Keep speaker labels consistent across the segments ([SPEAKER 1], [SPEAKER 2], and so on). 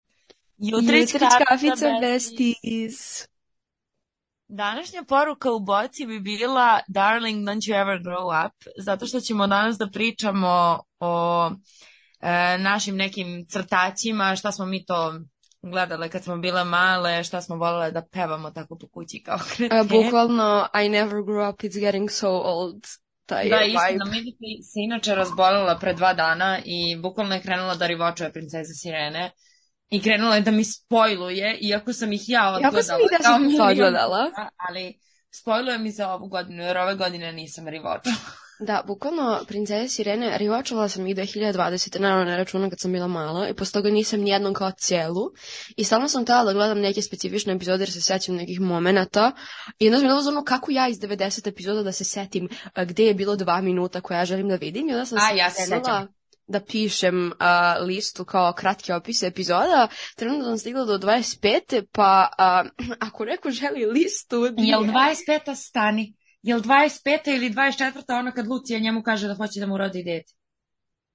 [SPEAKER 1] E
[SPEAKER 2] Jutrić
[SPEAKER 1] Jutrić kafica
[SPEAKER 2] kafica
[SPEAKER 1] besties.
[SPEAKER 2] Današnja poruka u boci bi bila Darling, don't you ever grow up, zato što ćemo danas da pričamo o e, našim nekim crtaćima, šta smo mi to gledale kad smo bile male, šta smo volele da pevamo tako po kući kao kretene.
[SPEAKER 1] A, E, bukvalno, I never grew up, it's getting so old. Taj
[SPEAKER 2] Da,
[SPEAKER 1] je
[SPEAKER 2] istina,
[SPEAKER 1] vibe.
[SPEAKER 2] Miliki se inače razbolela pre dva dana i bukvalno je krenula da rivočuje princeze Sirene i krenula je da mi spojluje, iako sam ih ja odgledala.
[SPEAKER 1] Jako sam i da
[SPEAKER 2] kao
[SPEAKER 1] sam to
[SPEAKER 2] milion
[SPEAKER 1] odgledala.
[SPEAKER 2] puta, ali spojluje mi za ovu godinu, jer ove godine nisam rivoča.
[SPEAKER 1] Da, bukvalno, Princeze Sirene, rivačala sam ih 2020. Naravno, ne računam kad sam bila mala i posle toga nisam nijednom kao celu. I stalno sam htjela da gledam neke specifične epizode jer se sećam nekih momenata. I onda sam bila u zonu kako ja iz 90 epizoda da se setim a, gde je bilo dva minuta koja ja želim da vidim. I onda sam
[SPEAKER 2] A, ja se
[SPEAKER 1] krenula
[SPEAKER 2] sećam.
[SPEAKER 1] da pišem a, listu kao kratke opise epizoda. Trenutno sam stigla do 25. Pa a, ako neko želi listu...
[SPEAKER 2] Jel 25. stani? Jel 25. ili 24. ono kad Lucija njemu kaže da hoće da mu rodi dete?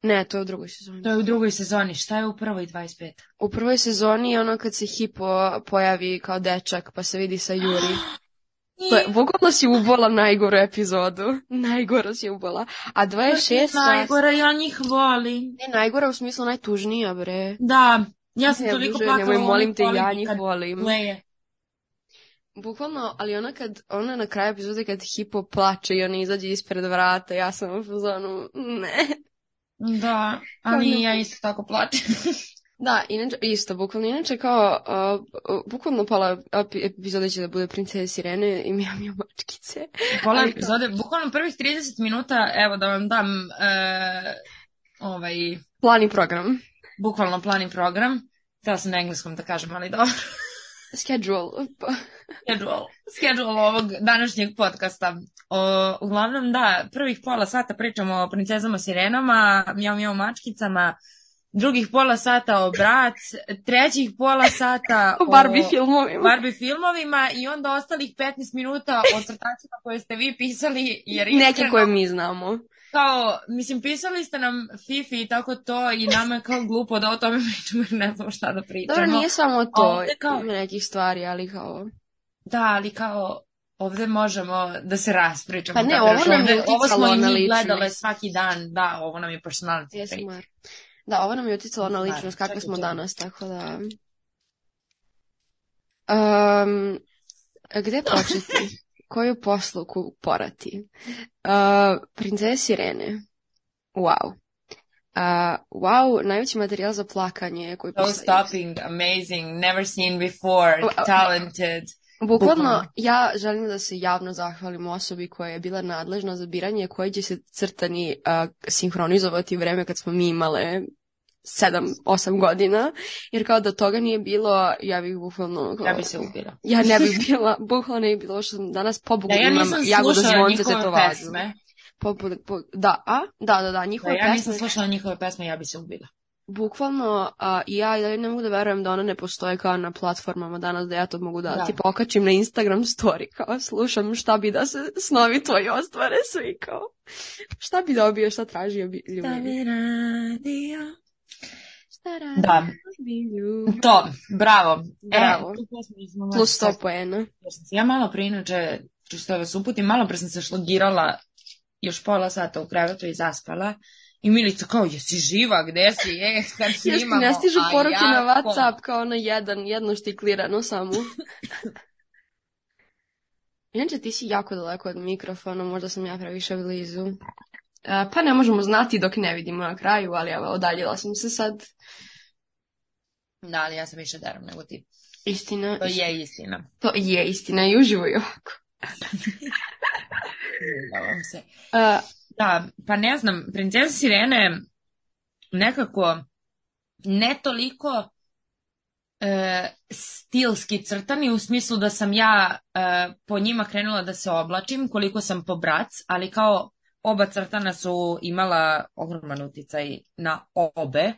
[SPEAKER 1] Ne, to je u drugoj sezoni.
[SPEAKER 2] To je u drugoj sezoni. Šta je u prvoj 25?
[SPEAKER 1] U prvoj sezoni je ono kad se Hipo pojavi kao dečak pa se vidi sa Juri. To je, bukvalno si ubola najgoru epizodu. Najgora si ubola. A 26...
[SPEAKER 2] Najgora, ja njih volim.
[SPEAKER 1] Ne, najgora u smislu najtužnija, bre.
[SPEAKER 2] Da, ja sam
[SPEAKER 1] Ne,
[SPEAKER 2] toliko
[SPEAKER 1] Bože,
[SPEAKER 2] plakala.
[SPEAKER 1] Nemoj,
[SPEAKER 2] u onoj
[SPEAKER 1] molim te, ja
[SPEAKER 2] kolegi
[SPEAKER 1] njih
[SPEAKER 2] kad
[SPEAKER 1] volim.
[SPEAKER 2] Leje.
[SPEAKER 1] Bukvalno, ali ona kad, ona na kraju epizode kad Hipo plače i ona izađe ispred vrata, ja sam u fazonu, ne.
[SPEAKER 2] Da,
[SPEAKER 1] Stvarno.
[SPEAKER 2] ali ja isto tako plačem.
[SPEAKER 1] Da, inače, isto, bukvalno, inače kao, a, a, bukvalno pola epi- epizode će da bude princeze Sirene i mija mija mačkice.
[SPEAKER 2] Pola
[SPEAKER 1] Ali-
[SPEAKER 2] epizode, bukvalno prvih 30 minuta, evo da vam dam e, ovaj,
[SPEAKER 1] Plan i program.
[SPEAKER 2] bukvalno plan i program. Htela sam na engleskom da kažem, ali dobro.
[SPEAKER 1] Schedule. Pa,
[SPEAKER 2] schedule, schedule ovog današnjeg podcasta. O, uglavnom, da, prvih pola sata pričamo o princezama sirenama, mjau mjau mačkicama, drugih pola sata o brac, trećih pola sata
[SPEAKER 1] O Barbie filmovima.
[SPEAKER 2] Barbie filmovima i onda ostalih 15 minuta o crtačima koje ste vi pisali. Jer
[SPEAKER 1] Neke
[SPEAKER 2] iskreno,
[SPEAKER 1] koje mi znamo.
[SPEAKER 2] Kao, mislim, pisali ste nam Fifi i tako to i nama je kao glupo da o tome pričamo jer ne znamo šta da pričamo.
[SPEAKER 1] Dobro, nije samo to.
[SPEAKER 2] ovde kao-
[SPEAKER 1] Ima nekih stvari, ali kao...
[SPEAKER 2] Da, ali kao ovde možemo da se raspričamo.
[SPEAKER 1] Pa ne,
[SPEAKER 2] kako
[SPEAKER 1] ovo
[SPEAKER 2] reći,
[SPEAKER 1] nam je
[SPEAKER 2] ovde- Ovo smo
[SPEAKER 1] uticalo
[SPEAKER 2] i
[SPEAKER 1] na
[SPEAKER 2] mi
[SPEAKER 1] ličnost.
[SPEAKER 2] gledale svaki dan, da, ovo nam je personality trait.
[SPEAKER 1] ASMR. Da, ovo nam je uticalo na
[SPEAKER 2] Da,
[SPEAKER 1] ličnost kakve
[SPEAKER 2] čekaj,
[SPEAKER 1] smo
[SPEAKER 2] čekaj.
[SPEAKER 1] danas, tako da... Um, gde početi? Koju posluku porati? Uh, princeze Sirene. Wow. Uh, wow, najveći materijal za plakanje koji
[SPEAKER 2] No
[SPEAKER 1] postoji.
[SPEAKER 2] stopping, amazing, never seen before,
[SPEAKER 1] Wow.
[SPEAKER 2] talented.
[SPEAKER 1] Bukvalno,
[SPEAKER 2] Bukvalno.
[SPEAKER 1] ja želim da se javno zahvalim osobi koja je bila nadležna za biranje koje će se crtani a, sinhronizovati u vreme kad smo mi imale 7-8 godina, jer kao da toga nije bilo, ja bih bukvalno... kao-
[SPEAKER 2] Ja bi se ubila.
[SPEAKER 1] Ja ne bih bila, bukvalno ne bi bilo što sam danas pobogu
[SPEAKER 2] Da, ja
[SPEAKER 1] imam
[SPEAKER 2] nisam
[SPEAKER 1] jagodu
[SPEAKER 2] slušala
[SPEAKER 1] zvonce
[SPEAKER 2] njihove
[SPEAKER 1] tetovažu.
[SPEAKER 2] pesme.
[SPEAKER 1] Pobogu- po- da, a? Da, da, da,
[SPEAKER 2] Da,
[SPEAKER 1] njihove
[SPEAKER 2] ja nisam
[SPEAKER 1] pesme
[SPEAKER 2] slušala njihove pesme, ja bi se ubila.
[SPEAKER 1] Bukvalno, a, i ja i dalje ne mogu da verujem da ona ne postoje kao na platformama danas da ja to mogu da,
[SPEAKER 2] Da.
[SPEAKER 1] ti pokačim na Instagram story, kao slušam šta bi da se snovi tvoji ostvare svi, kao šta bi dobio, šta tražio bi ljubavi.
[SPEAKER 2] radio.
[SPEAKER 1] Šta radi
[SPEAKER 2] Da,
[SPEAKER 1] ljubavi.
[SPEAKER 2] to, bravo.
[SPEAKER 1] Bravo.
[SPEAKER 2] E, tu pesmu smo malo
[SPEAKER 1] Plus 100 poena.
[SPEAKER 2] Jer sam se Ja malo pre inače, čisto da vas uputim, malo pre sam se šlogirala još pola sata u krevetu i zaspala. I Milica kao, jesi živa, gde si, je, kad
[SPEAKER 1] Još ti
[SPEAKER 2] snimamo,
[SPEAKER 1] ne stižu
[SPEAKER 2] a
[SPEAKER 1] poruke
[SPEAKER 2] ja
[SPEAKER 1] na
[SPEAKER 2] ko-
[SPEAKER 1] Whatsapp kao ono jedan, jedno štiklirano samo. Inače, ti si jako daleko od mikrofona, možda sam ja previše blizu. E, pa ne možemo znati dok ne vidimo na kraju, ali evo, odaljila sam se sad.
[SPEAKER 2] Da, ali ja sam više deram nego ti.
[SPEAKER 1] Istina,
[SPEAKER 2] To je istina.
[SPEAKER 1] to je istina i uživo i ovako.
[SPEAKER 2] Da, vam se.
[SPEAKER 1] E,
[SPEAKER 2] Da, pa ne znam, princeza Sirene nekako ne toliko e, stilski crtani u smislu da sam ja e, po njima krenula da se oblačim koliko sam po brac, ali kao oba crtana su imala ogroman uticaj na obe.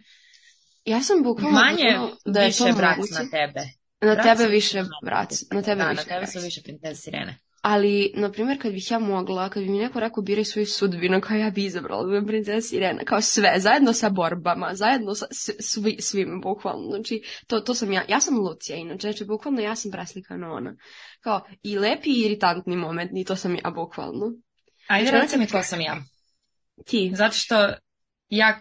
[SPEAKER 1] ja sam bukvalno
[SPEAKER 2] Manje,
[SPEAKER 1] odlučila da je
[SPEAKER 2] više
[SPEAKER 1] to
[SPEAKER 2] brac
[SPEAKER 1] moguće.
[SPEAKER 2] na tebe.
[SPEAKER 1] Na
[SPEAKER 2] Brac
[SPEAKER 1] tebe
[SPEAKER 2] ili
[SPEAKER 1] više
[SPEAKER 2] na
[SPEAKER 1] brac, na tebe
[SPEAKER 2] da,
[SPEAKER 1] više
[SPEAKER 2] na tebe
[SPEAKER 1] brac.
[SPEAKER 2] su više princeze Sirene.
[SPEAKER 1] Ali, na primjer, kad bih ja mogla, kad bi mi neko rekao biraj svoju sudbinu, kao ja bi izabrala da budem princesa Sirena, kao sve, zajedno sa borbama, zajedno sa s- svi, svim, bukvalno. Znači, to, to sam ja, ja sam Lucija, inače, znači, bukvalno ja sam preslikana ona. Kao, i lepi i iritantni moment, i to sam ja, bukvalno.
[SPEAKER 2] Ajde,
[SPEAKER 1] Znači,
[SPEAKER 2] reci mi ko sam ja.
[SPEAKER 1] Ti,
[SPEAKER 2] Zato što ja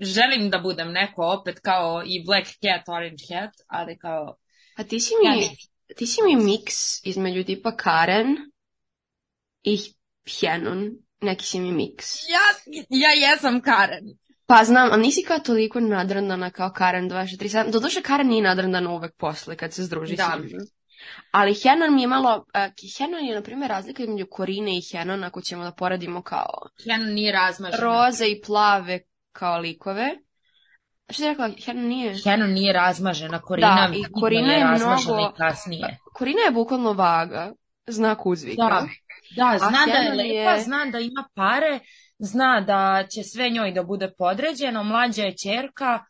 [SPEAKER 2] želim da budem neko opet kao i Black Cat, Orange Cat, ali kao...
[SPEAKER 1] a ti si
[SPEAKER 2] Ja
[SPEAKER 1] mi,
[SPEAKER 2] ne.
[SPEAKER 1] ti si mi miks između tipa Karen i Hjenon, neki si mi miks.
[SPEAKER 2] Ja, ja jesam Karen.
[SPEAKER 1] Pa znam, ali nisi kao toliko nadrndana kao Karen 237. Doduše, Karen nije nadrndana uvek posle kad se združi
[SPEAKER 2] Da.
[SPEAKER 1] s njima. Ali Henon mi je malo... Uh, Henon je, na primjer, razlika između Korine i Henon, ako ćemo da poradimo kao
[SPEAKER 2] Henon nije razmažena.
[SPEAKER 1] roze i plave kao likove. Što ti rekla? Henon nije...
[SPEAKER 2] Henon nije razmažena, Korina,
[SPEAKER 1] Da, i
[SPEAKER 2] vidno
[SPEAKER 1] Korina je
[SPEAKER 2] razmažena
[SPEAKER 1] mnogo-
[SPEAKER 2] i kasnije.
[SPEAKER 1] Korina je bukvalno vaga. Znak uzvika.
[SPEAKER 2] Da, da, zna da je
[SPEAKER 1] Henon je-
[SPEAKER 2] lepa, zna da ima pare, zna da će sve njoj da bude podređeno, mlađa je čerka,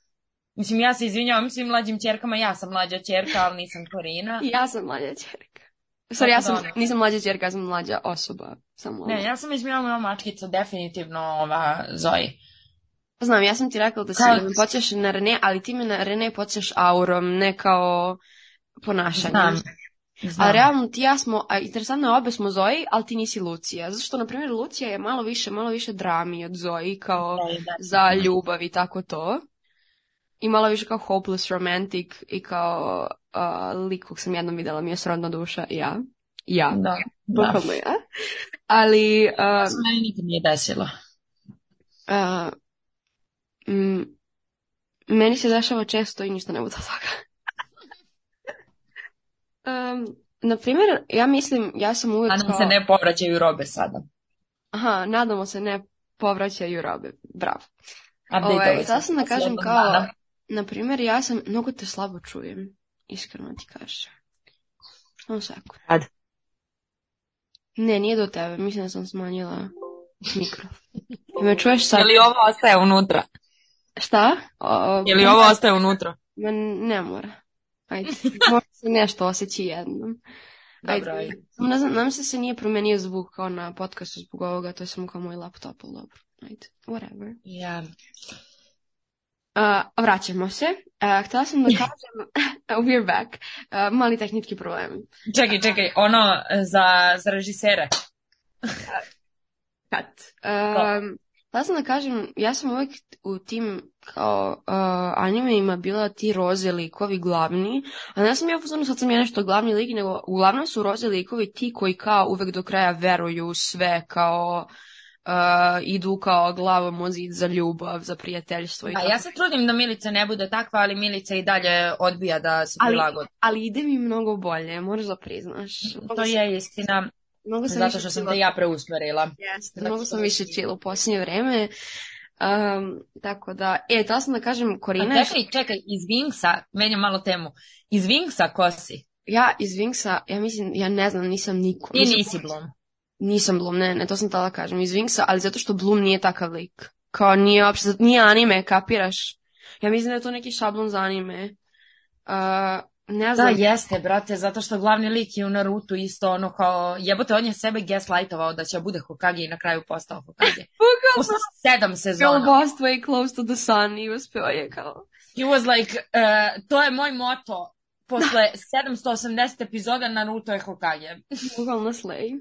[SPEAKER 2] mislim ja se izvinjavam svim mlađim čerkama, ja sam mlađa čerka, ali nisam Korina.
[SPEAKER 1] I Ja sam mlađa čerka. Sorry, ja sam,
[SPEAKER 2] Da, da.
[SPEAKER 1] nisam mlađa čerka, ja sam mlađa osoba. Samo
[SPEAKER 2] Ne, ja sam izmijenila moja mačkica, definitivno ova Zoji.
[SPEAKER 1] Znam, ja sam ti rekla da si
[SPEAKER 2] Kao-
[SPEAKER 1] da me podsjećaš na Rene, ali ti me na Rene podsjećaš aurom, ne kao ponašanjem.
[SPEAKER 2] Znam, znam.
[SPEAKER 1] A realno ti i ja smo, a interesantno je obe smo Zoji, ali ti nisi Lucija. Zato što, na primjer, Lucija je malo više, malo više drami od Zoji, kao
[SPEAKER 2] Zoji, da.
[SPEAKER 1] za ljubav i tako to. I malo više kao hopeless romantic i kao uh, lik kog sam jednom vidjela, mi je srodna duša, ja. Ja,
[SPEAKER 2] Da, da.
[SPEAKER 1] bukvalno ja. Ali,
[SPEAKER 2] To
[SPEAKER 1] uh,
[SPEAKER 2] se meni nikad nije desilo.
[SPEAKER 1] A, mm, meni se dešava često i ništa ne bude od toga. Em, na primjer, ja mislim, ja sam uvijek
[SPEAKER 2] A nam
[SPEAKER 1] kao-
[SPEAKER 2] se ne povraćaju robe sada.
[SPEAKER 1] Aha, nadamo se ne povraćaju robe. Bravo.
[SPEAKER 2] Updateovi
[SPEAKER 1] Ovaj,
[SPEAKER 2] smo
[SPEAKER 1] sad sam da
[SPEAKER 2] posle
[SPEAKER 1] kažem
[SPEAKER 2] jednog
[SPEAKER 1] kao,
[SPEAKER 2] dana.
[SPEAKER 1] na primjer, ja sam, mnogo te slabo čujem, iskreno ti kažem. Samo sekund.
[SPEAKER 2] Ajde.
[SPEAKER 1] Ne, nije do tebe, mislim da sam smanjila mikrofon. Jel Me čuješ sad?
[SPEAKER 2] Je li ovo ostaje unutra?
[SPEAKER 1] Šta? O,
[SPEAKER 2] Je li ovo ostaje unutra?
[SPEAKER 1] Ma ne mora. Ajde, možda se nešto osjeći jednom.
[SPEAKER 2] Dobro, ajde.
[SPEAKER 1] Samo Ne znam, nam se se nije promenio zvuk kao na podcastu zbog ovoga, to je samo kao moj laptop, ali dobro. Ajde, whatever.
[SPEAKER 2] Ja.
[SPEAKER 1] Uh, vraćamo se. Uh, htjela sam da kažem, we're back, Uh, mali tehnički problem.
[SPEAKER 2] Čekaj, čekaj, ono za, za režisera.
[SPEAKER 1] Kad? Um, htjela sam da kažem, ja sam uvijek u tim kao uh, animeima bila ti roze likovi glavni, a ne sam ja pozorno sad sam ja nešto glavni lik, nego uglavnom su roze likovi ti koji kao uvek do kraja veruju u sve, kao uh, idu kao glavom o zid za ljubav, za prijateljstvo i
[SPEAKER 2] A
[SPEAKER 1] tako.
[SPEAKER 2] ja se trudim da Milica ne bude takva, ali Milica i dalje odbija da se
[SPEAKER 1] Ali-
[SPEAKER 2] prilagodi.
[SPEAKER 1] Ali ide mi mnogo bolje, moraš da priznaš.
[SPEAKER 2] To je istina,
[SPEAKER 1] mnogo sam
[SPEAKER 2] zato
[SPEAKER 1] više
[SPEAKER 2] što sam
[SPEAKER 1] čula.
[SPEAKER 2] te ja preusmerila.
[SPEAKER 1] Jeste,
[SPEAKER 2] Zato
[SPEAKER 1] mnogo
[SPEAKER 2] što
[SPEAKER 1] sam
[SPEAKER 2] mi-
[SPEAKER 1] više čila u posljednje vreme. Um, tako da, e, htjela sam da kažem,
[SPEAKER 2] A
[SPEAKER 1] Korina je
[SPEAKER 2] čekaj, čekaj, iz Vinksa, menjam malo temu, iz Vinksa ko si?
[SPEAKER 1] Ja iz Vinksa, ja mislim, ja ne znam, nisam niko.
[SPEAKER 2] Ti
[SPEAKER 1] Nisam-
[SPEAKER 2] nisi Blom.
[SPEAKER 1] Nisam Bloom, ne, ne, to sam tala kažem. Iz Vinksa, ali zato što Bloom nije takav lik. Kao nije uopšte, nije anime, kapiraš? Ja mislim da je to neki šablon za anime. Uh, ne
[SPEAKER 2] Da,
[SPEAKER 1] znam,
[SPEAKER 2] jeste, brate, zato što glavni lik je u Naruto isto ono kao, jebote, on je sebe gaslightovao da će bude Hokage i na kraju postao Hokage. Posle sedam sezona.
[SPEAKER 1] Girl way close to the sun i uspio je kao...
[SPEAKER 2] He was like, e, to je moj moto. Posle 780 epizoda Naruto je Hokage.
[SPEAKER 1] Bukvalno slay.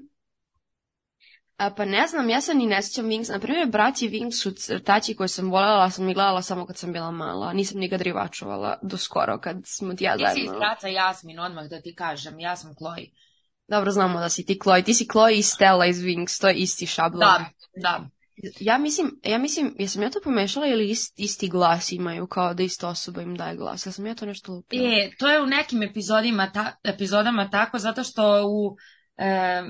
[SPEAKER 1] A, pa ne znam, ja se ni ne sjećam Wings. Na primjer, braći Wings su crtači koje sam voljela, ali sam ih gledala samo kad sam bila mala. Nisam nikad rivačovala do skoro kad smo ti ja
[SPEAKER 2] Ti si iz
[SPEAKER 1] zajedno-
[SPEAKER 2] braca Jasmin, odmah da ti kažem. Ja sam Chloe.
[SPEAKER 1] Dobro, znamo da si ti Chloe. Ti si Chloe i Stella iz Wings, to je isti šablon.
[SPEAKER 2] Da, da.
[SPEAKER 1] Ja mislim, ja mislim, jesam ja to pomešala ili ist- isti glas imaju, kao da ista osoba im daje glas. Ja sam ja to nešto lupila.
[SPEAKER 2] E, to je u nekim epizodima, ta- epizodama tako, zato što u e,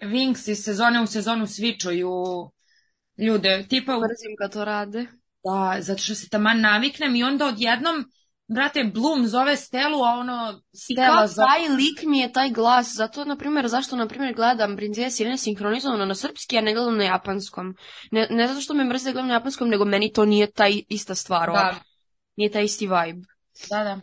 [SPEAKER 2] Wings iz sezone u sezonu svičuju ljude. Tipa u
[SPEAKER 1] Mrzim kad to rade.
[SPEAKER 2] Da, zato što se taman naviknem i onda odjednom, brate, Bloom zove Stelu, a ono, Stela
[SPEAKER 1] Kao
[SPEAKER 2] zove...
[SPEAKER 1] taj lik mi je taj glas, zato, na primjer, zašto, na primjer, gledam Princesa Sirene sinhronizovano na srpski, a ne gledam na japanskom. Ne, ne zato što me mrze da gledam na japanskom, nego meni to nije taj ista stvar,
[SPEAKER 2] Da,
[SPEAKER 1] uopšte. nije taj isti vibe.
[SPEAKER 2] da, da.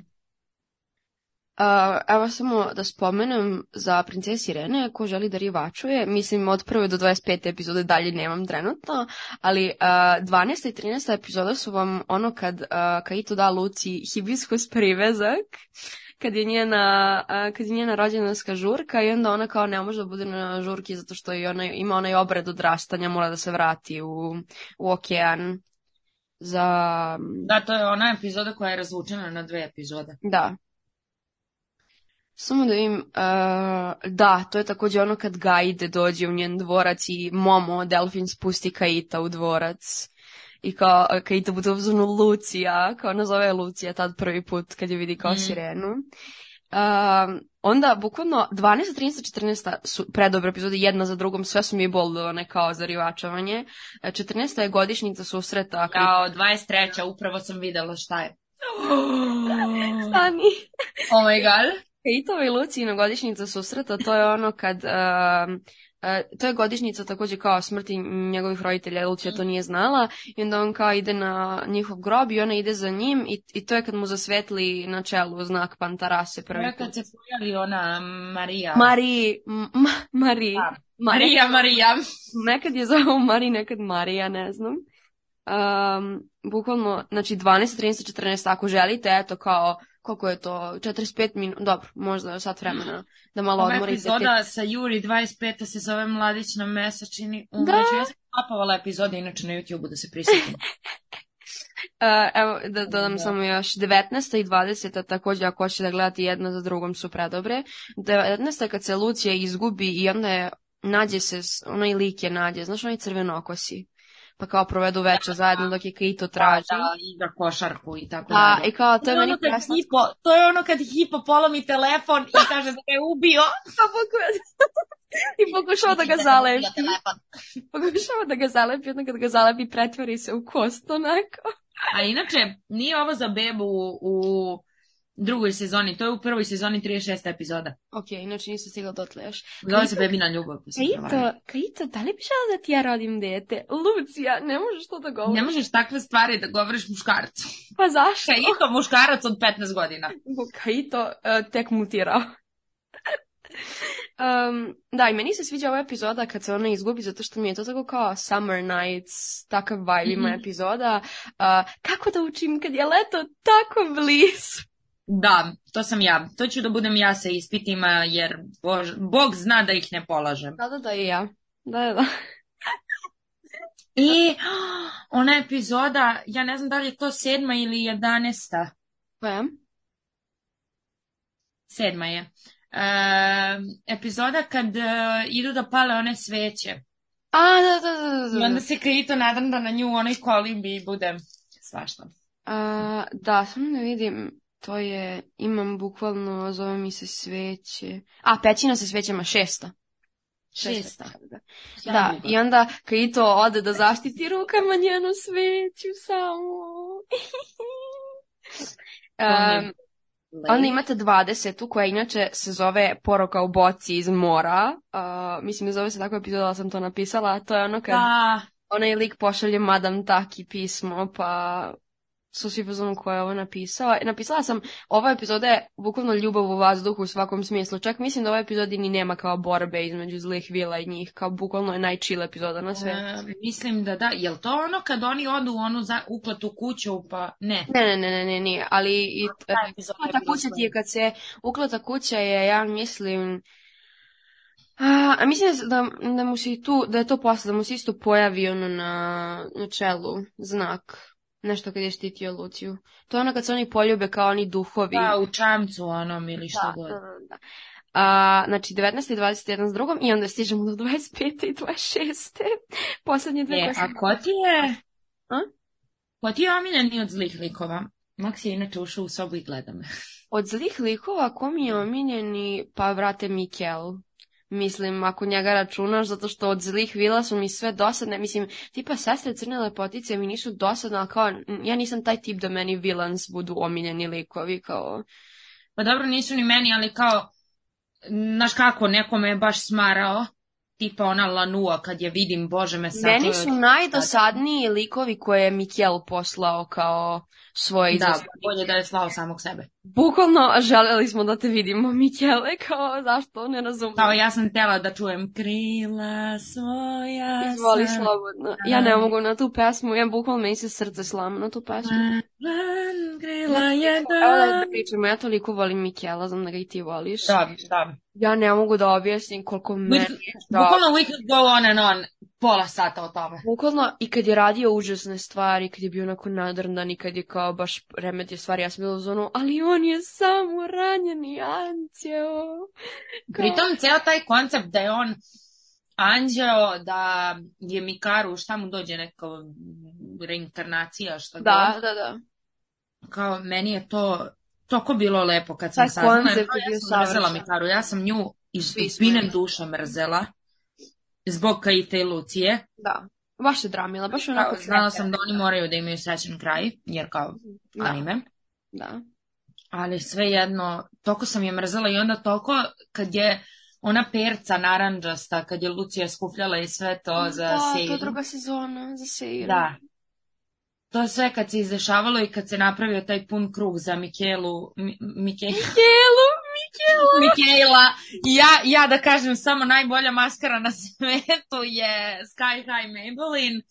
[SPEAKER 1] A, evo samo da spomenem za princesi Irene, ko želi da rivačuje, mislim od prve do 25. epizode dalje nemam trenutno, ali a, 12. i 13. epizoda su vam ono kad a, Kaito da Luci hibiskus privezak, kad je njena, a, kad je njena rođendanska žurka i onda ona kao ne može da bude na žurki zato što i ona, ima onaj obred odrastanja, mora da se vrati u, u okean za...
[SPEAKER 2] Da, to je ona epizoda koja je razvučena na dve epizode.
[SPEAKER 1] Da. Samo da im, da, to je također ono kad Gajde dođe u njen dvorac i Momo, Delfin, spusti Kaita u dvorac. I kao, Kaita bude uzvanu Lucija, kao nazove Lucija tad prvi put kad je vidi kao
[SPEAKER 2] Mm.
[SPEAKER 1] sirenu. Uh, onda, bukvalno, 12, 13, 14 su predobre epizode, jedna za drugom, sve su mi boldovane kao za rivačavanje. E, 14. je godišnjica susreta. Kaita-
[SPEAKER 2] Kao 23. upravo sam videla šta je.
[SPEAKER 1] Stani.
[SPEAKER 2] Oh my god.
[SPEAKER 1] Kaitova i Lucijina godišnjica susreta, to je ono kad... um, e, to je godišnjica također kao smrti njegovih roditelja, Lucija to nije znala i onda on kao ide na njihov grob i ona ide za njim i, i to je kad mu zasvetli na čelu znak Pantarase prvi
[SPEAKER 2] Ona
[SPEAKER 1] put.
[SPEAKER 2] kad se pojavi ona Marija.
[SPEAKER 1] Mari, m- ma- Mari,
[SPEAKER 2] Da.
[SPEAKER 1] Mari,
[SPEAKER 2] Marija, Marija.
[SPEAKER 1] nekad je zovu Mari, nekad Marija, ne znam. Um, bukvalno, znači 12, 13, 14, ako želite, eto kao, koliko je to, 45 minuta, dobro, možda sat vremena, da malo
[SPEAKER 2] Ova
[SPEAKER 1] odmorite.
[SPEAKER 2] epizoda sa Juri 25. se zove Mladić na mesečini.
[SPEAKER 1] Da.
[SPEAKER 2] Da. ja sam klapavala epizode inače na YouTube-u da se prisjetim.
[SPEAKER 1] E, evo, da dodam
[SPEAKER 2] Da.
[SPEAKER 1] samo još 19. i 20. također ako hoćete da gledate jedna za drugom su predobre. 19. kad se Lucija izgubi i onda je, nađe se, s- onaj lik je nađe, znaš onaj crvenokosi. Pa kao provedu večer zajedno dok je Kaito traži.
[SPEAKER 2] Da, igra košarku i tako
[SPEAKER 1] Da,
[SPEAKER 2] dalje.
[SPEAKER 1] i kao to je
[SPEAKER 2] To je,
[SPEAKER 1] meni
[SPEAKER 2] ono kad
[SPEAKER 1] preslatko.
[SPEAKER 2] hipo, to je ono kad hipo polomi telefon i kaže da ga je ubio.
[SPEAKER 1] Pa poku- I pokušava da ga zalepi.
[SPEAKER 2] Telefon.
[SPEAKER 1] Pokušava da ga zalepi, onda kad ga zalepi pretvori se u kost onako.
[SPEAKER 2] A inače, nije ovo za bebu u, u drugoj sezoni, to je u prvoj sezoni 36. epizoda.
[SPEAKER 1] Ok, inače nisam stigla dotle još.
[SPEAKER 2] Zove se Bebina ljubav. ako se ne varam.
[SPEAKER 1] Kaito, Kaito, da li bi žela da ti ja rodim dete? Lucija, ne možeš to da govoriš.
[SPEAKER 2] Ne možeš takve stvari da govoriš muškarcu.
[SPEAKER 1] Pa zašto?
[SPEAKER 2] Kaito muškarac od 15 godina.
[SPEAKER 1] Bo Kaito e, tek mutirao. Um, da, i meni se sviđa ova epizoda kad se ona izgubi, zato što mi je to tako kao Summer Nights, takav vibe ima
[SPEAKER 2] Mhm.
[SPEAKER 1] epizoda. A, kako da učim kad je leto tako blizu?
[SPEAKER 2] Da, to sam ja. To ću da budem ja sa ispitima, jer Bož, Bog zna da ih ne polažem.
[SPEAKER 1] Da, da, da, i ja. Da, da, da.
[SPEAKER 2] I ona epizoda, ja ne znam da li je to sedma ili jedanesta.
[SPEAKER 1] Koja?
[SPEAKER 2] Sedma je. E, epizoda kad e, idu da pale one sveće.
[SPEAKER 1] A, da, da, da, da,
[SPEAKER 2] I
[SPEAKER 1] da.
[SPEAKER 2] onda se Krito nadam da na nju u onoj kolimbi bude svašta.
[SPEAKER 1] A, E, da, samo da vidim. To je, imam bukvalno, zove mi se sveće. A, pećina sa svećama, šesta.
[SPEAKER 2] Šesta.
[SPEAKER 1] Da. Da, i onda Kaito ode da zaštiti rukama njenu sveću samo. um, onda imate 20. koja inače se zove Poroka u boci iz mora. Uh, mislim, ne zove se tako epizoda, ali sam to napisala. a To je ono kad
[SPEAKER 2] Da,
[SPEAKER 1] onaj lik pošalje Madam Taki pismo, pa su svi pozvani koja je ovo napisala. E, Napisala sam, ova epizoda je bukvalno ljubav u vazduhu u svakom smislu. Čak mislim da u ovoj epizodi ni nema kao borbe između zlih vila i njih. Kao bukvalno je najchill epizoda na sve.
[SPEAKER 2] e, mislim da da. Jel to ono kad oni odu u onu za, uklatu kuću, pa ne.
[SPEAKER 1] Ne, ne, ne, ne, ne, nije, ali i e,
[SPEAKER 2] Ta epizoda je
[SPEAKER 1] uklata
[SPEAKER 2] bila
[SPEAKER 1] kuća ti
[SPEAKER 2] super.
[SPEAKER 1] je kad se, uklata kuća je, ja mislim, a, a mislim da, se- da, da mu se i tu, da je to posle, da mu se isto pojavi ono na, na čelu, znak, nešto kad je štitio Luciju. To je ono kad se oni poljube kao oni duhovi.
[SPEAKER 2] Da, u čamcu onom ili što
[SPEAKER 1] da,
[SPEAKER 2] god.
[SPEAKER 1] da, da, da. A, znači 19. i 21. s drugom i onda stižemo do 25. i 26. Poslednje dve
[SPEAKER 2] E,
[SPEAKER 1] koje
[SPEAKER 2] a
[SPEAKER 1] sam-
[SPEAKER 2] ko ti je...
[SPEAKER 1] A?
[SPEAKER 2] Ko ti je omiljeni od zlih likova? Max je inače ušao u sobu i gleda me.
[SPEAKER 1] Od zlih likova, ko mi je omiljeni, pa vrate Mikel. Mislim, ako njega računaš, zato što od zlih vila su mi sve dosadne. Mislim, tipa sestre crne lepotice mi nisu dosadne, ali kao, n- ja nisam taj tip da meni vilans budu omiljeni likovi, kao...
[SPEAKER 2] Pa dobro, nisu ni meni, ali kao... Znaš kako, nekome je baš smarao. Tipa ona Lanua, kad je vidim, bože me sad...
[SPEAKER 1] meni su najdosadniji likovi koje je Mikel poslao kao svoje
[SPEAKER 2] Da,
[SPEAKER 1] izazove.
[SPEAKER 2] bolje da je slao samog sebe.
[SPEAKER 1] Bukvalno želeli smo da te vidimo, Mikele, kao zašto, ne razumijem.
[SPEAKER 2] Kao ja sam tela da čujem krila svoja.
[SPEAKER 1] Izvoli
[SPEAKER 2] sam
[SPEAKER 1] slobodno. Ja ne mogu na tu pesmu, ja bukvalno meni se srce slama na tu pesmu.
[SPEAKER 2] van krila
[SPEAKER 1] Evo da
[SPEAKER 2] jedan.
[SPEAKER 1] pričamo, ja toliko volim Mikela, znam da ga i ti voliš.
[SPEAKER 2] Da, da.
[SPEAKER 1] Ja ne mogu da objasnim koliko meni je žao.
[SPEAKER 2] Bukvalno we could go on and on pola sata o tome.
[SPEAKER 1] Bukvalno i kad je radio užasne stvari, kad je bio onako nadrndan i kad je kao baš remetio stvari, ja sam bila u zonu, ali on je samo ranjeni anđeo. Kao-
[SPEAKER 2] Pritom, ceo taj koncept da je on anđeo, da je Mikaru, šta mu dođe neka reinkarnacija, šta
[SPEAKER 1] Da,
[SPEAKER 2] god.
[SPEAKER 1] da, da.
[SPEAKER 2] Kao, meni je to toko bilo lepo kad sam
[SPEAKER 1] Taj
[SPEAKER 2] saznala.
[SPEAKER 1] koncept
[SPEAKER 2] Evo,
[SPEAKER 1] je bio
[SPEAKER 2] ja sam mrzela
[SPEAKER 1] savršen.
[SPEAKER 2] Mikaru, ja sam nju iz
[SPEAKER 1] Svi smo
[SPEAKER 2] dubine
[SPEAKER 1] je.
[SPEAKER 2] duše mrzela. Zbog Kaite i Lucije.
[SPEAKER 1] Da. Baš je dramila, baš je onako...
[SPEAKER 2] Kao, znala sam da oni moraju da imaju srećan kraj, jer kao
[SPEAKER 1] Da,
[SPEAKER 2] anime.
[SPEAKER 1] da.
[SPEAKER 2] ali svejedno, toliko sam je mrzela i onda toliko kad je ona perca naranđasta, kad je Lucija skupljala i sve to za
[SPEAKER 1] Mm, da, to
[SPEAKER 2] Seiru.
[SPEAKER 1] je druga sezona za Seiru.
[SPEAKER 2] Da. To sve kad se izdešavalo i kad se napravio taj pun krug za Mikelu, Mi, Mike,
[SPEAKER 1] Mikelu, Mikelu!
[SPEAKER 2] Mikela, I ja, ja da kažem samo najbolja maskara na svetu je Sky High Maybelline,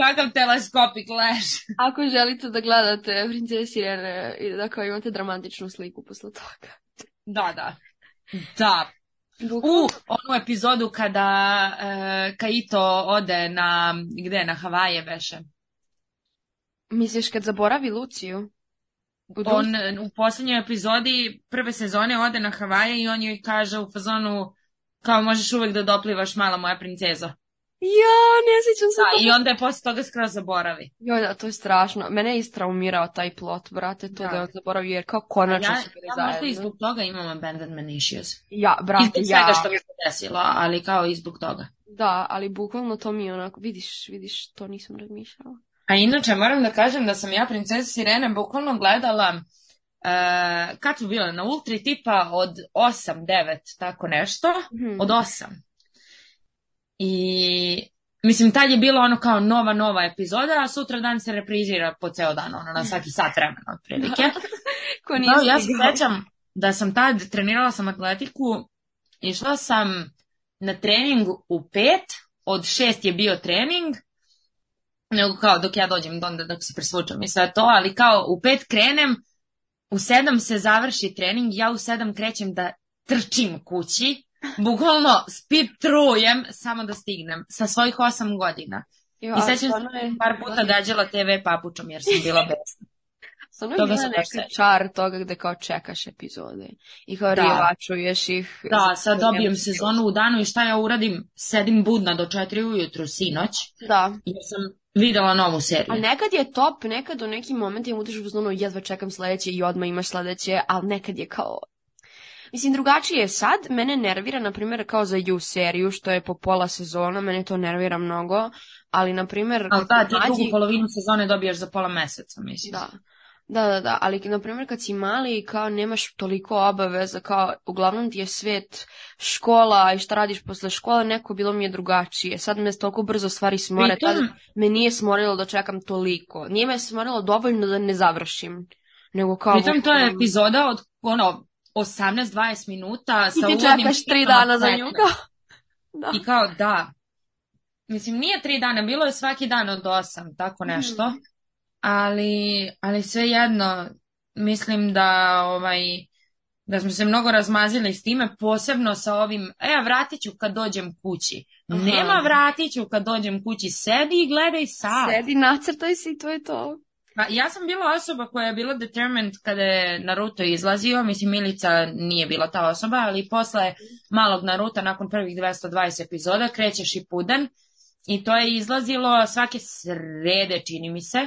[SPEAKER 2] kakav teleskopik leš.
[SPEAKER 1] Ako želite da gledate Princesa Sirene i da kao imate dramatičnu sliku posle toga.
[SPEAKER 2] Da, da. Da, U onu epizodu kada e, Kaito ode na, gde, na Havaje veše.
[SPEAKER 1] Misliš kad zaboravi Luciju? U drugu-
[SPEAKER 2] On e, u posljednjoj epizodi prve sezone ode na Havaje i on joj kaže u fazonu kao možeš uvek da doplivaš mala moja princezo.
[SPEAKER 1] Ja, ne sjećam se
[SPEAKER 2] Da,
[SPEAKER 1] toga.
[SPEAKER 2] i onda je posle toga skroz zaboravi.
[SPEAKER 1] Joj, da, to je strašno. Mene je istraumirao taj plot, brate, to
[SPEAKER 2] Da.
[SPEAKER 1] da, je on zaboravio, jer kao
[SPEAKER 2] Ja,
[SPEAKER 1] konačno su bili
[SPEAKER 2] ja možda i
[SPEAKER 1] zajedno.
[SPEAKER 2] zbog toga imam abandonment issues.
[SPEAKER 1] Ja,
[SPEAKER 2] I
[SPEAKER 1] brate,
[SPEAKER 2] zbog
[SPEAKER 1] ja.
[SPEAKER 2] svega što mi se desilo, ali kao i zbog toga.
[SPEAKER 1] Da, ali bukvalno to mi je onako, vidiš, vidiš, to nisam razmišljala.
[SPEAKER 2] A inače moram da kažem da sam ja Princesa Sirene bukvalno gledala e, kad su bile na Ultri tipa od 8-9 tako nešto,
[SPEAKER 1] Mhm.
[SPEAKER 2] od 8. I mislim tad je bilo ono kao nova nova epizoda, a sutra dan se reprizira po ceo dan, ono na svaki sat vremena otprilike.
[SPEAKER 1] Ko nije
[SPEAKER 2] Da, ja se
[SPEAKER 1] stigao.
[SPEAKER 2] sećam da sam tad trenirala sam atletiku, išla sam na trening u pet, od šest je bio trening, nego kao dok ja dođem do onda dok se presvučem i sve to, ali kao u pet krenem, u sedam se završi trening, ja u sedam krećem da trčim kući, bukvalno speed trujem samo da stignem sa svojih osam godina.
[SPEAKER 1] Jo,
[SPEAKER 2] I
[SPEAKER 1] ali
[SPEAKER 2] sećam
[SPEAKER 1] stvarno je-
[SPEAKER 2] Par puta gađala TV papučom jer sam bila besna.
[SPEAKER 1] Stvarno je
[SPEAKER 2] Toga
[SPEAKER 1] bila
[SPEAKER 2] se baš
[SPEAKER 1] neki
[SPEAKER 2] sećam.
[SPEAKER 1] čar toga gde kao čekaš epizode i kao
[SPEAKER 2] Da.
[SPEAKER 1] rijevačuješ ih.
[SPEAKER 2] Da, sad dobijem sezonu u danu i šta ja uradim? Sedim budna do četiri ujutru sinoć
[SPEAKER 1] Da.
[SPEAKER 2] jer sam videla novu
[SPEAKER 1] A
[SPEAKER 2] seriju.
[SPEAKER 1] nekad je top, nekad u nekim momentima utiš u zonu jedva čekam sledeće i odmah imaš sledeće, ali nekad je kao... Mislim, drugačije je sad, mene nervira, na primjer, kao za You seriju, što je po pola sezona, mene to nervira mnogo, ali, na primjer,
[SPEAKER 2] Ali da, ti drugu
[SPEAKER 1] mlađi-
[SPEAKER 2] polovinu sezone dobijaš za pola meseca, mislim.
[SPEAKER 1] Da. Da, da, da, ali na primjer kad si mali kao nemaš toliko obaveza, kao uglavnom ti je svet škola i šta radiš posle škole, neko bilo mi je drugačije. Sad me toliko brzo stvari smore, tad
[SPEAKER 2] Pritom,
[SPEAKER 1] me nije smorilo da čekam toliko. Nije me smorilo dovoljno da ne završim. Nego kao...
[SPEAKER 2] pritom to je
[SPEAKER 1] bukvalno-
[SPEAKER 2] epizoda od ono 18-20 minuta
[SPEAKER 1] I
[SPEAKER 2] sa
[SPEAKER 1] ti
[SPEAKER 2] uvodnim
[SPEAKER 1] čekaš tri
[SPEAKER 2] štinama
[SPEAKER 1] dana za nju.
[SPEAKER 2] petnaest.
[SPEAKER 1] kao. Da.
[SPEAKER 2] ono, I kao da. Mislim, nije tri dana, bilo je svaki dan od osam, tako nešto.
[SPEAKER 1] Mhm.
[SPEAKER 2] Ali, ali svejedno, mislim da ovaj, da smo se mnogo razmazili s time, posebno sa ovim, e, a vratit ću kad dođem kući.
[SPEAKER 1] Aha.
[SPEAKER 2] Nema vratit ću kad dođem kući, sedi i gledaj sad.
[SPEAKER 1] Sedi, nacrtaj si i to je to.
[SPEAKER 2] Pa, ja sam bila osoba koja je bila determined kada je Naruto izlazio, mislim Milica nije bila ta osoba, ali posle malog Naruta nakon prvih 220 epizoda kreće Shippuden i to je izlazilo svake srede čini mi se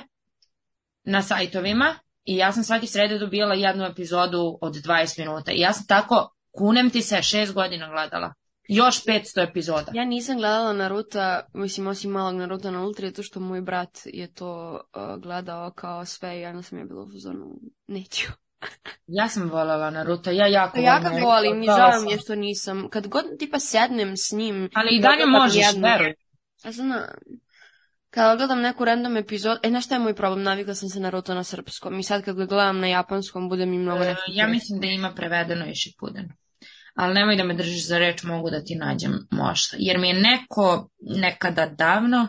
[SPEAKER 2] na sajtovima i ja sam svake srede dobijala jednu epizodu od 20 minuta i ja sam tako kunem ti se šest godina gledala. Još 500 epizoda.
[SPEAKER 1] Ja nisam gledala Naruta, mislim osim malog Naruta na Ultra, zato što moj brat je to uh, gledao kao sve i onda sam ja bila u zonu, neću.
[SPEAKER 2] Ja sam voljela Naruto, ja jako
[SPEAKER 1] Ja ga
[SPEAKER 2] Naruto,
[SPEAKER 1] volim i
[SPEAKER 2] gledala
[SPEAKER 1] žao
[SPEAKER 2] sam.
[SPEAKER 1] mi je što nisam. Kad god tipa sednem s njim...
[SPEAKER 2] Ali i dalje možeš,
[SPEAKER 1] Jedno.
[SPEAKER 2] veruj.
[SPEAKER 1] Znam. Kada gledam neku random epizodu, e, znaš šta je moj problem? Navikla sam se na Naruto na srpskom i sad kad ga gledam na japanskom, bude mi mnogo
[SPEAKER 2] E,
[SPEAKER 1] nekako.
[SPEAKER 2] ja mislim da ima prevedeno i šipuden. Ali nemoj da me držiš za reč, mogu da ti nađem možda. Jer mi je neko nekada davno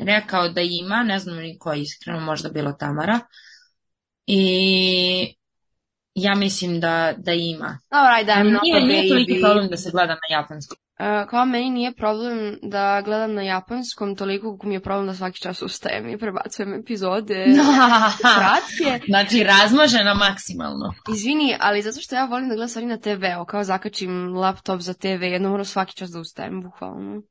[SPEAKER 2] rekao da ima, ne znam ni ko je iskreno, možda bilo Tamara. I ja mislim da, da ima.
[SPEAKER 1] Alright, I'm not
[SPEAKER 2] nije,
[SPEAKER 1] a
[SPEAKER 2] nije toliki
[SPEAKER 1] baby.
[SPEAKER 2] problem da se gleda na japanskom.
[SPEAKER 1] E, kao meni nije problem da gledam na japanskom toliko koliko mi je problem da svaki čas ustajem i prebacujem epizode. Kratke.
[SPEAKER 2] znači, razmožena maksimalno.
[SPEAKER 1] Izvini, ali zato što ja volim da gledam stvari na TV-u, kao zakačim laptop za TV, jedno moram ono svaki čas da ustajem, bukvalno.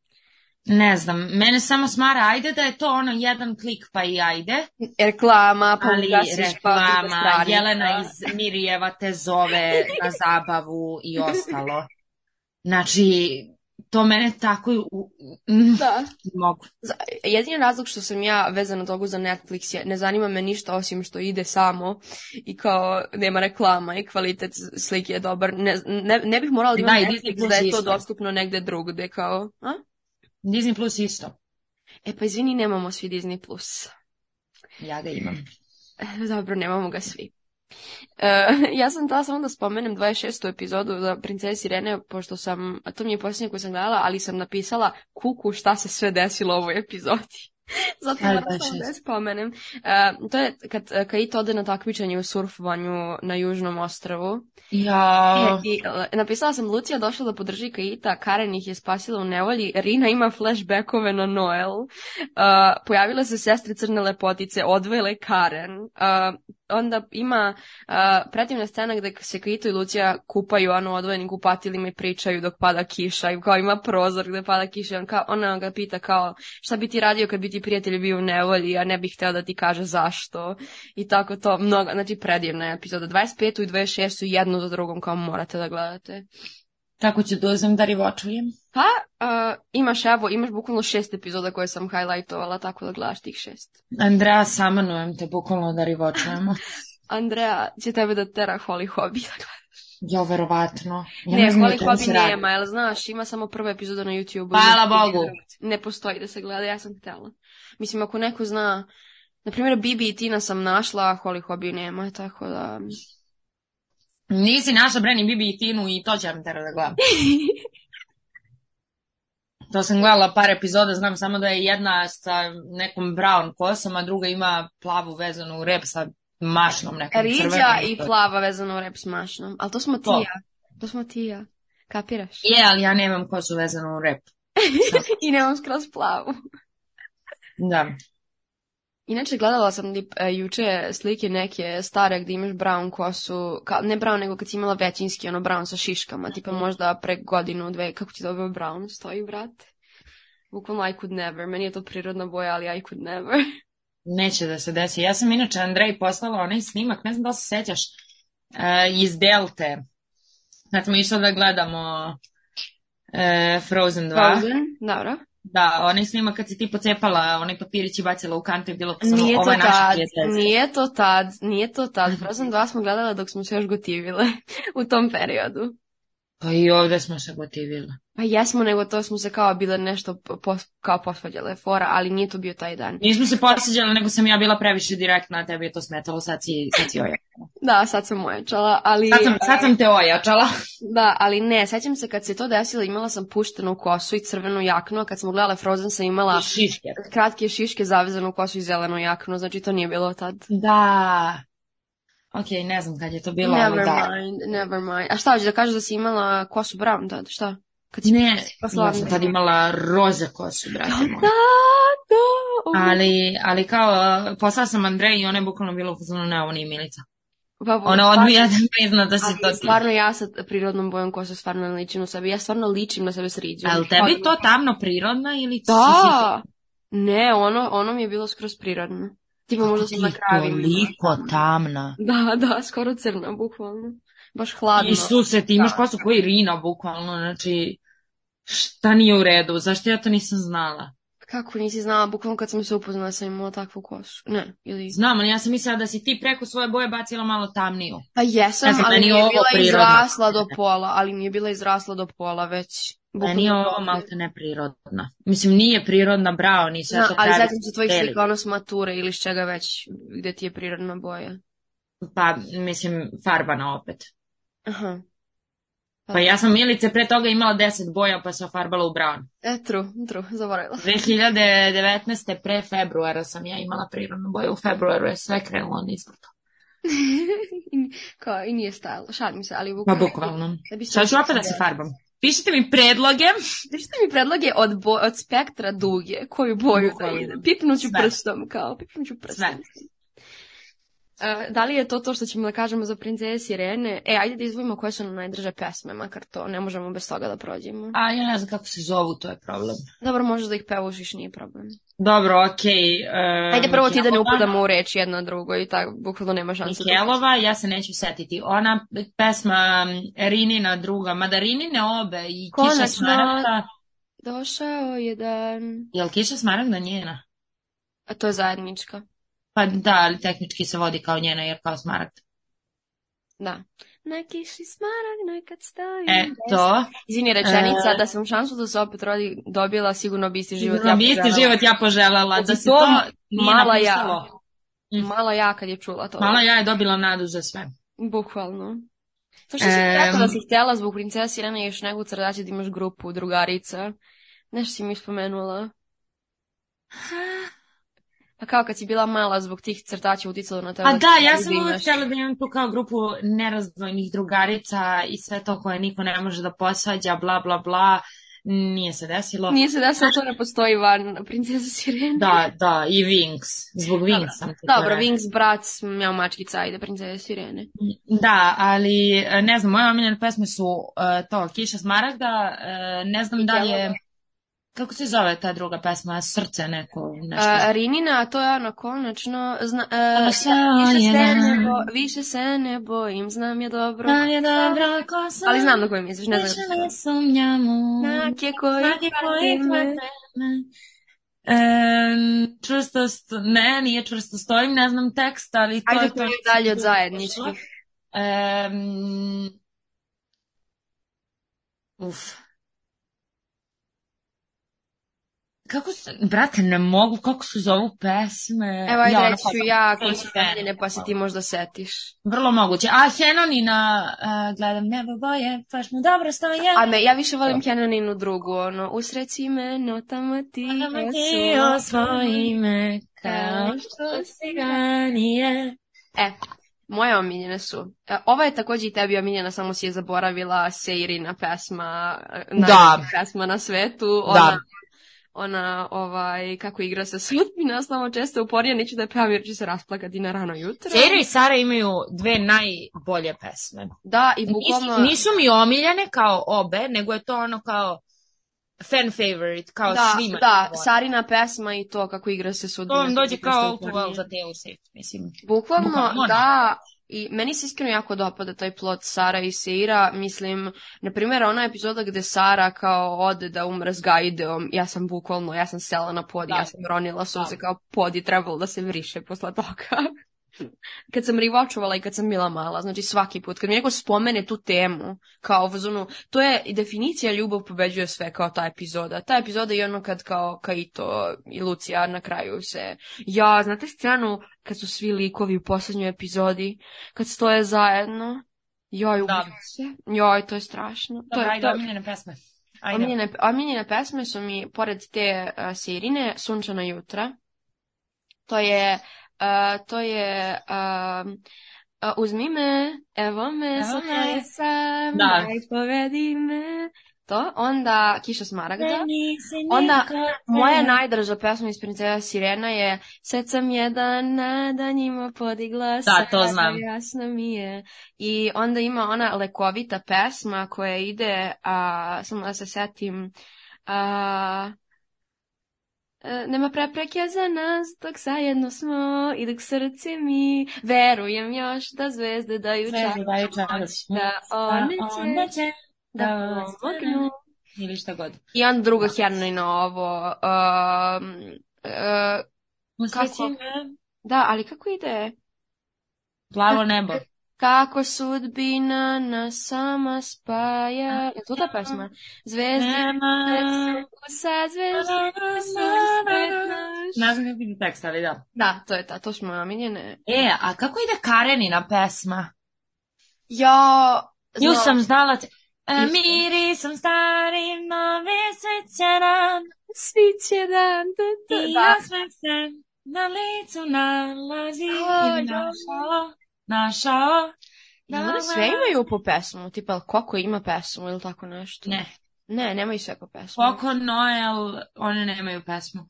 [SPEAKER 2] Ne znam, mene samo smara, ajde da je to ono jedan klik pa i ajde.
[SPEAKER 1] Reklama, pa
[SPEAKER 2] ali
[SPEAKER 1] ugasiš, pa druga
[SPEAKER 2] reklama,
[SPEAKER 1] stranica.
[SPEAKER 2] Jelena iz Mirijeva te zove na zabavu i ostalo. Znači, to mene tako i u- mm,
[SPEAKER 1] Da.
[SPEAKER 2] mogu.
[SPEAKER 1] Jedini razlog što sam ja vezana togu za Netflix je ne zanima me ništa osim što ide samo i kao nema reklama i kvalitet slike je dobar. Ne, ne, ne bih morala da imam
[SPEAKER 2] Da, i Disney
[SPEAKER 1] Netflix
[SPEAKER 2] Plus
[SPEAKER 1] da je to
[SPEAKER 2] isto.
[SPEAKER 1] dostupno negde drugde kao... A?
[SPEAKER 2] Disney Plus isto.
[SPEAKER 1] E pa izvini, nemamo svi Disney+. Plus.
[SPEAKER 2] Ja ga imam.
[SPEAKER 1] E, Dobro, nemamo ga svi. E, ja sam htjela samo da spomenem 26. epizodu za Princesi Irene, pošto sam, a to mi je posljednja koju sam gledala, ali sam napisala kuku šta se sve desilo u ovoj epizodi. Zato
[SPEAKER 2] Ali
[SPEAKER 1] moram samo
[SPEAKER 2] 26.
[SPEAKER 1] da je spomenem. E, to je kad e, Kaito ode na takmičenje u surfovanju na Južnom ostrvu.
[SPEAKER 2] Ja,
[SPEAKER 1] I, e, napisala sam Lucija došla da podrži Kaita, Karen ih je spasila u nevolji, Rina ima flashbackove na Noel, uh, pojavile se sestre crne lepotice, odvojile Karen, uh, onda ima uh, predivna scena gde se Kaito i Lucija kupaju ono u odvojenim kupatilima i pričaju dok pada kiša i kao ima prozor gde pada kiša i on kao, ona ga pita kao šta bi ti radio kad bi ti prijatelj bio u nevolji, a ne bih htio da ti kaže zašto i tako to, mnogo, znači predivna je epizoda. 25. i 26. su jedno za drugom kao morate da gledate.
[SPEAKER 2] tako ću da uzmem da rivočujem.
[SPEAKER 1] Uh, imaš evo, imaš bukvalno šest epizoda koje sam highlightovala, tako da gledaš tih šest.
[SPEAKER 2] Andrea, samanujem te bukvalno da rivočujemo.
[SPEAKER 1] Andrea će tebe da tera Holly Hobby. da gledaš.
[SPEAKER 2] Ja, verovatno. Ja
[SPEAKER 1] ne,
[SPEAKER 2] znam o
[SPEAKER 1] Holly
[SPEAKER 2] čemu se
[SPEAKER 1] Hobby
[SPEAKER 2] radi.
[SPEAKER 1] nema, jel znaš, ima samo prva epizoda na YouTube.
[SPEAKER 2] Hvala Bogu.
[SPEAKER 1] Ne postoji da se gleda, ja sam htjela. Mislim, ako neko zna, na primjer Bibi i Tina sam našla, a Holly Hobby nema, tako da...
[SPEAKER 2] Nisi naša Breni Bibi i Tinu i to će vam tera da gledam. To sam gledala par epizoda, znam samo da je jedna sa nekom brown kosom, a druga ima plavu vezanu u rep sa mašnom nekom
[SPEAKER 1] Riđa
[SPEAKER 2] crvenom.
[SPEAKER 1] i plava vezano u rep s mašnom, ali to smo ti i
[SPEAKER 2] To.
[SPEAKER 1] ja. To smo ti i ja. Kapiraš?
[SPEAKER 2] Je, ali ja nemam kosu vezanu u rep.
[SPEAKER 1] I nemam skroz plavu.
[SPEAKER 2] Da.
[SPEAKER 1] Inače, gledala sam lip- e, juče slike neke stare gdje imaš brown kosu, ka, ne brown, nego kad si imala većinski, ono brown sa šiškama, tipa možda pre godinu, dve, kako ti dobio brown, stoji, brate. Bukvalno I could never, meni je to prirodna boja, ali I could never.
[SPEAKER 2] Neće da se desi. Ja sam inače Andrej poslala onaj snimak, ne znam da li se sećaš, e, iz Delte. Kad smo išli da gledamo e, Frozen 2.
[SPEAKER 1] Frozen, dobro.
[SPEAKER 2] Da, onaj snimak kad si ti pocepala, onaj papirić i bacila u kantu i bilo samo,
[SPEAKER 1] Nije
[SPEAKER 2] ovo
[SPEAKER 1] to
[SPEAKER 2] je naša
[SPEAKER 1] tad,
[SPEAKER 2] prijateljica.
[SPEAKER 1] nije to tad, nije to tad. Frozen 2 smo gledala dok smo se još gotivile u tom periodu.
[SPEAKER 2] Pa i ovdje smo se gotivili.
[SPEAKER 1] Pa jesmo, nego to smo se kao bile nešto po- pos- kao posvađale fora, ali nije to bio taj dan.
[SPEAKER 2] Nismo se posjeđali, nego sam ja bila previše direktna, a tebi je to smetalo, sad si, sad si ojačala.
[SPEAKER 1] Da, sad sam ojačala, ali...
[SPEAKER 2] Sad sam, sad sam te ojačala.
[SPEAKER 1] Da, ali ne, sećam se kad se to desilo, imala sam puštenu kosu i crvenu jaknu, a kad smo gledala Frozen sam imala
[SPEAKER 2] I šiške.
[SPEAKER 1] kratke šiške zavezanu kosu i zelenu jaknu, znači to nije bilo tad.
[SPEAKER 2] Da. Ok, ne znam kad je to bilo, ali
[SPEAKER 1] never
[SPEAKER 2] da.
[SPEAKER 1] mind, never mind. A šta hoćeš da kažeš da si imala kosu brown tad, šta? Kad si...
[SPEAKER 2] Ne,
[SPEAKER 1] Poslala
[SPEAKER 2] ja sam
[SPEAKER 1] mi.
[SPEAKER 2] tad imala roze kosu, brate moj.
[SPEAKER 1] Da, da, ovo-
[SPEAKER 2] Ali, ali kao, uh, poslala sam Andreju i ona je bukvalno bila uzmano, ne, ovo nije Milica.
[SPEAKER 1] Pa,
[SPEAKER 2] Ona
[SPEAKER 1] stvarno-
[SPEAKER 2] odbija da prizna da se
[SPEAKER 1] ali
[SPEAKER 2] to slika.
[SPEAKER 1] stvarno ja sa prirodnom bojom kose stvarno ne ličim na sebe. Ja stvarno ličim na sebe s riđom.
[SPEAKER 2] Ali tebi to tamno prirodno ili
[SPEAKER 1] Da! Ne, ono, ono mi je bilo skroz prirodno. Tipa možda sam na kravi.
[SPEAKER 2] Toliko tamna.
[SPEAKER 1] Da, da, skoro crna, bukvalno. Baš hladno.
[SPEAKER 2] Isuse, ti imaš
[SPEAKER 1] Da.
[SPEAKER 2] kosu koji Rina, bukvalno, znači, šta nije u redu, zašto ja to nisam znala?
[SPEAKER 1] Kako nisi znala, bukvalno kad sam se upoznala sam imala takvu kosu. Ne, ili...
[SPEAKER 2] Znam, ali ja sam mislila da si ti preko svoje boje bacila malo tamniju.
[SPEAKER 1] Pa jesam,
[SPEAKER 2] Ne znam,
[SPEAKER 1] ali
[SPEAKER 2] meni
[SPEAKER 1] mi
[SPEAKER 2] je
[SPEAKER 1] je
[SPEAKER 2] ovo
[SPEAKER 1] bila
[SPEAKER 2] prirodno.
[SPEAKER 1] izrasla do pola, ali mi je bila izrasla do pola već.
[SPEAKER 2] Meni je ovo malte neprirodno. Mislim, nije prirodna brao, ni sve
[SPEAKER 1] Znam,
[SPEAKER 2] to
[SPEAKER 1] ali
[SPEAKER 2] pravi
[SPEAKER 1] zatim su tvojih
[SPEAKER 2] modeli.
[SPEAKER 1] slika ono s mature ili s čega već, gdje ti je prirodna boja.
[SPEAKER 2] Pa, mislim, farbana opet.
[SPEAKER 1] Aha.
[SPEAKER 2] Pa ja sam Milice pre toga imala 10 boja, pa se ofarbala u brown.
[SPEAKER 1] E, true, true, zaboravila.
[SPEAKER 2] 2019. pre februara sam ja imala prirodnu boju. U februaru je sve krenulo nizbrdo.
[SPEAKER 1] I- Kao, i nije stajalo, šalim se, ali
[SPEAKER 2] Pa
[SPEAKER 1] bukvalno.
[SPEAKER 2] bukvalno.
[SPEAKER 1] Da bi se-
[SPEAKER 2] Sad ću opet da se farbam. Pišite mi predloge.
[SPEAKER 1] Pišite mi predloge od, bo- od spektra duge, koju boju da
[SPEAKER 2] Bukvalno.
[SPEAKER 1] idem. Pipnuću
[SPEAKER 2] Sve.
[SPEAKER 1] prstom, kao, pipnuću prstom.
[SPEAKER 2] Sve.
[SPEAKER 1] E, da li je to to što ćemo da kažemo za princeze Sirene? E, ajde da izvojimo koje su nam najdraže pesme, makar to ne možemo bez toga da prođemo.
[SPEAKER 2] A ja ne znam kako se zovu, to je problem.
[SPEAKER 1] Dobro, možeš da ih pevušiš, nije problem.
[SPEAKER 2] Dobro, okej. e, Okay.
[SPEAKER 1] Ajde prvo ti da ne upadamo u reč jedno drugo i tako, bukvalno nema šanse. da-
[SPEAKER 2] Mikelova, ja se neću setiti. Ona pesma m, Rinina druga, mada Rinine obe i Kiša
[SPEAKER 1] Konačno.
[SPEAKER 2] Smaragda.
[SPEAKER 1] Došao je dan...
[SPEAKER 2] Je li Kiša Smaragda njena?
[SPEAKER 1] A to je zajednička.
[SPEAKER 2] Pa da, ali tehnički se vodi kao njena jer kao Smaragd.
[SPEAKER 1] Da. Na kiši smarag nekad stoji.
[SPEAKER 2] E, to.
[SPEAKER 1] Izvini, rečenica da sam šansu da se opet rodi dobila, sigurno bi isti život. ja
[SPEAKER 2] bi isti
[SPEAKER 1] poželjela.
[SPEAKER 2] život ja poželjela. Da
[SPEAKER 1] Znači,
[SPEAKER 2] se
[SPEAKER 1] to
[SPEAKER 2] to nije
[SPEAKER 1] mala ja.
[SPEAKER 2] napisalo. Mm.
[SPEAKER 1] Mala ja kad je čula to.
[SPEAKER 2] Mala ja je dobila nadu za sve.
[SPEAKER 1] Bukvalno. To što si
[SPEAKER 2] Em.
[SPEAKER 1] rekla da si htjela zbog princesa Sirene i još nego crdaće da imaš grupu drugarica. Nešto si mi spomenula. Pa kao kad si bila mala zbog tih crtaća uticalo na tebe.
[SPEAKER 2] A da, ja
[SPEAKER 1] ti
[SPEAKER 2] sam uvijek
[SPEAKER 1] imaš.
[SPEAKER 2] htjela da imam tu kao grupu nerazdvojnih drugarica i sve to koje niko ne može da posvađa, bla, bla, bla. Nije se desilo.
[SPEAKER 1] Nije se desilo, to ne postoji van princesa Sirene.
[SPEAKER 2] Da, da, i Wings. Zbog Wings sam to
[SPEAKER 1] Dobro,
[SPEAKER 2] rekla.
[SPEAKER 1] Wings, brat, ja mačkica, ajde, princesa Sirene.
[SPEAKER 2] Da, ali e, ne znam, moje omiljene pesme su e, to, Kiša Smaragda, e, ne znam da li je, kako se zove ta druga pesma, Srce neko, nešto.
[SPEAKER 1] A, Rinina, a to je ono, konačno, zna, e,
[SPEAKER 2] Ono se
[SPEAKER 1] više, se
[SPEAKER 2] jedan.
[SPEAKER 1] ne bo, više se ne bojim, znam je dobro.
[SPEAKER 2] Znam je dobro ko sam,
[SPEAKER 1] Ali znam na kojem misliš, ne
[SPEAKER 2] više
[SPEAKER 1] znam.
[SPEAKER 2] ne sumnjam u
[SPEAKER 1] Znak je koji
[SPEAKER 2] snage koje
[SPEAKER 1] hvati me.
[SPEAKER 2] hvate me. Em, čvrsto, sto- ne, nije čvrsto stojim, ne znam tekst, ali to
[SPEAKER 1] Ajde
[SPEAKER 2] je to.
[SPEAKER 1] koji je dalje od zajedničkih.
[SPEAKER 2] Em, uf. Kako se, brate, ne mogu, kako se zovu pesme.
[SPEAKER 1] Evo, ajde
[SPEAKER 2] Ja, ono,
[SPEAKER 1] reći ću
[SPEAKER 2] pa-
[SPEAKER 1] ja,
[SPEAKER 2] Hej,
[SPEAKER 1] koji su
[SPEAKER 2] Sirene.
[SPEAKER 1] omiljene, pa si ti možda setiš.
[SPEAKER 2] Vrlo moguće. A, Henonina, eh, gledam nebo boje, baš mu dobro stoje.
[SPEAKER 1] A me, ja više volim Kenaninu drugu, ono, usreći me, notama ti
[SPEAKER 2] Nama ti
[SPEAKER 1] osvoji.
[SPEAKER 2] osvoji me, kao što si ranije.
[SPEAKER 1] E, moje omiljene su. E, Ova je također i tebi omiljena, samo si je zaboravila Seirina pesma, e, najbolja pesma na svetu. Ona,
[SPEAKER 2] Da.
[SPEAKER 1] ona, ovaj, kako igra se sudbina, samo često uporija, neću da je pevam jer ću se rasplakati na rano jutro.
[SPEAKER 2] Sera i Sara imaju dve najbolje pesme.
[SPEAKER 1] Da, i
[SPEAKER 2] Nisu,
[SPEAKER 1] bukvalno...
[SPEAKER 2] nisu mi omiljene kao obe, nego je to ono kao fan favorite, kao
[SPEAKER 1] da,
[SPEAKER 2] svima.
[SPEAKER 1] da,
[SPEAKER 2] najbolje.
[SPEAKER 1] Sarina pesma i to kako igra se
[SPEAKER 2] To
[SPEAKER 1] sudbina.
[SPEAKER 2] vam dođe
[SPEAKER 1] često
[SPEAKER 2] kao
[SPEAKER 1] upornije.
[SPEAKER 2] alkohol za Taylor Swift, mislim.
[SPEAKER 1] Bukvalno,
[SPEAKER 2] Bukvalno.
[SPEAKER 1] da. I meni se iskreno jako dopada taj plot Sara i Seira. Mislim, na primjer, ona epizoda gde Sara kao ode da umre s Gaideom, ja sam bukvalno, ja sam sela na pod,
[SPEAKER 2] Da.
[SPEAKER 1] ja sam ronila suze kao pod i trebalo da se vriše posle toga. kad sam rivačovala i kad sam bila mala, znači svaki put, kad mi neko spomene tu temu, kao u zonu, to je i definicija ljubav pobeđuje sve kao ta epizoda. Ta epizoda je ono kad kao Kaito i Lucija na kraju se, ja, znate scenu kad su svi likovi u posljednjoj epizodi, kad stoje zajedno, joj, ubiju
[SPEAKER 2] Da.
[SPEAKER 1] se, joj, to je strašno. To
[SPEAKER 2] Dobra,
[SPEAKER 1] je,
[SPEAKER 2] ajde,
[SPEAKER 1] to,
[SPEAKER 2] omiljene pesme. Ajde.
[SPEAKER 1] Omiljene, omiljene pesme su mi, pored te uh, Sirine, Sunčana jutra. To je, a, to je, um, a, uzmi me, evo me,
[SPEAKER 2] Evo
[SPEAKER 1] sama
[SPEAKER 2] me.
[SPEAKER 1] je sam,
[SPEAKER 2] Da.
[SPEAKER 1] daj povedi me. To, onda Kiša Smaragda.
[SPEAKER 2] Meni se
[SPEAKER 1] Onda,
[SPEAKER 2] nikad ne-
[SPEAKER 1] Moja najdraža pesma iz Princeza Sirena je Sad sam jedan na danjima podigla
[SPEAKER 2] Da, to
[SPEAKER 1] sada,
[SPEAKER 2] znam.
[SPEAKER 1] jasno mi je. I onda ima ona lekovita pesma koja ide, a, samo da se setim, a, e, nema prepreke za nas dok zajedno smo i dok srce mi verujem još da zvezde daju
[SPEAKER 2] Zvezde daju čarac.
[SPEAKER 1] da one će
[SPEAKER 2] Pa će
[SPEAKER 1] da pomognu.
[SPEAKER 2] Ili šta god.
[SPEAKER 1] I onda drugo Hernino ovo, um, e,
[SPEAKER 2] Usreći
[SPEAKER 1] Kako?
[SPEAKER 2] me
[SPEAKER 1] Da, ali kako ide?
[SPEAKER 2] plavo nebo.
[SPEAKER 1] Kako sudbina nas sama spaja. Je to ta pesma? Zvezde sa zvezde
[SPEAKER 2] Ne znam kako ide tekst, ali da.
[SPEAKER 1] Da, to je ta, to smo omiljene.
[SPEAKER 2] E, a kako ide Karenina pesma?
[SPEAKER 1] Ja,
[SPEAKER 2] Nju
[SPEAKER 1] znam-
[SPEAKER 2] sam znala... Te... E,
[SPEAKER 1] Isto.
[SPEAKER 2] mirisom starim nove svećeran
[SPEAKER 1] Svi će dan, da, da,
[SPEAKER 2] i
[SPEAKER 1] da.
[SPEAKER 2] osmeh se na licu nalazi
[SPEAKER 1] A,
[SPEAKER 2] i
[SPEAKER 1] da.
[SPEAKER 2] našao, našao.
[SPEAKER 1] I one sve imaju po pesmu, tipa jel Koko ima pesmu ili tako nešto.
[SPEAKER 2] Ne,
[SPEAKER 1] Ne, nemaju sve po pesmu.
[SPEAKER 2] Koko Noel, one nemaju pesmu.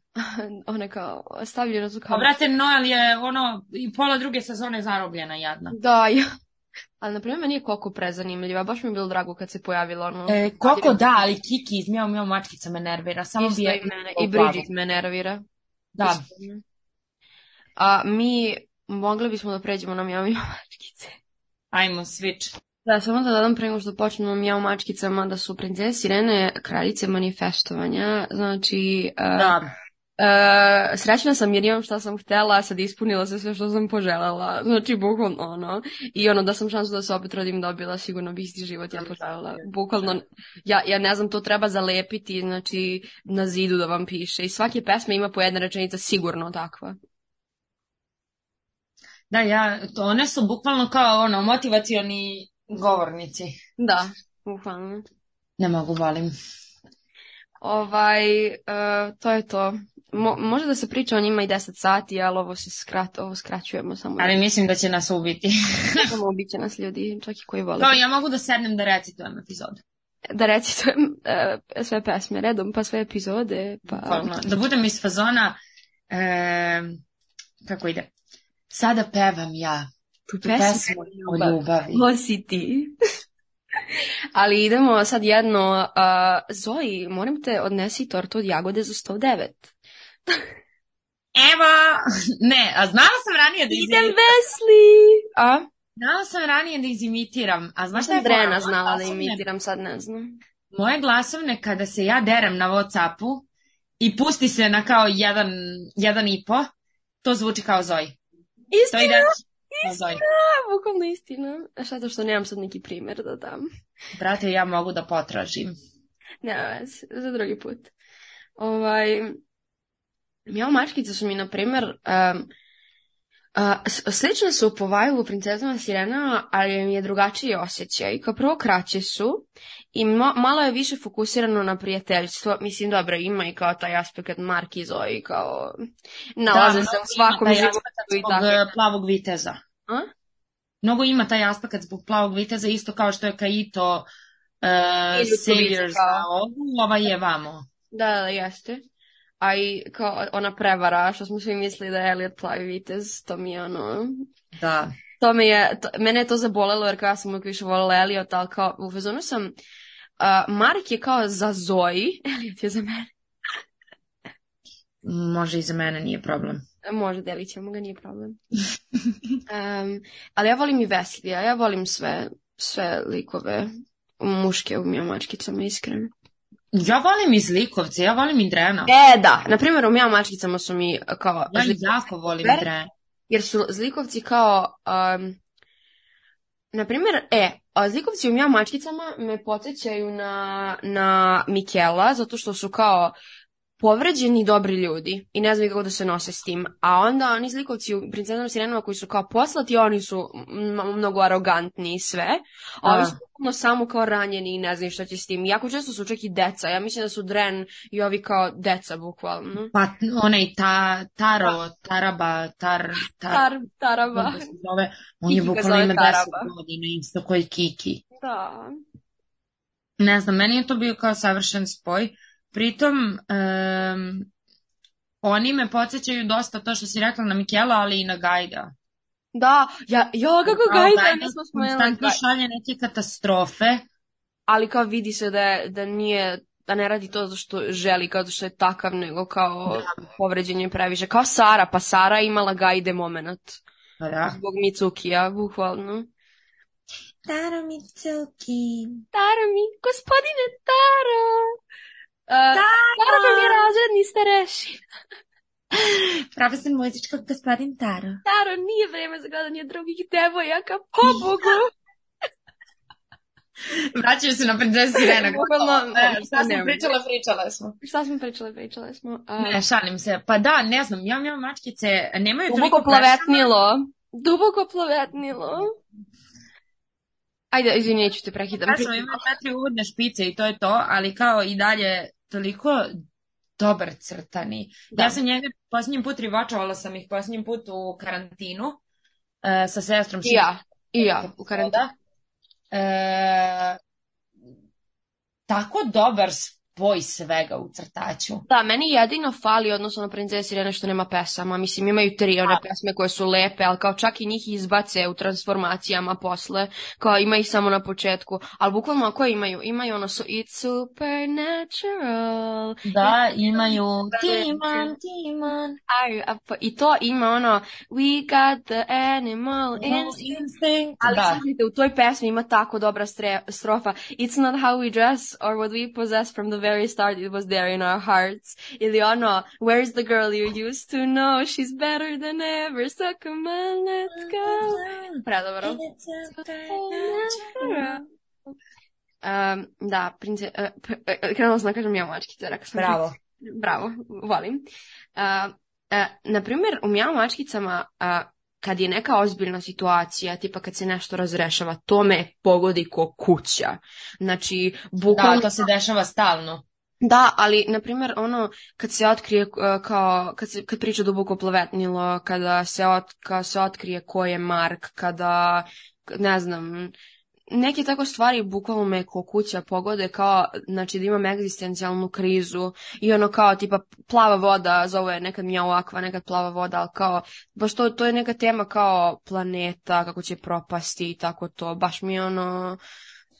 [SPEAKER 1] One kao stavljena su
[SPEAKER 2] Pa
[SPEAKER 1] kao...
[SPEAKER 2] brate, Noel je ono, i pola druge sezone zarobljena, jadna.
[SPEAKER 1] Da, ja. Ali, na primjer, meni je Koko prezanimljiva. Baš mi je bilo drago kad se pojavila ono...
[SPEAKER 2] E, Koko da, ali Kiki iz Mjau Mjau mačkica me nervira, samo
[SPEAKER 1] Isto
[SPEAKER 2] bi
[SPEAKER 1] i
[SPEAKER 2] je...
[SPEAKER 1] mene. I Bridget me nervira.
[SPEAKER 2] Da,
[SPEAKER 1] Iskreno. A mi mogli bismo da pređemo na mjau mjau mačkice.
[SPEAKER 2] ajmo, switch.
[SPEAKER 1] Da, samo da dodam pre nego što počnemo mjau mačkicama da su princeze Sirene kraljice manifestovanja. Znači, e,
[SPEAKER 2] Da,
[SPEAKER 1] e, srećna sam jer imam šta sam htela, sad ispunila se sve što sam poželjela. Znači, bukvalno ono. I ono, da sam šansu da se opet rodim dobila, sigurno bih isti život ja poželjela. Bukvalno, ja, ja ne znam, to treba zalepiti, znači, na zidu da vam piše. I svake pesme ima po jedna rečenica sigurno takva.
[SPEAKER 2] da, ja, to one su bukvalno kao ono, motivacioni govornici.
[SPEAKER 1] Da, bukvalno.
[SPEAKER 2] Ne mogu, volim.
[SPEAKER 1] Ovaj, e, to je to. Mo- može da se priča o njima i 10 sati, ali ovo se skrat, ovo skraćujemo samo.
[SPEAKER 2] Ali mislim da će nas ubiti.
[SPEAKER 1] samo ubiće nas ljudi, čak i koji vole.
[SPEAKER 2] Kao, ja mogu da sednem da recitujem epizodu.
[SPEAKER 1] Da recitujem e, sve pesme redom, pa sve epizode, pa...
[SPEAKER 2] Bukvalno. Da budem iz fazona, e, kako ide? Sada pevam ja
[SPEAKER 1] Tu
[SPEAKER 2] tu pesmu o ljubavi.
[SPEAKER 1] Ko si ti? Ali idemo sad jedno. Uh, Zoji, moram te odnesi tortu od jagode za 109.
[SPEAKER 2] Evo, ne, a znala sam ranije da
[SPEAKER 1] Idem
[SPEAKER 2] izimitiram.
[SPEAKER 1] Vesli! A?
[SPEAKER 2] Znala sam ranije da izimitiram, a znaš šta je
[SPEAKER 1] Sam Drena
[SPEAKER 2] fora?
[SPEAKER 1] znala da
[SPEAKER 2] Moje glasovne-
[SPEAKER 1] imitiram, sad ne znam.
[SPEAKER 2] Moje glasovne kada se ja derem na Whatsappu i pusti se na kao jedan, jedan i po, to zvuči kao Zoji. To ide kao Zoji.
[SPEAKER 1] Bukvalno istina. Zato što nemam sad neki primjer da dam.
[SPEAKER 2] Brate, ja mogu da potražim.
[SPEAKER 1] Ne, veze, za drugi put. Ovaj, mjau mačkice su mi, na primjer, em, a, s- slične su po vajlu princezama Sirenama, ali im je drugačiji osjećaj. Kao prvo, kraće su i mo- malo je više fokusirano na prijateljstvo. Mislim, dobro, ima i kao taj aspekt Mark i Zoe, kao nalaze se u svakom
[SPEAKER 2] Mnogo ima taj
[SPEAKER 1] životu
[SPEAKER 2] aspekt
[SPEAKER 1] i
[SPEAKER 2] zbog
[SPEAKER 1] tako.
[SPEAKER 2] e, plavog viteza.
[SPEAKER 1] A?
[SPEAKER 2] Mnogo ima taj aspekt zbog plavog viteza, isto kao što je Kaito e,
[SPEAKER 1] Ljubica
[SPEAKER 2] Savior za
[SPEAKER 1] kao.
[SPEAKER 2] ovu, ova je vamo.
[SPEAKER 1] Da, da, jeste. A i kao ona prevara, što smo svi mislili da je Elliot plavi vitez, to mi je ono,
[SPEAKER 2] Da.
[SPEAKER 1] To me je, to, mene je to zabolelo jer kao ja sam uvijek više voljela Elliot, ali kao u fazonu sam, a, Mark je kao za Zoji, Elliot je za mene.
[SPEAKER 2] Može i za mene nije problem.
[SPEAKER 1] Može, delit ćemo ga, nije problem. Em, ali ja volim i Veslija, ja volim sve, sve likove muške u Mija Mačkicama, iskreno.
[SPEAKER 2] Ja volim i zlikovce, ja volim i Drena.
[SPEAKER 1] E, da, na primjer u Mija Mačkicama su mi kao,
[SPEAKER 2] Ja
[SPEAKER 1] zli-
[SPEAKER 2] jako volim
[SPEAKER 1] Ver-
[SPEAKER 2] Drena.
[SPEAKER 1] jer su zlikovci kao, em, na primjer, e, a zlikovci u Mija Mačkicama me podsjećaju na, na Mikela, zato što su kao povređeni dobri ljudi i ne znaju kako da se nose s tim. A onda oni zlikovci u princezama Sirenama koji su kao poslati, oni su m- mnogo arogantni i sve. A ovi
[SPEAKER 2] Da.
[SPEAKER 1] su bukvalno samo kao ranjeni i ne znaju šta će s tim. Jako često su čak i deca. Ja mislim da su Dren i ovi kao deca bukvalno.
[SPEAKER 2] Pa onaj ta, Taro, Taraba, Tar, Tar,
[SPEAKER 1] Tar, taraba.
[SPEAKER 2] kako se zove, on je
[SPEAKER 1] Kiki ga
[SPEAKER 2] bukvalno
[SPEAKER 1] zove
[SPEAKER 2] ima 10
[SPEAKER 1] Taraba.
[SPEAKER 2] godina, isto koji Kiki.
[SPEAKER 1] Da.
[SPEAKER 2] Ne znam, meni je to bio kao savršen spoj. Pritom, em, oni me podsjećaju dosta to što si rekla na Mikela, ali i na Gajda.
[SPEAKER 1] Da, ja, jo, kako
[SPEAKER 2] Kao
[SPEAKER 1] ga ide,
[SPEAKER 2] Gajda
[SPEAKER 1] mi smo spomenuli
[SPEAKER 2] konstantno
[SPEAKER 1] Gaj-
[SPEAKER 2] šalje neke katastrofe.
[SPEAKER 1] Ali kao vidi se da, je- da nije, da ne radi to zato što želi, kao zato što je takav, nego kao povređen je previše. Kao Sara, pa Sara je imala gajde moment.
[SPEAKER 2] Pa da.
[SPEAKER 1] Zbog Micukija, bukvalno.
[SPEAKER 2] Taro Mitsuki.
[SPEAKER 1] Taro mi, gospodine E, Taro! Uh, Taro! nam je razredni starešin.
[SPEAKER 2] Profesor muzičkog gospodin Taro.
[SPEAKER 1] Staro, nije vreme za gledanje drugih devojaka, pobogu!
[SPEAKER 2] Vraćaju se na princesu Sirene.
[SPEAKER 1] Bukvalno,
[SPEAKER 2] Ne, šta
[SPEAKER 1] ne,
[SPEAKER 2] sam pričala, pričala smo.
[SPEAKER 1] Šta smo pričale, pričale smo. e, A,
[SPEAKER 2] Ne, šalim se. Pa da, ne znam, ja imam mačkice, nemaju
[SPEAKER 1] duboko
[SPEAKER 2] toliko perševa.
[SPEAKER 1] plavetnilo. Duboko plavetnilo. Ajde, izvini, neću te prekidam.
[SPEAKER 2] Da, smo imali četiri uvodne špice i to je to, ali kao i dalje toliko dobar crtani.
[SPEAKER 1] Da.
[SPEAKER 2] Ja sam njega posljednji put rivačovala sam ih posljednji put u karantinu e, sa sestrom.
[SPEAKER 1] I ja, i ja, u karantinu.
[SPEAKER 2] Da. E, tako dobar spoj svega u crtaću.
[SPEAKER 1] Da, meni jedino fali odnosno na princesi Irene što nema pesama. Mislim, imaju tri one pesme koje su lepe, ali kao čak i njih izbace u transformacijama posle. Kao ima ih samo na početku. Ali bukvalno koje imaju? Imaju ono su It's Supernatural.
[SPEAKER 2] Da, imaju
[SPEAKER 1] Timan,
[SPEAKER 2] timan, timan.
[SPEAKER 1] Aj, a pa- I to ima ono We got the animal instinct.
[SPEAKER 2] Instinct.
[SPEAKER 1] Ali
[SPEAKER 2] Da.
[SPEAKER 1] slušajte, u toj pesmi ima tako dobra stre- strofa. It's not how we dress or what we possess from the very start, it was there in our hearts. Ili ono, where's the girl you used to know? She's better than ever, so come on, let's go. Predobro. Um, da, prince, eh, p- eh, krenula sam da kažem ja mačkice, rekla sam
[SPEAKER 2] Bravo.
[SPEAKER 1] Bravo, volim. Uh, na primjer, u mjau mačkicama, uh, kad je neka ozbiljna situacija, tipa kad se nešto razrešava, to me pogodi ko kuća. Znači, bukvalno...
[SPEAKER 2] Da, to se dešava stalno.
[SPEAKER 1] Da, ali, na primjer, ono, kad se otkrije, e, kao, kad, se, kad priča duboko plavetnilo, kada se, ot, kao se otkrije ko je Mark, kada, k- ne znam, neke tako stvari bukvalno me ko kuća pogode, kao, znači, da imam egzistencijalnu krizu i ono kao, tipa, plava voda, zove je nekad mjau akva, nekad plava voda, ali kao, baš to, to je neka tema kao planeta, kako će propasti i tako to, baš mi je ono...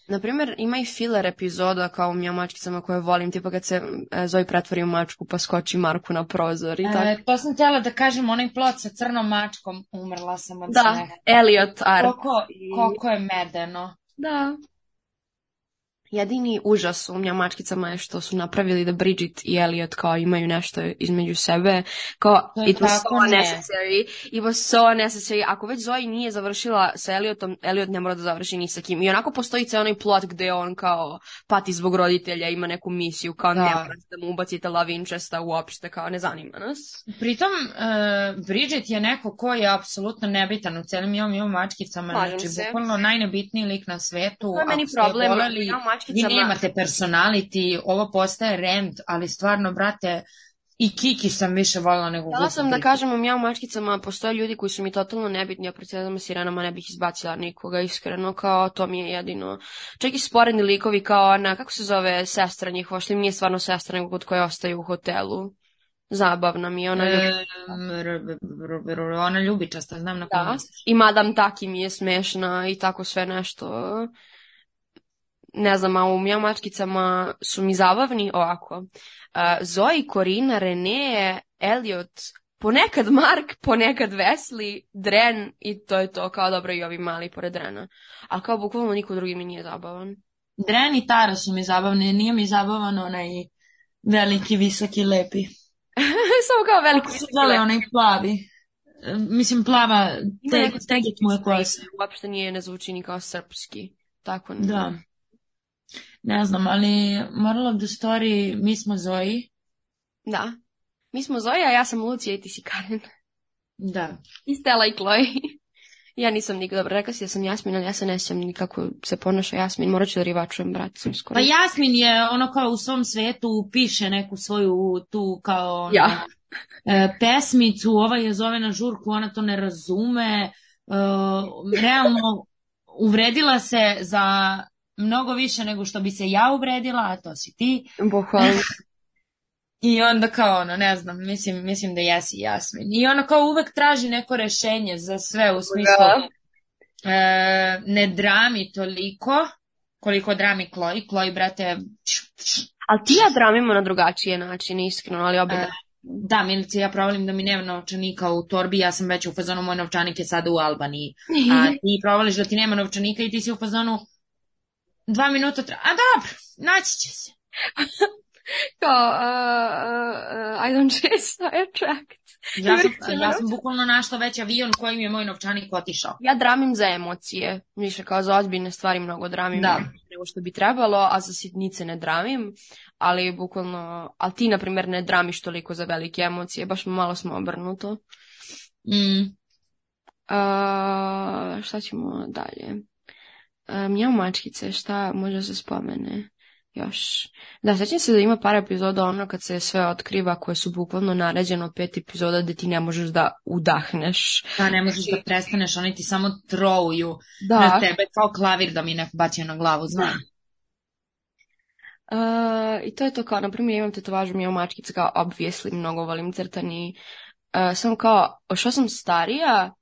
[SPEAKER 1] Na primjer, ima i filler epizoda kao u Mjau mačkicama koje volim, tipa kad se e, Zoe pretvori u mačku pa skoči Marku na prozor i tako.
[SPEAKER 2] E, to sam htjela da kažem, onaj plot sa crnom mačkom, umrla sam od
[SPEAKER 1] da,
[SPEAKER 2] smeha.
[SPEAKER 1] Elliot Arp.
[SPEAKER 2] Koliko,
[SPEAKER 1] I-
[SPEAKER 2] koliko je medeno.
[SPEAKER 1] Da. Jedini užas u Mjau mačkicama je što su napravili da Bridget i Elliot kao imaju nešto između sebe. Kao,
[SPEAKER 2] To je
[SPEAKER 1] it was so
[SPEAKER 2] tako ne.
[SPEAKER 1] unnecessary. It was so unnecessary. Ako već Zoe nije završila sa Elliotom, Elliot ne mora da završi ni sa kim. I onako postoji cijel onaj plot gde on kao pati zbog roditelja, ima neku misiju, kao ne
[SPEAKER 2] Da.
[SPEAKER 1] morate da mu ubacite La Winchesta uopšte, kao ne zanima nas.
[SPEAKER 2] Pritom, e, Bridget je neko ko je apsolutno nebitan u cijelim jom i mačkicama.
[SPEAKER 1] Slažem
[SPEAKER 2] znači,
[SPEAKER 1] se.
[SPEAKER 2] bukvalno najnebitniji lik na svijetu.
[SPEAKER 1] To je meni
[SPEAKER 2] Ako ste
[SPEAKER 1] problem.
[SPEAKER 2] voleli-
[SPEAKER 1] ja u
[SPEAKER 2] Vi
[SPEAKER 1] mačkicama-
[SPEAKER 2] nemate personality, ovo postaje rent, ali stvarno, brate, i Kiki sam više volila nego
[SPEAKER 1] Htjela sam da
[SPEAKER 2] Bridget.
[SPEAKER 1] kažem u mjau mačkicama postoje ljudi koji su mi totalno nebitni, a pred sedama sirenama ne bih izbacila nikoga, iskreno, kao to mi je jedino. Čak i sporedni likovi kao ona, kako se zove sestra njihova, što im nije stvarno sestra, nego kod koje ostaju u hotelu. Zabavna mi je ona.
[SPEAKER 2] E,
[SPEAKER 1] ono ljubi-
[SPEAKER 2] r- r- r- r- ona ljubičasta, znam na koju
[SPEAKER 1] Da.
[SPEAKER 2] misliš.
[SPEAKER 1] Mm. I Madam Taki mi je smešna i tako sve nešto. Ne znam, a u mjau mačkicama su mi zabavni ovako. Uh, Zoe, Korina, Rene, Elliot, ponekad Mark, ponekad Wesley, Dren i to je to, kao dobro i ovi mali pored Drena. A kao bukvalno niko drugi mi nije zabavan.
[SPEAKER 2] Dren i Tara su mi zabavne, nije mi zabavan onaj veliki, visoki, lepi.
[SPEAKER 1] Samo kao veliki.
[SPEAKER 2] Kako se zove onaj plavi? E, Mislim, plava,
[SPEAKER 1] Ima
[SPEAKER 2] te,
[SPEAKER 1] neko
[SPEAKER 2] tegit mu je kosa.
[SPEAKER 1] Uopšte nije, ne zvuči ni kao srpski. Tako ne.
[SPEAKER 2] Da. Ne znam, ali Moral of the Story, mi smo Zoji.
[SPEAKER 1] Da. Mi smo Zoja, ja sam Lucija i ti si Karen.
[SPEAKER 2] Da.
[SPEAKER 1] I Stella i Chloe. Ja nisam nikad dobro rekla si da sam Jasmin, ali ja se ne sjećam ni kako se ponaša Jasmin. Morat ću da rivačujem, brat, sam skoro.
[SPEAKER 2] Pa Jasmin je ono kao u svom svetu piše neku svoju tu kao ono,
[SPEAKER 1] Ja.
[SPEAKER 2] e, pesmicu, ova je zove na žurku, ona to ne razume. E, realno uvredila se za mnogo više nego što bi se ja uvredila, a to si ti.
[SPEAKER 1] Bukvalno.
[SPEAKER 2] I onda kao ono, ne znam, mislim, mislim da jesi Jasmin. I ona kao uvek traži neko rešenje za sve u smislu e, ne drami toliko koliko drami Kloji. Kloji, brate,
[SPEAKER 1] Ali ti ja dramimo na drugačije način, iskreno, ali obje
[SPEAKER 2] E,
[SPEAKER 1] da.
[SPEAKER 2] Da, Milice, ja provalim da mi nema novčanika u torbi, ja sam već u fazonu, moj novčanik je sada u Albaniji.
[SPEAKER 1] Mhm.
[SPEAKER 2] A ti provališ da ti nema novčanika i ti si u fazonu dva minuta, tra... a dobro, naći će se.
[SPEAKER 1] kao, uh, uh, I don't chase, I attract.
[SPEAKER 2] Ja sam, ja sam bukvalno našla već avion kojim je moj novčanik otišao.
[SPEAKER 1] Ja dramim za emocije, više kao za ozbiljne stvari mnogo dramim
[SPEAKER 2] Da.
[SPEAKER 1] nego što bi trebalo, a za sitnice ne dramim, ali bukvalno, ali ti, na primjer, ne dramiš toliko za velike emocije, baš malo smo obrnuto.
[SPEAKER 2] Mm.
[SPEAKER 1] A, šta ćemo dalje? A, mjau mačkice, šta može da se spomene? Još. Da, sećam se da ima par epizoda ono kad se sve otkriva koje su bukvalno naređeno pet epizoda gde ti ne možeš da udahneš.
[SPEAKER 2] Da, Pa ne možeš da prestaneš, oni ti samo trouju na
[SPEAKER 1] Da.
[SPEAKER 2] tebe kao klavir da mi neko bacio na glavu, znam.
[SPEAKER 1] A, Eh, I to je to kao, na primjer, imam tetovažu mjau mačkice kao obvijesli, mnogo volim crtani. A, sam kao, što sam starija,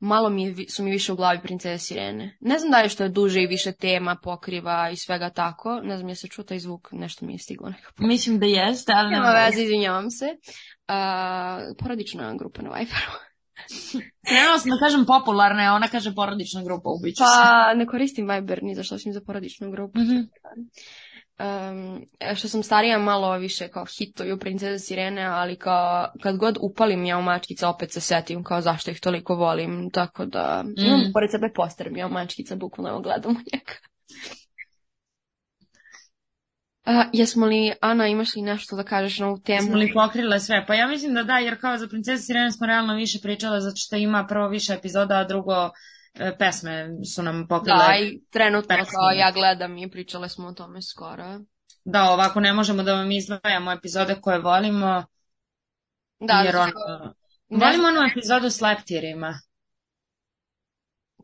[SPEAKER 1] malo mi je, vi- su mi više u glavi princeze sirene. Ne znam da je što je duže i više tema pokriva i svega tako. Ne znam, je se čuo taj zvuk, nešto mi je stiglo nekako.
[SPEAKER 2] Mislim da jeste, ali
[SPEAKER 1] Nema veze, izvinjavam se. A, porodična grupa na Viberu.
[SPEAKER 2] Krenula sam da kažem popularna je, ona kaže porodična grupa, ubiću se.
[SPEAKER 1] Pa ne koristim Viber ni za što osim za porodičnu grupu.
[SPEAKER 2] Mhm.
[SPEAKER 1] Um, e, što sam starija malo više kao hituju princeze sirene, ali kao kad god upalim ja u mačkice opet se setim kao zašto ih toliko volim, tako da imam
[SPEAKER 2] Mm.
[SPEAKER 1] pored sebe poster ja mačkica, bukvalno evo gledam u njega. A, jesmo li, Ana, imaš li nešto da kažeš na ovu temu?
[SPEAKER 2] Smo li pokrile sve? Pa ja mislim da da, jer kao za Princezu Sirene smo realno više pričale, zato što ima prvo više epizoda, a drugo e, pesme su nam pokrile.
[SPEAKER 1] Da, i trenutno
[SPEAKER 2] Pesmu.
[SPEAKER 1] kao ja gledam i pričale smo o tome skoro.
[SPEAKER 2] Da, ovako ne možemo da vam izdvajamo epizode koje volimo,
[SPEAKER 1] Da,
[SPEAKER 2] jer
[SPEAKER 1] zato
[SPEAKER 2] ono...
[SPEAKER 1] što- ne znam,
[SPEAKER 2] Volimo onu epizodu s leptirima.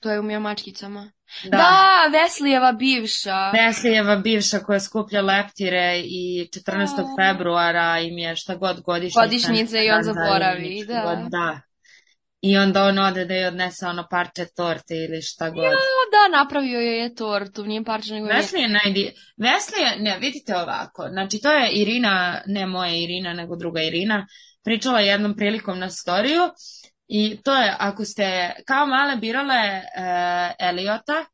[SPEAKER 1] to je u Mija mačkicama. Da,
[SPEAKER 2] Da.
[SPEAKER 1] Veslijeva bivša.
[SPEAKER 2] Veslijeva bivša koja skuplja leptire i 14.
[SPEAKER 1] A.
[SPEAKER 2] februara im je šta god godišnjica.
[SPEAKER 1] Godišnjica i on
[SPEAKER 2] Da,
[SPEAKER 1] zaboravi,
[SPEAKER 2] ili šta
[SPEAKER 1] da.
[SPEAKER 2] god, da. I onda on ode da je odnese ono parče torte ili šta god.
[SPEAKER 1] Da, da, napravio joj je tortu, nije parče nego je.
[SPEAKER 2] Vesli je najdi... Vesli je, ne, vidite ovako, znači to je Irina, ne moja Irina, nego druga Irina, pričala jednom prilikom na storiju i to je, ako ste kao male birale e, Eliota,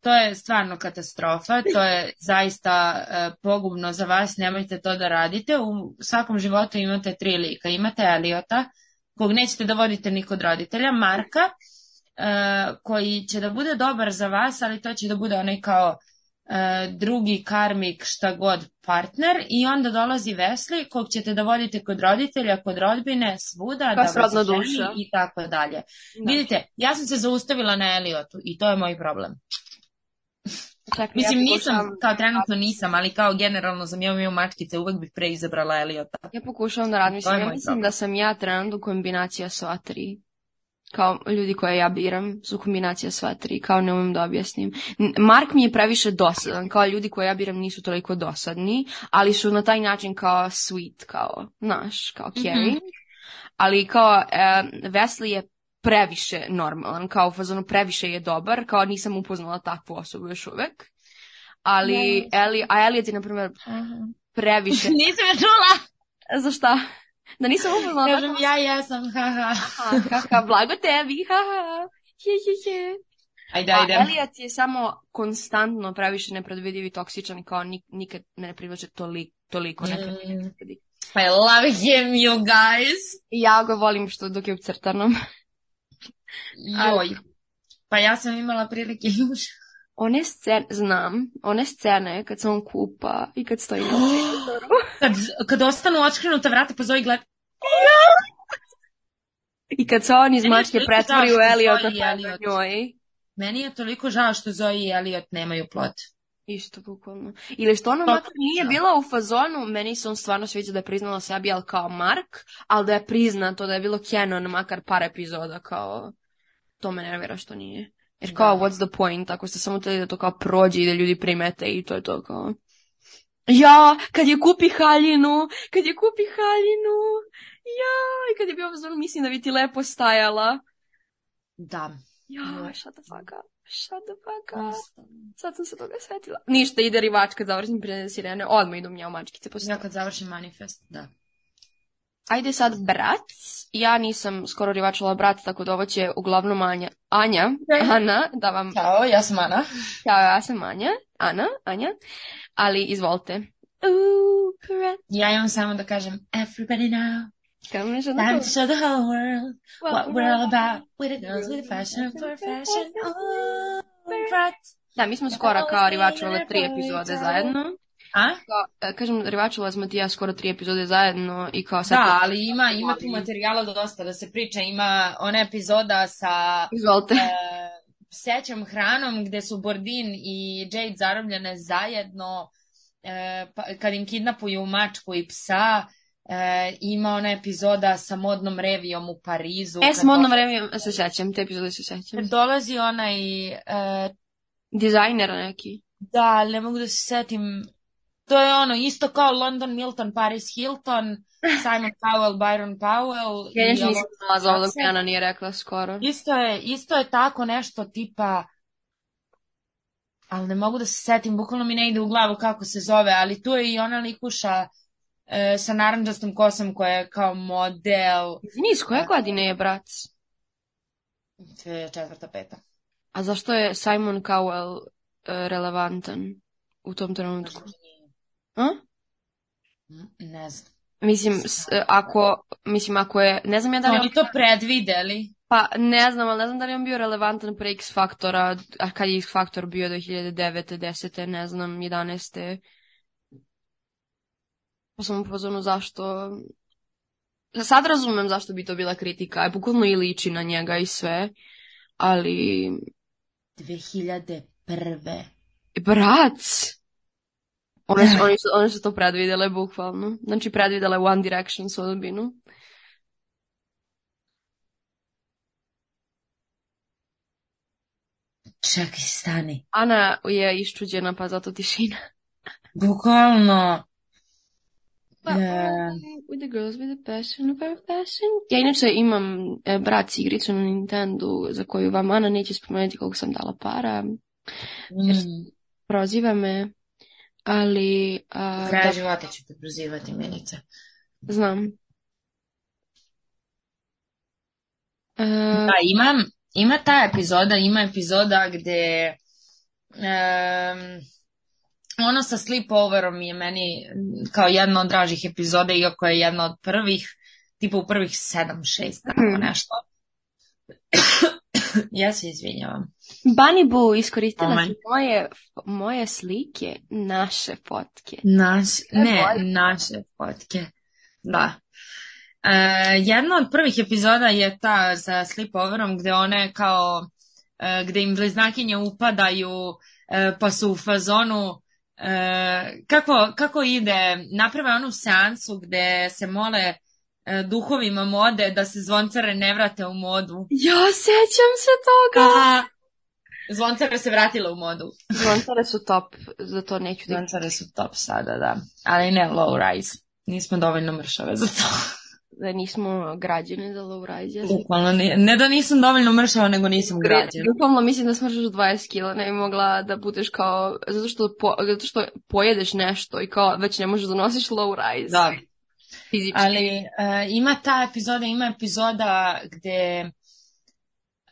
[SPEAKER 2] to je stvarno katastrofa, to je zaista e, pogubno za vas, nemojte to da radite, u svakom životu imate tri lika, imate Eliota, kog nećete da vodite ni kod roditelja, Marka, e, koji će da bude dobar za vas, ali to će da bude onaj kao e, drugi karmik šta god partner i onda dolazi Vesli kog ćete da vodite kod roditelja, kod rodbine, svuda,
[SPEAKER 1] Kao
[SPEAKER 2] da vas
[SPEAKER 1] srodna
[SPEAKER 2] ženi
[SPEAKER 1] duša.
[SPEAKER 2] i tako dalje.
[SPEAKER 1] Da.
[SPEAKER 2] Vidite, ja sam se zaustavila na Eliotu i to je moj problem.
[SPEAKER 1] Čekaj,
[SPEAKER 2] Mislim,
[SPEAKER 1] ja
[SPEAKER 2] nisam,
[SPEAKER 1] pokušavam-
[SPEAKER 2] kao trenutno nisam, ali kao generalno za mjau mjau mačkice uvek bih preizabrala Eliota.
[SPEAKER 1] Ja pokušavam da razmislim.
[SPEAKER 2] To je
[SPEAKER 1] Ja
[SPEAKER 2] moj
[SPEAKER 1] mislim
[SPEAKER 2] problem.
[SPEAKER 1] da sam ja trenutno kombinacija sva tri. Kao ljudi koje ja biram su kombinacija sva tri, kao ne umem da objasnim. N- Mark mi je previše dosadan, kao ljudi koje ja biram nisu toliko dosadni, ali su na taj način kao sweet, kao naš, kao
[SPEAKER 2] Mhm.
[SPEAKER 1] caring. Ali kao e, Wesley je previše normalan, kao u fazonu previše je dobar, kao nisam upoznala takvu osobu još uvek. Ali, Eli, a Elliot je, na primjer, previše...
[SPEAKER 2] Nisam je čula!
[SPEAKER 1] Za šta? Da nisam upoznala takvu
[SPEAKER 2] Kažem, ja jesam, haha.
[SPEAKER 1] Aha, haha, blago tebi, haha. Je, je, je.
[SPEAKER 2] Ajde,
[SPEAKER 1] A
[SPEAKER 2] ajde.
[SPEAKER 1] Pa Elliot je samo konstantno previše nepredvidiv i toksičan, kao nik- nikad me ne privlače toli, toliko nepredvidiv.
[SPEAKER 2] Mm. I love him, you guys.
[SPEAKER 1] Ja ga volim što dok je u crtanom.
[SPEAKER 2] Joj. Pa ja sam imala prilike još.
[SPEAKER 1] One scene, znam, one scene kad se on kupa i kad stoji na
[SPEAKER 2] Kad, kad ostanu otkrenuta vrata, pozovi gled.
[SPEAKER 1] I kad se on iz
[SPEAKER 2] Meni je
[SPEAKER 1] mačke
[SPEAKER 2] toliko
[SPEAKER 1] pretvori
[SPEAKER 2] žao
[SPEAKER 1] u
[SPEAKER 2] što
[SPEAKER 1] Eliota
[SPEAKER 2] stoji
[SPEAKER 1] pa je
[SPEAKER 2] Elliot.
[SPEAKER 1] na njoj.
[SPEAKER 2] Meni je toliko žao što Zoe i Elliot nemaju plot.
[SPEAKER 1] Isto, bukvalno. Ili što ona
[SPEAKER 2] Pa,
[SPEAKER 1] makar nije
[SPEAKER 2] da.
[SPEAKER 1] bila u fazonu, meni se on stvarno sviđa da je priznala sebi, ali kao Mark, ali da je priznato da je bilo canon makar par epizoda, kao, to me nervira što nije. Jer kao,
[SPEAKER 2] Da.
[SPEAKER 1] what's the point, ako ste samo htjeli da to kao prođe i da ljudi primete i to je to kao... Ja, kad je kupi haljinu, kad je kupi haljinu, ja, i kad je bio u fazonu, mislim da bi ti lepo stajala.
[SPEAKER 2] Da.
[SPEAKER 1] Ja,
[SPEAKER 2] Joj.
[SPEAKER 1] shut the fuck up, shut the fuck up. Sad sam se toga setila. Ništa, ide rivač kad završim prijatelje sirene, odmah idu mjau mačkice posle
[SPEAKER 2] Ja
[SPEAKER 1] toga.
[SPEAKER 2] kad završim manifest, da.
[SPEAKER 1] Ajde sad brat. Ja nisam skoro rivačala brat, tako da ovo će uglavnom Anja. Anja,
[SPEAKER 2] Ne.
[SPEAKER 1] Ana, da vam...
[SPEAKER 2] Ćao, ja sam Ana.
[SPEAKER 1] Ja, ja sam Anja. Ana, Anja. Ali izvolite. Ooh, correct.
[SPEAKER 2] Ja imam samo da kažem everybody now,
[SPEAKER 1] Kao mi je žao da
[SPEAKER 2] time
[SPEAKER 1] to-
[SPEAKER 2] to show the whole world what
[SPEAKER 1] Wow.
[SPEAKER 2] we're all about. With the girls with fashion for fashion. all right.
[SPEAKER 1] Da, mi smo skoro kao rivačovali tri epizode zajedno.
[SPEAKER 2] A?
[SPEAKER 1] Kao, e, kažem, rivačovala smo ti i ja skoro tri epizode zajedno i kao sad...
[SPEAKER 2] Da, ali ima, ima tu materijala dosta da se priča. Ima ona epizoda sa
[SPEAKER 1] Izvolite.
[SPEAKER 2] e, sećom hranom gde su Bordin i Jade zarobljene zajedno e, pa, kad im kidnapuju mačku i psa e, ima ona epizoda sa modnom revijom u Parizu
[SPEAKER 1] E,
[SPEAKER 2] kad
[SPEAKER 1] s modno
[SPEAKER 2] dola-
[SPEAKER 1] vreme se sećam, te epizode se sećam.
[SPEAKER 2] kad dolazi onaj e,
[SPEAKER 1] Dizajnera neki.
[SPEAKER 2] da, ali ne mogu da se setim to je ono isto kao London Milton, Paris Hilton Simon Cowell, Byron Powell
[SPEAKER 1] Ja
[SPEAKER 2] i
[SPEAKER 1] nešto
[SPEAKER 2] ovo-
[SPEAKER 1] nisam znala za ovog
[SPEAKER 2] Sve.
[SPEAKER 1] Jana nije rekla skoro.
[SPEAKER 2] Isto je, isto je tako nešto tipa ali ne mogu da se setim, bukvalno mi ne ide u glavu kako se zove, ali tu je i ona likuša e, sa naranđastom kosom koja je kao model
[SPEAKER 1] Izvini, iz koje godine je brat?
[SPEAKER 2] Sve četvrta, peta.
[SPEAKER 1] A zašto je Simon Cowell e, relevantan u tom trenutku? A?
[SPEAKER 2] Mm, Ne znam.
[SPEAKER 1] Mislim, s- e, ako, mislim, ako je, ne znam ja da li je on-
[SPEAKER 2] Oni to predvideli.
[SPEAKER 1] pa ne znam, ali ne znam da li je on bio relevantan pre X Faktora, a kad je X Faktor bio 2009. 10. ne znam, 11. Pa sam u pozornu zašto... Sad razumem zašto bi to bila kritika, bukvalno i liči na njega i sve, ali...
[SPEAKER 2] 2001.
[SPEAKER 1] Brat! One su, oni, su, one su to predvidele, bukvalno. Znači, predvidele One Direction sudbinu.
[SPEAKER 2] Čekaj, stani.
[SPEAKER 1] Ana je iščuđena, pa zato tišina.
[SPEAKER 2] Bukvalno.
[SPEAKER 1] Pa,
[SPEAKER 2] Ne.
[SPEAKER 1] With the girls with the passion of our passion. Ja inače imam e, brat igricu na Nintendo za koju vam Ana neće spomenuti koliko sam dala para.
[SPEAKER 2] Mm,
[SPEAKER 1] Proziva me, ali a,
[SPEAKER 2] do
[SPEAKER 1] da,
[SPEAKER 2] kraja života ću te prozivati, Milica.
[SPEAKER 1] znam. E,
[SPEAKER 2] Da, ima, ima ta epizoda, ima epizoda gde em, ono sa sleepoverom je meni kao jedna od dražih epizoda, iako je jedna od prvih, tipa u prvih sedam, šest, tako nešto. ja se izvinjavam.
[SPEAKER 1] Bunny Boo iskoristila
[SPEAKER 2] Moment.
[SPEAKER 1] si moje, moje slike, naše fotke.
[SPEAKER 2] Naš, ne,
[SPEAKER 1] Evo,
[SPEAKER 2] naše fotke. Da. E, jedna od prvih epizoda je ta sa sleepoverom gde one kao e, gde im bliznakinje upadaju e, pa su u fazonu e, kako, kako ide naprave onu seansu gde se mole e, duhovima mode da se zvoncare ne vrate u modu
[SPEAKER 1] Ja sećam se toga!
[SPEAKER 2] a zvoncare se vratila u modu
[SPEAKER 1] Zvoncare su top, zato neću da ih
[SPEAKER 2] Zvoncare su top sada, da. Ali ne low rise. Nismo dovoljno mršave za to.
[SPEAKER 1] da nismo građene za lowrise.
[SPEAKER 2] Bukvalno ne, ne da nisam dovoljno mršava, nego nisam građena.
[SPEAKER 1] Bukvalno mislim da smršaš 20 kila, ne bi mogla da budeš kao, zato što, po, zato što pojedeš nešto i kao već ne možeš da nosiš low rise.
[SPEAKER 2] Da.
[SPEAKER 1] Fizički.
[SPEAKER 2] Ali e, ima ta epizoda, ima epizoda gde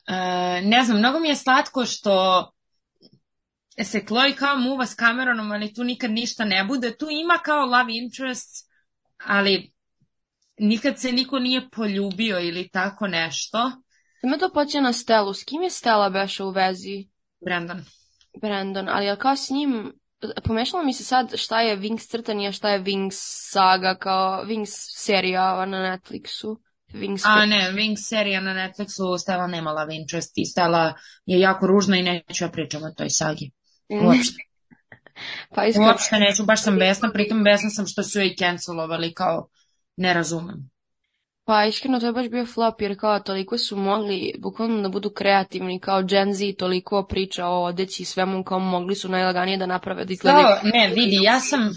[SPEAKER 2] e, ne znam, mnogo mi je slatko što se Chloe kao muva s Cameronom, ali tu nikad ništa ne bude. Tu ima kao love interest, ali nikad se niko nije poljubio ili tako nešto.
[SPEAKER 1] Ima to počeo na Stelu. S kim je Stela beša u vezi?
[SPEAKER 2] Brandon.
[SPEAKER 1] Brandon, ali jel kao s njim pomešalo mi se sad šta je Wings crtani, a šta je Wings saga, kao Wings serija ova na Netflixu. Wings
[SPEAKER 2] A ne, Wings serija na Netflixu Stella nema love interest i Stella je jako ružna i neću ja pričam o toj sagi. Uopšte,
[SPEAKER 1] pa Mm-hmm. iskreno,
[SPEAKER 2] uopšte neću, baš sam besna, pritom besna sam što su je i cancelovali, kao ne razumem.
[SPEAKER 1] pa iskreno to je baš bio flop jer kao toliko su mogli bukvalno da budu kreativni, kao Gen Z toliko priča o odeći i svemu, kao mogli su najlaganije da naprave da izgleda
[SPEAKER 2] To, ne, vidi, ja sam,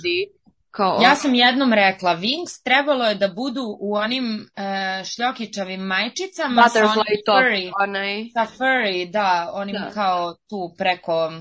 [SPEAKER 1] kao
[SPEAKER 2] ja sam jednom rekla, Wings trebalo je da budu u onim e, šljokičavim majčicama sa onim
[SPEAKER 1] butterfly top,
[SPEAKER 2] furry-
[SPEAKER 1] onaj,
[SPEAKER 2] sa furry, da, onim
[SPEAKER 1] Da.
[SPEAKER 2] kao tu preko,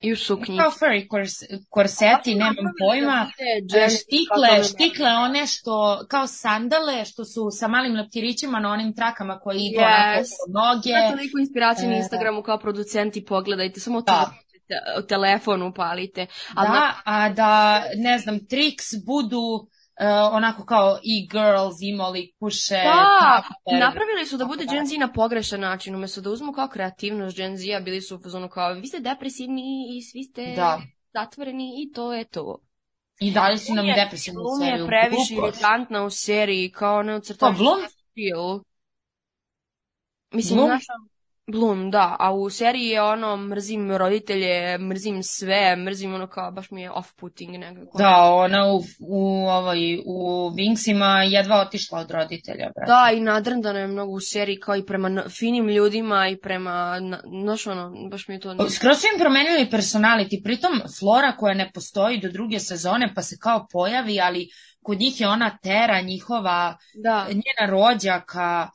[SPEAKER 1] i u pa suknji.
[SPEAKER 2] kao furry kors- korseti, nemam pojma. E, štikle, štikle one što, kao sandale, što su sa malim leptirićima na onim trakama koje idu
[SPEAKER 1] Yes.
[SPEAKER 2] onako po noge.
[SPEAKER 1] Ima toliko inspiracije na
[SPEAKER 2] E.
[SPEAKER 1] Instagramu kao producenti, pogledajte, samo to
[SPEAKER 2] Da.
[SPEAKER 1] te- telefon upalite. Ali na-
[SPEAKER 2] Da, a da, ne znam, triks budu e, onako kao e-girls imali kuše.
[SPEAKER 1] Da,
[SPEAKER 2] tupper.
[SPEAKER 1] napravili su da bude
[SPEAKER 2] da.
[SPEAKER 1] Gen Z na pogrešan način, umjesto da uzmu kao kreativnost Gen Z-a, bili su u fazonu kao vi ste depresivni i svi ste
[SPEAKER 2] Da.
[SPEAKER 1] zatvoreni i to je to.
[SPEAKER 2] I dalje su nam
[SPEAKER 1] Glum je-
[SPEAKER 2] depresivnu
[SPEAKER 1] Glum
[SPEAKER 2] seriju.
[SPEAKER 1] je previše
[SPEAKER 2] Glupost.
[SPEAKER 1] iritantna u seriji, kao ono ne
[SPEAKER 2] Pa,
[SPEAKER 1] ucrtava
[SPEAKER 2] Blum,
[SPEAKER 1] stil. Mislim,
[SPEAKER 2] Blum?
[SPEAKER 1] znaš, ono- Blum, da, a u seriji je ono, mrzim roditelje, mrzim sve, mrzim ono kao, baš mi je off-putting nekako.
[SPEAKER 2] da, ona u, u, ovoj, u Wingsima jedva otišla od roditelja, brate.
[SPEAKER 1] Da, i nadrndano je mnogo u seriji, kao i prema n- finim ljudima i prema, na- znaš ono, baš mi
[SPEAKER 2] Pa
[SPEAKER 1] je to...
[SPEAKER 2] Skroz su im promenili personality, pritom Flora koja ne postoji do druge sezone pa se kao pojavi, ali kod njih je ona Tera, njihova,
[SPEAKER 1] Da,
[SPEAKER 2] njena rođaka,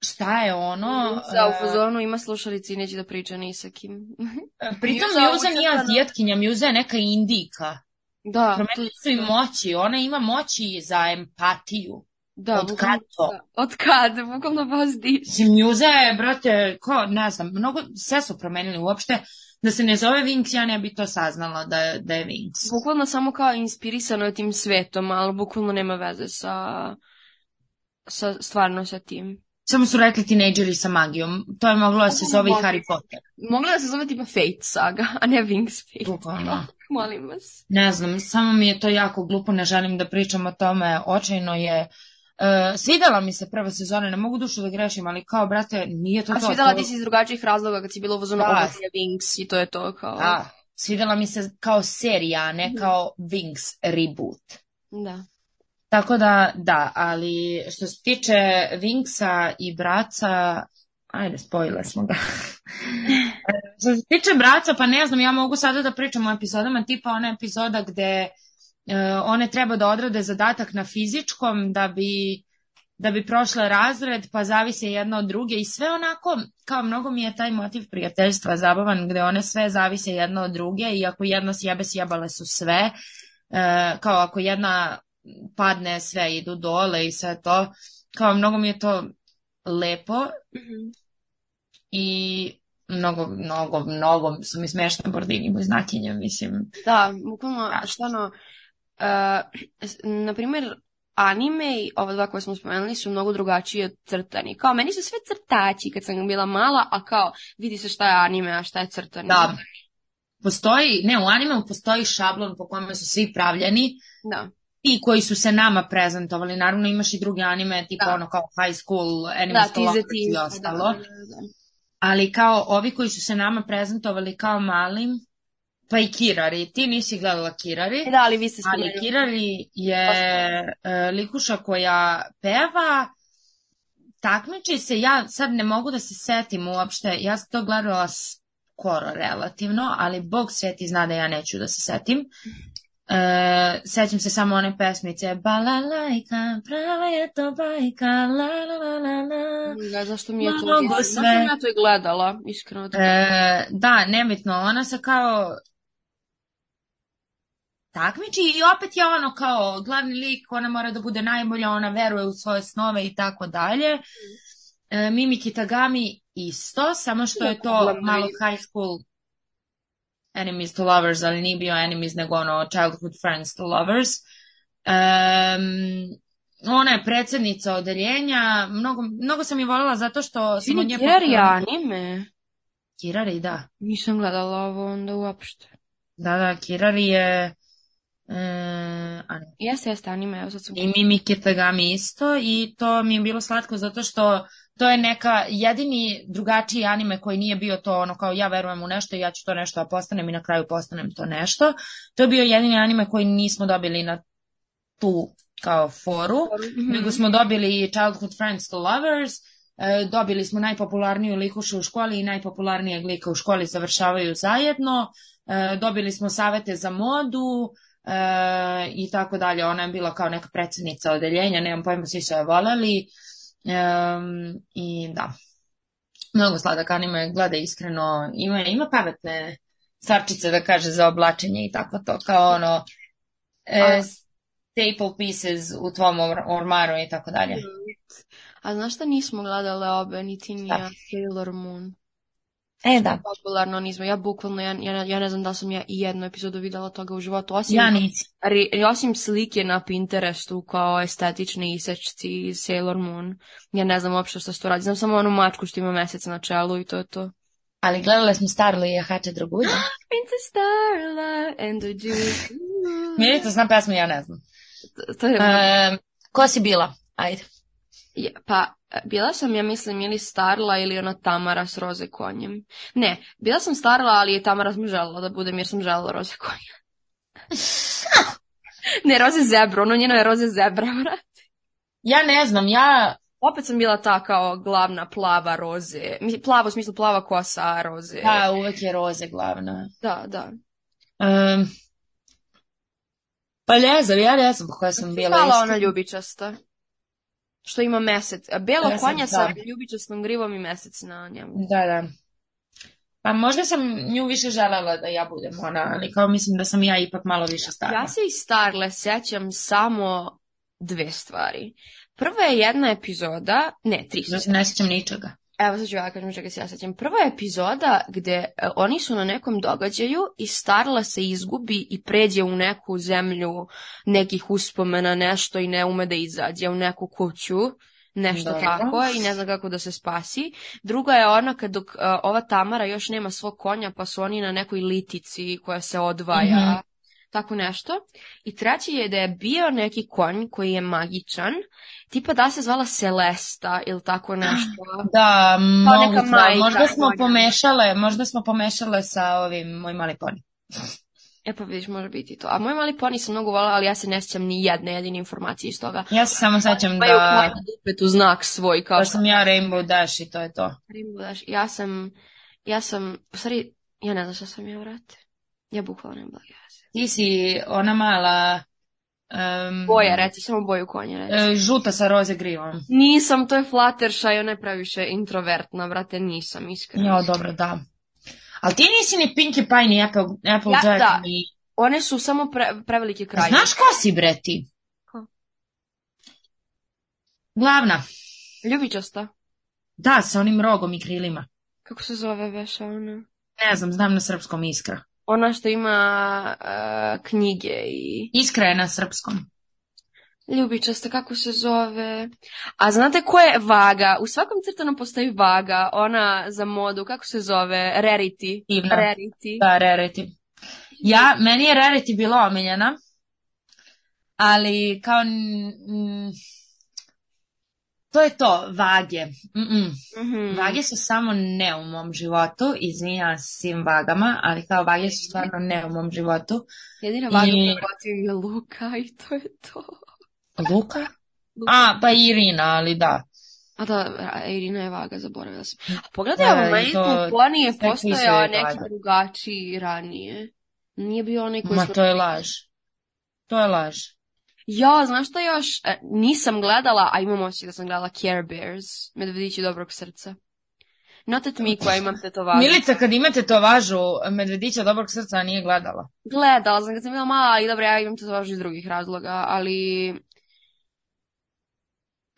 [SPEAKER 2] šta je ono?
[SPEAKER 1] Za
[SPEAKER 2] e,
[SPEAKER 1] u fazonu ima slušalici i neće da priča ni sa kim.
[SPEAKER 2] Pritom
[SPEAKER 1] Mjuza
[SPEAKER 2] Mjuza nije
[SPEAKER 1] ucrtana.
[SPEAKER 2] azijatkinja, Mjuza je neka indijka.
[SPEAKER 1] da,
[SPEAKER 2] Promenili
[SPEAKER 1] to-
[SPEAKER 2] su i moći, ona ima moći za empatiju.
[SPEAKER 1] da,
[SPEAKER 2] od
[SPEAKER 1] bukvalno-
[SPEAKER 2] kad to?
[SPEAKER 1] da, Od kad? Bukvalno vas diš.
[SPEAKER 2] Mislim, Mjuza je, brate, ko, ne znam, mnogo, sve su promenili uopšte. Da se ne zove Vinks, ja ne bi to saznala da, je- da je Vinks.
[SPEAKER 1] Bukvalno samo kao inspirisano je tim svetom, ali bukvalno nema veze sa, sa stvarno sa tim.
[SPEAKER 2] Samo su rekli tinejdžeri sa magijom. To je moglo da se zove i Harry Potter.
[SPEAKER 1] Mogla da se zove tipa Fate Saga, a ne Wings Fate.
[SPEAKER 2] Bukvalno.
[SPEAKER 1] Molim vas.
[SPEAKER 2] Ne znam, samo mi je to jako glupo, ne želim da pričam o tome. Očajno je... E, svidela mi se prva sezona, ne mogu dušu da grešim, ali kao, brate, nije to
[SPEAKER 1] A
[SPEAKER 2] to.
[SPEAKER 1] svidjela
[SPEAKER 2] to-
[SPEAKER 1] ti si iz drugačijih razloga kad si bila u fazonu
[SPEAKER 2] Da.
[SPEAKER 1] ovo ti je Wings i to je to kao...
[SPEAKER 2] Da, svidela mi se kao serija, a ne kao Wings reboot.
[SPEAKER 1] Da.
[SPEAKER 2] Tako da, da, ali što se tiče Wingsa i braca, ajde, spojile smo ga. E, što se tiče braca, pa ne znam, ja mogu sada da pričam o epizodama, tipa ona epizoda gde e, one treba da odrade zadatak na fizičkom da bi da bi prošla razred, pa zavise jedna od druge i sve onako, kao mnogo mi je taj motiv prijateljstva zabavan, gde one sve zavise jedna od druge i ako jedna sjebe, sjebale su sve, E, kao ako jedna padne, sve idu dole i sve to, kao mnogo mi je to lepo
[SPEAKER 1] Mhm.
[SPEAKER 2] i mnogo, mnogo, mnogo su mi smešne bordini boznakinje, mislim.
[SPEAKER 1] Da, bukvalno,
[SPEAKER 2] Da.
[SPEAKER 1] što ono, na primjer, anime i ova dva koje smo spomenuli su mnogo drugačije crtani. Kao, meni su sve crtači kad sam bila mala, a kao, vidi se šta je anime, a šta je crtani.
[SPEAKER 2] Da, postoji, ne, u animeu postoji šablon po kome su svi pravljeni,
[SPEAKER 1] Da,
[SPEAKER 2] ti koji su se nama prezentovali, naravno imaš i druge anime, tipa
[SPEAKER 1] Da.
[SPEAKER 2] ono kao High School, Animal
[SPEAKER 1] da, ti za
[SPEAKER 2] Collective
[SPEAKER 1] ti.
[SPEAKER 2] i
[SPEAKER 1] da,
[SPEAKER 2] ostalo.
[SPEAKER 1] da, da, da.
[SPEAKER 2] Ali kao ovi koji su se nama prezentovali kao malim, pa i Kirari, ti nisi gledala Kirari.
[SPEAKER 1] E, Da, ali vi ste
[SPEAKER 2] Ali
[SPEAKER 1] spomenuli.
[SPEAKER 2] Kirari je
[SPEAKER 1] Pa
[SPEAKER 2] e, likuša koja peva, takmiči se, ja sad ne mogu da se setim uopšte, ja sam to gledala skoro relativno, ali Bog sveti zna da ja neću da se setim. E, sećam se samo one pesmice Balalajka, prava je to bajka, la la la la la.
[SPEAKER 1] Da, zašto mi je to...
[SPEAKER 2] Mnogo
[SPEAKER 1] Zašto
[SPEAKER 2] sve.
[SPEAKER 1] sam ja to i gledala, iskreno. da-
[SPEAKER 2] E, da, nebitno, ona se kao takmiči i opet je ono kao glavni lik, ona mora da bude najbolja, ona veruje u svoje snove i tako dalje. E, Mimi Kitagami isto, samo što je to
[SPEAKER 1] Glavni
[SPEAKER 2] malo
[SPEAKER 1] lik.
[SPEAKER 2] high school enemies to lovers, ali nije bio enemies nego ono childhood friends to lovers. Em, ona je predsednica odeljenja, mnogo, mnogo sam je voljela zato što sam od nje...
[SPEAKER 1] Vidi, jer je anime.
[SPEAKER 2] Kirari, da.
[SPEAKER 1] Nisam gledala ovo onda uopšte.
[SPEAKER 2] Da, da, Kirari je... e, a ne,
[SPEAKER 1] Jeste, jeste anime, evo sad sam...
[SPEAKER 2] I Mimi Kitagami isto i to mi je bilo slatko zato što to je neka jedini drugačiji anime koji nije bio to ono kao ja verujem u nešto i ja ću to nešto da postanem i na kraju postanem to nešto. To je bio jedini anime koji nismo dobili na tu kao foru
[SPEAKER 1] Mhm.
[SPEAKER 2] nego smo dobili Childhood Friends to Lovers, e, dobili smo najpopularniju likušu u školi i najpopularnijeg lika u školi završavaju zajedno, e, dobili smo savete za modu e, i tako dalje. Ona je bila kao neka predsednica odeljenja, nemam pojma, svi su je voleli Em, i da. Mnogo sladak anime, gleda iskreno, ima, ima pametne starčice da kaže za oblačenje i tako to, kao ono e,
[SPEAKER 1] A-
[SPEAKER 2] staple pieces u tvom or- ormaru i tako dalje.
[SPEAKER 1] A znaš šta nismo gledale obe, niti ni
[SPEAKER 2] Šta?
[SPEAKER 1] ja, Sailor Moon.
[SPEAKER 2] E, da.
[SPEAKER 1] popularno nizmo. Ja bukvalno, ja, ja, ja ne znam da sam ja i jednu epizodu videla toga u životu, osim,
[SPEAKER 2] Ja nisam.
[SPEAKER 1] ri- osim slike na Pinterestu kao estetični isečci iz Sailor Moon. Ja ne znam uopšte što se to radi. Znam samo onu mačku što ima mesec na čelu i to je to.
[SPEAKER 2] Ali gledale smo Starlo i Jahače drugulja.
[SPEAKER 1] Princess Starla and the Juice.
[SPEAKER 2] Milica zna pesmu, ja ne znam.
[SPEAKER 1] To je...
[SPEAKER 2] E, ko si bila? Ajde.
[SPEAKER 1] Je, pa, e, bila sam, ja mislim, ili Starla ili ona Tamara s roze konjem. Ne, bila sam Starla, ali i Tamara sam želela da budem jer sam želela roze konja. ne, roze zebra, ono njeno je roze zebra, brate.
[SPEAKER 2] Ja ne znam, ja...
[SPEAKER 1] Opet sam bila ta kao glavna plava roze. Mislim, plava u smislu plava kosa roze.
[SPEAKER 2] Pa, uvek je roze glavna.
[SPEAKER 1] da, da.
[SPEAKER 2] Em, pa ne znam, ja ne znam koja sam bila.
[SPEAKER 1] Mala
[SPEAKER 2] iskreno.
[SPEAKER 1] ona ljubičasta. Što ima mesec. e, Belo
[SPEAKER 2] Mesec,
[SPEAKER 1] konja sa
[SPEAKER 2] da.
[SPEAKER 1] ljubičastom grivom i mesec na njemu.
[SPEAKER 2] Da, da. Pa možda sam nju više želela da ja budem ona, ali kao mislim da sam ja ipak malo više stara.
[SPEAKER 1] Ja se iz Starle sećam samo dve stvari. Prva je jedna epizoda, ne, tri su.
[SPEAKER 2] Ne sjećam ničega.
[SPEAKER 1] Evo sad ću ja da kažem čega se ja sećam. Prva je epizoda gde e, oni su na nekom događaju i Starla se izgubi i pređe u neku zemlju nekih uspomena, nešto i ne ume da izađe u neku kuću, nešto
[SPEAKER 2] Dobro.
[SPEAKER 1] tako i ne zna kako da se spasi. Druga je ona kad dok e, ova Tamara još nema svog konja pa su oni na nekoj litici koja se odvaja.
[SPEAKER 2] Mhm.
[SPEAKER 1] Tako nešto. I treći je da je bio neki konj koji je magičan, tipa da se zvala Celesta ili tako nešto.
[SPEAKER 2] Da, moguće,
[SPEAKER 1] neka
[SPEAKER 2] da.
[SPEAKER 1] majka,
[SPEAKER 2] možda smo
[SPEAKER 1] majka.
[SPEAKER 2] pomešale, možda smo pomešale sa ovim moj mali poni.
[SPEAKER 1] E pa vidiš, može biti i to. A moj mali poni sam mnogo volala, ali ja se ne sjećam ni jedne jedine informacije iz toga.
[SPEAKER 2] Ja se samo sjećam
[SPEAKER 1] Pa je
[SPEAKER 2] da,
[SPEAKER 1] uklonila dupet u znak svoj, kao
[SPEAKER 2] da
[SPEAKER 1] što
[SPEAKER 2] sam ja Rainbow Dash i to je to.
[SPEAKER 1] Rimbu daš. Ja sam, ja sam, u stvari, ja ne znam šta sam ja vrate. Ja bukvalno ne blaga se.
[SPEAKER 2] Ti si ona mala... em,
[SPEAKER 1] Boja, reci, samo boju konja, reci.
[SPEAKER 2] Mm. e, žuta sa roze grivom.
[SPEAKER 1] Nisam, to je Fluttershy, ona je previše introvertna, brate, nisam, iskreno.
[SPEAKER 2] Ja, dobro, da. Ali ti nisi ni Pinkie Pie, ni Apple, Applejack,
[SPEAKER 1] Ja, da.
[SPEAKER 2] ni...
[SPEAKER 1] One su samo pre, prevelike kraje.
[SPEAKER 2] Znaš ko si, bre, ti?
[SPEAKER 1] Ko?
[SPEAKER 2] Glavna.
[SPEAKER 1] Ljubičasta.
[SPEAKER 2] Da, sa onim rogom i krilima.
[SPEAKER 1] Kako se zove veša ona?
[SPEAKER 2] Ne znam, znam na srpskom iskra.
[SPEAKER 1] Ona što ima e, knjige i...
[SPEAKER 2] Iskra je na srpskom.
[SPEAKER 1] Ljubičasta, kako se zove? A znate ko je Vaga? U svakom crtanom postoji Vaga, ona za modu, kako se zove? Rarity.
[SPEAKER 2] Divna.
[SPEAKER 1] Rarity.
[SPEAKER 2] Da, Rarity. Ja, meni je Rarity bila omiljena, ali kao... n- mm, to je to, vage. Mm-mm.
[SPEAKER 1] Mhm.
[SPEAKER 2] Vage su samo ne u mom životu, izvinjavam se svim vagama, ali kao vage su stvarno ne u mom životu.
[SPEAKER 1] Jedina Vaga
[SPEAKER 2] I-
[SPEAKER 1] I... je Luka i to je to.
[SPEAKER 2] Luka? A, pa i Irina, ali da.
[SPEAKER 1] A da, a Irina je Vaga, zaboravila sam. A pogledaj,
[SPEAKER 2] Da,
[SPEAKER 1] ovo
[SPEAKER 2] i
[SPEAKER 1] Maidful
[SPEAKER 2] to-
[SPEAKER 1] Pony je
[SPEAKER 2] sve
[SPEAKER 1] postojao
[SPEAKER 2] knjiže je
[SPEAKER 1] neki
[SPEAKER 2] Vaga.
[SPEAKER 1] drugačiji ranije. Nije bio onaj koji
[SPEAKER 2] Ma
[SPEAKER 1] smo
[SPEAKER 2] to je laž. To je laž.
[SPEAKER 1] Ja, znaš šta još? E, nisam gledala, a imam osjećaj da sam gledala Care Bears, Medvedići dobrog srca. Notet mi koja imam tetovažu.
[SPEAKER 2] Milica, kad imate to važu, medvedića dobrog srca nije gledala.
[SPEAKER 1] Gledala sam kad sam bila mala i dobro, ja imam tetovažu iz drugih razloga, ali...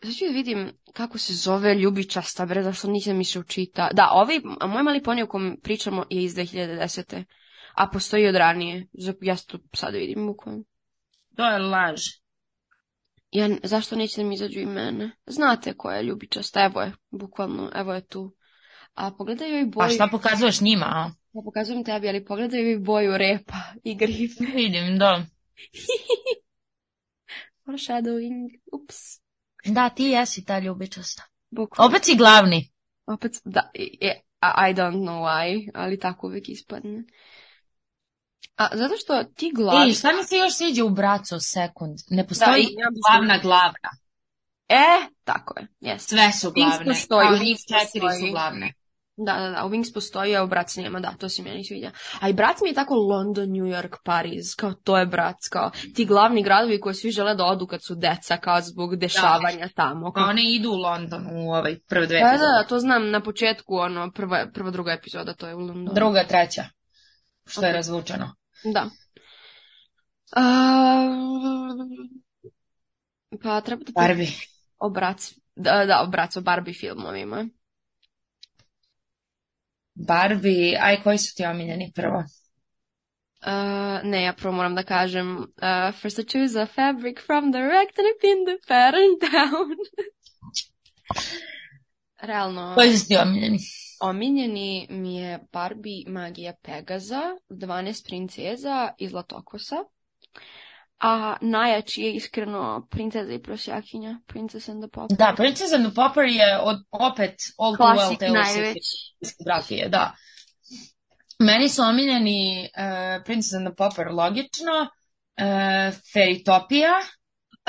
[SPEAKER 1] Sad ću da vidim kako se zove Ljubičasta, bre, zašto nisam mi se učita. Da, ovaj, a moj mali poni o kom pričamo je iz 2010. A postoji od ranije. Za- Ja to sad vidim bukvalno.
[SPEAKER 2] To je laž.
[SPEAKER 1] Ja, n- zašto neće da mi izađu imena? Znate koja je ljubičasta, evo je, bukvalno, evo je tu. A pogledaj joj boju,
[SPEAKER 2] Pa šta pokazuješ njima, a?
[SPEAKER 1] ja pokazujem tebi, ali pogledaj joj boju repa i grife.
[SPEAKER 2] Vidim, da.
[SPEAKER 1] Foreshadowing, ups,
[SPEAKER 2] Da, ti jesi ta ljubičasta.
[SPEAKER 1] bukvalno.
[SPEAKER 2] Opet si glavni.
[SPEAKER 1] Opet, da, i- e, a- I don't know why, ali tako uvijek ispadne. A zato što ti glavi...
[SPEAKER 2] I šta mi se još sviđa u bracu, sekund? Ne
[SPEAKER 1] Da,
[SPEAKER 2] postoji
[SPEAKER 1] i- ja mislim-
[SPEAKER 2] glavna, glavna.
[SPEAKER 1] E, tako je, jeste.
[SPEAKER 2] Sve su
[SPEAKER 1] Wings
[SPEAKER 2] glavne.
[SPEAKER 1] postoji,
[SPEAKER 2] Kao
[SPEAKER 1] Wings
[SPEAKER 2] njih četiri
[SPEAKER 1] postoji.
[SPEAKER 2] su glavne.
[SPEAKER 1] Da, da, da, u Wings postoji, a u Brac nema, da, to si meni sviđa. A i Brac mi je tako London, New York, Pariz, kao to je Brac, kao ti glavni gradovi koje svi žele da odu kad su deca, kao zbog dešavanja tamo.
[SPEAKER 2] Pa
[SPEAKER 1] Kao...
[SPEAKER 2] one idu u London u ovaj prve dve
[SPEAKER 1] Da, da,
[SPEAKER 2] epizode.
[SPEAKER 1] da, to znam na početku, ono, prva, prva druga epizoda, to je u Londonu.
[SPEAKER 2] Druga, treća. Što je
[SPEAKER 1] Ok.
[SPEAKER 2] razvučeno.
[SPEAKER 1] Da. A, Pa treba da
[SPEAKER 2] Barbie.
[SPEAKER 1] o Brac, da, da, o Brac, o Barbie filmovima.
[SPEAKER 2] Barbie, aj koji su ti omiljeni prvo?
[SPEAKER 1] Uh, ne, ja prvo moram da kažem uh, First I choose a fabric from the rack and I pin the pattern down. Realno,
[SPEAKER 2] Koji su ti omiljeni?
[SPEAKER 1] omiljeni mi je Barbie magija Pegaza, 12 princeza i Zlatokosa. A najjači je iskreno princeza i prosjakinja, Princess and the Pauper.
[SPEAKER 2] Da, Princess and the Pauper je od, opet All Too Well
[SPEAKER 1] Klasik
[SPEAKER 2] Taylor Swift
[SPEAKER 1] najveći.
[SPEAKER 2] diskografije, da. Meni su omiljeni eh, Princess and the Pauper, logično, uh, Fairytopia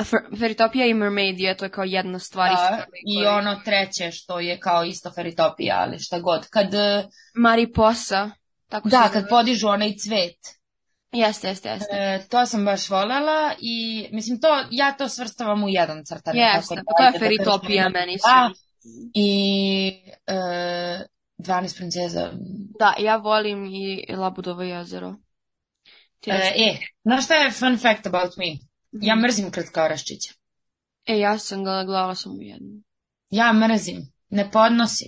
[SPEAKER 1] Fer- Fairytopia i Mermaidia, to je kao jedna stvar.
[SPEAKER 2] da,
[SPEAKER 1] isto
[SPEAKER 2] i
[SPEAKER 1] koje-
[SPEAKER 2] ono treće što je kao isto Fairytopia, ali šta god. Kad, eh,
[SPEAKER 1] Mariposa. Tako
[SPEAKER 2] da,
[SPEAKER 1] se zove.
[SPEAKER 2] kad podižu onaj cvet,
[SPEAKER 1] Jeste, jeste, jeste.
[SPEAKER 2] eh, to sam baš volela i mislim to, ja to svrstavam u jedan crtani.
[SPEAKER 1] Jeste,
[SPEAKER 2] tako da
[SPEAKER 1] to je
[SPEAKER 2] ajde da
[SPEAKER 1] Fairytopia
[SPEAKER 2] kažem.
[SPEAKER 1] meni
[SPEAKER 2] Da,
[SPEAKER 1] se.
[SPEAKER 2] i eh, 12 princeza.
[SPEAKER 1] Da, ja volim i Labudovo jezero. Ti
[SPEAKER 2] Eh,
[SPEAKER 1] reci.
[SPEAKER 2] e, znaš šta je fun fact about me? Ja mrzim kratkaoraščiće.
[SPEAKER 1] E, ja sam ga gledala samo jednu.
[SPEAKER 2] Ja mrzim, ne podnosim.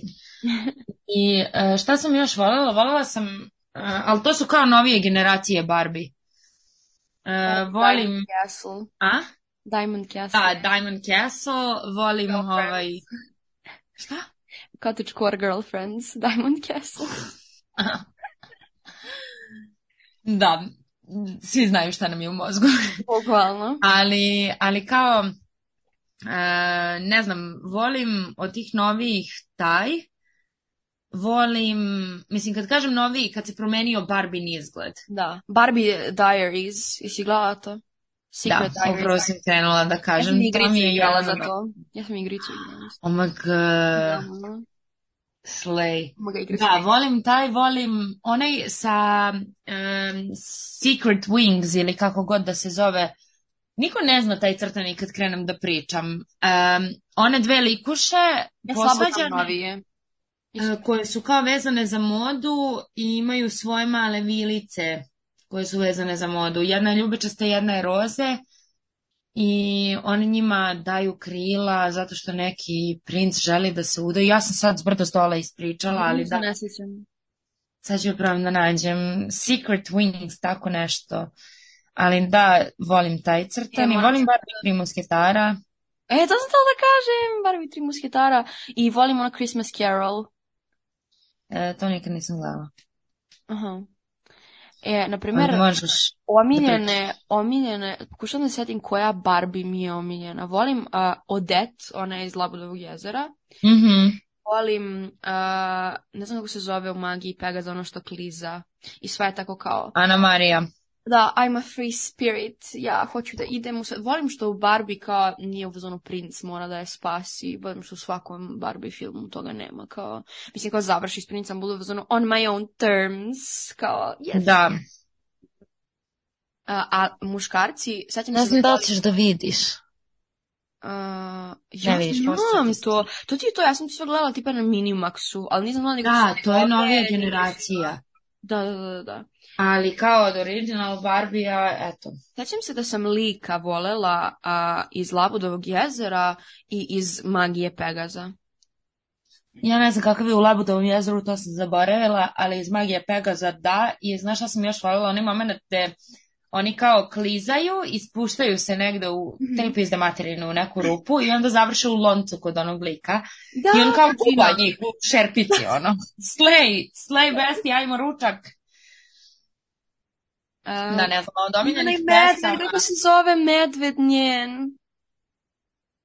[SPEAKER 2] I e, šta sam još voljela? Voljela sam, e, ali to su kao novije generacije Barbie. E, volim,
[SPEAKER 1] Diamond Castle.
[SPEAKER 2] a?
[SPEAKER 1] Diamond Castle.
[SPEAKER 2] Da, Diamond Castle, volim
[SPEAKER 1] Girlfriends.
[SPEAKER 2] ovaj... Šta?
[SPEAKER 1] Cottage Core Girlfriends. Diamond Castle.
[SPEAKER 2] Da, svi znaju šta nam je u mozgu.
[SPEAKER 1] Bukvalno.
[SPEAKER 2] Ali, ali kao, e, ne znam, volim od tih novijih taj, volim, mislim kad kažem noviji, kad se promenio Barbie izgled.
[SPEAKER 1] Da. Barbie Diaries. Jesi gledala to? Secret
[SPEAKER 2] da,
[SPEAKER 1] Diaries.
[SPEAKER 2] upravo sam krenula da
[SPEAKER 1] Ja sam
[SPEAKER 2] kažem. to
[SPEAKER 1] igricu
[SPEAKER 2] mi je
[SPEAKER 1] igrala za
[SPEAKER 2] Jelena-
[SPEAKER 1] to. Ja sam igricu igrala.
[SPEAKER 2] Oh my god,
[SPEAKER 1] Gledala.
[SPEAKER 2] slay.
[SPEAKER 1] Moga igricu
[SPEAKER 2] Da, volim taj, volim onaj sa em, Secret Wings ili kako god da se zove. Niko ne zna taj crtani kad krenem da pričam. Em, one dve likuše
[SPEAKER 1] Ja slabo
[SPEAKER 2] posvađane,
[SPEAKER 1] sam novije.
[SPEAKER 2] e, koje su kao vezane za modu i imaju svoje male vilice koje su vezane za modu. Jedna je ljubičasta, jedna je roze i oni njima daju krila zato što neki princ želi da se udaju. Ja sam sad s brdo stola
[SPEAKER 1] Mhm.
[SPEAKER 2] ispričala, ali da.
[SPEAKER 1] Ne sjećam.
[SPEAKER 2] Sad ću probam da nađem Secret Wings, tako nešto. Ali da, volim taj crtan
[SPEAKER 1] E,
[SPEAKER 2] i
[SPEAKER 1] moram
[SPEAKER 2] volim Barbie tri musketara.
[SPEAKER 1] E, to sam htjela da kažem, Barbie tri musketara i volim ono Christmas Carol.
[SPEAKER 2] E, to nikad nisam gledala.
[SPEAKER 1] Aha. E, na primjer,
[SPEAKER 2] Ali Možeš.
[SPEAKER 1] omiljene, omiljene, pokušam da se sjetim koja Barbie mi je omiljena. Volim a, Odette, ona je iz Labudovog jezera.
[SPEAKER 2] Mhm.
[SPEAKER 1] Volim, a, ne znam kako se zove u magiji Pegaza, ono što kliza. I sve je tako kao,
[SPEAKER 2] Ana Marija.
[SPEAKER 1] da, I'm a free spirit, ja hoću da idem u sve. Volim što u Barbie kao nije u fazonu princ mora da je spasi, volim što u svakom Barbie filmu toga nema, kao, mislim kao završi s princem, bude u fazonu on my own terms, kao, yes.
[SPEAKER 2] Da.
[SPEAKER 1] A, a muškarci, sad ćemo
[SPEAKER 2] Ne
[SPEAKER 1] se
[SPEAKER 2] znam da
[SPEAKER 1] da-
[SPEAKER 2] li ćeš da vidiš.
[SPEAKER 1] A, ja
[SPEAKER 2] vidiš,
[SPEAKER 1] znam
[SPEAKER 2] postoji
[SPEAKER 1] to. To ti je to, ja sam to sve gledala tipa na Minimaxu, ali nisam gledala nikad
[SPEAKER 2] Da,
[SPEAKER 1] sve
[SPEAKER 2] to je
[SPEAKER 1] ove,
[SPEAKER 2] novija
[SPEAKER 1] ni-
[SPEAKER 2] generacija.
[SPEAKER 1] Da, da, da, da.
[SPEAKER 2] Ali kao od original Barbie-a, eto.
[SPEAKER 1] Sjećam se da sam lika volela a, iz Labudovog jezera i iz Magije Pegaza.
[SPEAKER 2] Ja ne znam kakav je u Labudovom jezeru, to sam zaboravila, ali iz Magije Pegaza da. I znaš šta sam još voljela? Onaj moment gde oni kao klizaju i spuštaju se negde u
[SPEAKER 1] Mhm.
[SPEAKER 2] tepi iz materinu, u neku rupu i onda završe u loncu kod onog lika.
[SPEAKER 1] Da,
[SPEAKER 2] I on kao
[SPEAKER 1] Katrina.
[SPEAKER 2] kuba njih u šerpici, ono. Slej, slej besti, ajmo ručak.
[SPEAKER 1] A,
[SPEAKER 2] Da, ne znam, od
[SPEAKER 1] onaj
[SPEAKER 2] omiljenih
[SPEAKER 1] medved,
[SPEAKER 2] pesama.
[SPEAKER 1] kako se zove medved njen?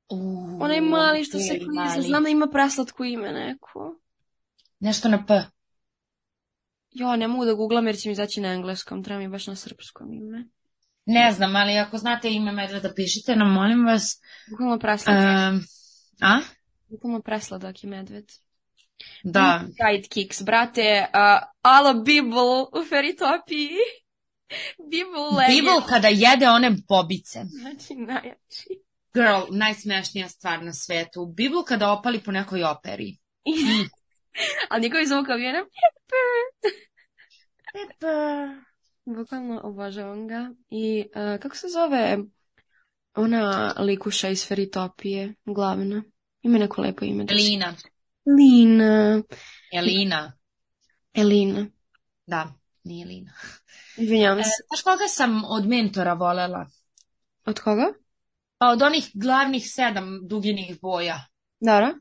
[SPEAKER 2] Uuu,
[SPEAKER 1] Onaj mali što se
[SPEAKER 2] beli
[SPEAKER 1] kliza,
[SPEAKER 2] mali.
[SPEAKER 1] znam da ima preslatko ime neko.
[SPEAKER 2] Nešto na P.
[SPEAKER 1] Jo, ne mogu da googlam jer će mi izaći na engleskom, treba mi baš na srpskom ime.
[SPEAKER 2] Ne znam, ali ako znate ime medveda, pišite nam, molim vas.
[SPEAKER 1] Bukvalno presladak,
[SPEAKER 2] Ehm, a?
[SPEAKER 1] bukvalno presladak je medved.
[SPEAKER 2] Da,
[SPEAKER 1] Sidekicks, brate, uh, ala Bibel u Feritopiji. Bibel legend.
[SPEAKER 2] Bibel kada jede one bobice.
[SPEAKER 1] Znači, najjači.
[SPEAKER 2] Girl, najsmešnija stvar na svetu. Bibel kada opali po nekoj operi.
[SPEAKER 1] I- A njegovi zvuk aviona, pepper. Bukvalno obožavam ga. I uh, kako se zove ona likuša iz Feritopije, glavna? Ima neko lepo ime. da se-
[SPEAKER 2] Elina.
[SPEAKER 1] Lina.
[SPEAKER 2] Elina.
[SPEAKER 1] Elina.
[SPEAKER 2] Da, nije Lina.
[SPEAKER 1] Izvinjavam
[SPEAKER 2] E,
[SPEAKER 1] se.
[SPEAKER 2] znaš koga sam od mentora volela?
[SPEAKER 1] Od koga?
[SPEAKER 2] Pa od onih glavnih sedam duginih boja.
[SPEAKER 1] Dara?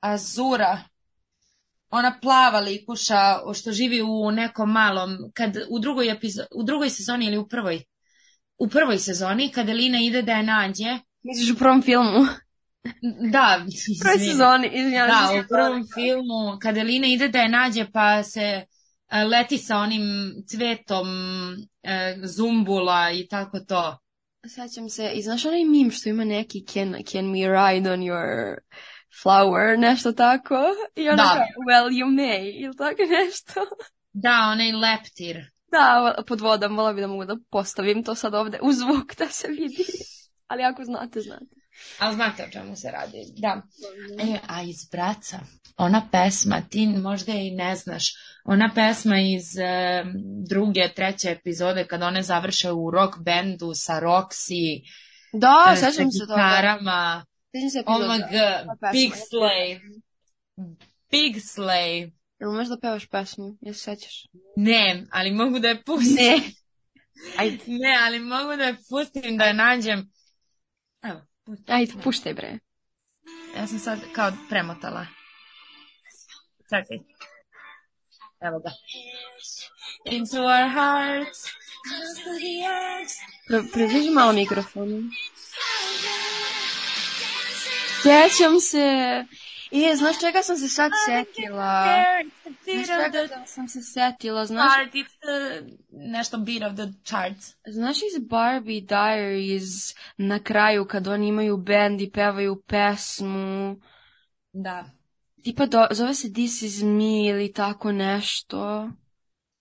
[SPEAKER 2] Azura. Ona plava likuša o što živi u nekom malom, kad u drugoj, epizo- u drugoj sezoni ili u prvoj, u prvoj sezoni, kad Elina ide da je nađe,
[SPEAKER 1] Misliš u prvom filmu?
[SPEAKER 2] da,
[SPEAKER 1] U prvoj
[SPEAKER 2] izvini.
[SPEAKER 1] sezoni, izvinjavam se.
[SPEAKER 2] Da, u prvom filmu, kad Elina ide da je nađe, pa se e, leti sa onim cvetom e, zumbula i tako to.
[SPEAKER 1] Sećam se, i znaš onaj mim što ima neki can, can we ride on your flower, nešto tako? I onda
[SPEAKER 2] Da.
[SPEAKER 1] kao, well you may, ili tako nešto.
[SPEAKER 2] Da, onaj leptir.
[SPEAKER 1] Da, pod vodom, vola bi da mogu da postavim to sad ovde u zvuk da se vidi. Ali ako znate, znate.
[SPEAKER 2] Ali znate o čemu se radi. Da. E, a iz Braca, ona pesma, ti možda i ne znaš, ona pesma iz e, druge, treće epizode kad one završe u rock bendu sa Roxy,
[SPEAKER 1] Da,
[SPEAKER 2] e, sa
[SPEAKER 1] sećam se toga.
[SPEAKER 2] gitarama,
[SPEAKER 1] Sećam se
[SPEAKER 2] oh
[SPEAKER 1] epizoda.
[SPEAKER 2] my
[SPEAKER 1] pesma.
[SPEAKER 2] god, Big Slay, Big Slay,
[SPEAKER 1] Jel umeš da pevaš pesmu? Jel se sećaš?
[SPEAKER 2] ne, ali mogu da je pustim, ne,
[SPEAKER 1] Ajde,
[SPEAKER 2] ali mogu da je pustim da je nađem, evo, pustim.
[SPEAKER 1] ajde, puštaj bre.
[SPEAKER 2] Ja sam sad kao premotala. Čekaj. Evo ga. Into our hearts.
[SPEAKER 1] Pre, približi malo mikrofon. Sjećam se. E, znaš čega sam se sad setila? Znaš čega da sam se setila? Znaš,
[SPEAKER 2] Heart, it's the, nešto beat of the charts.
[SPEAKER 1] znaš iz Barbie Diaries na kraju kad oni imaju bend i pevaju pesmu?
[SPEAKER 2] Da.
[SPEAKER 1] Tipa do, zove se This is me ili tako nešto.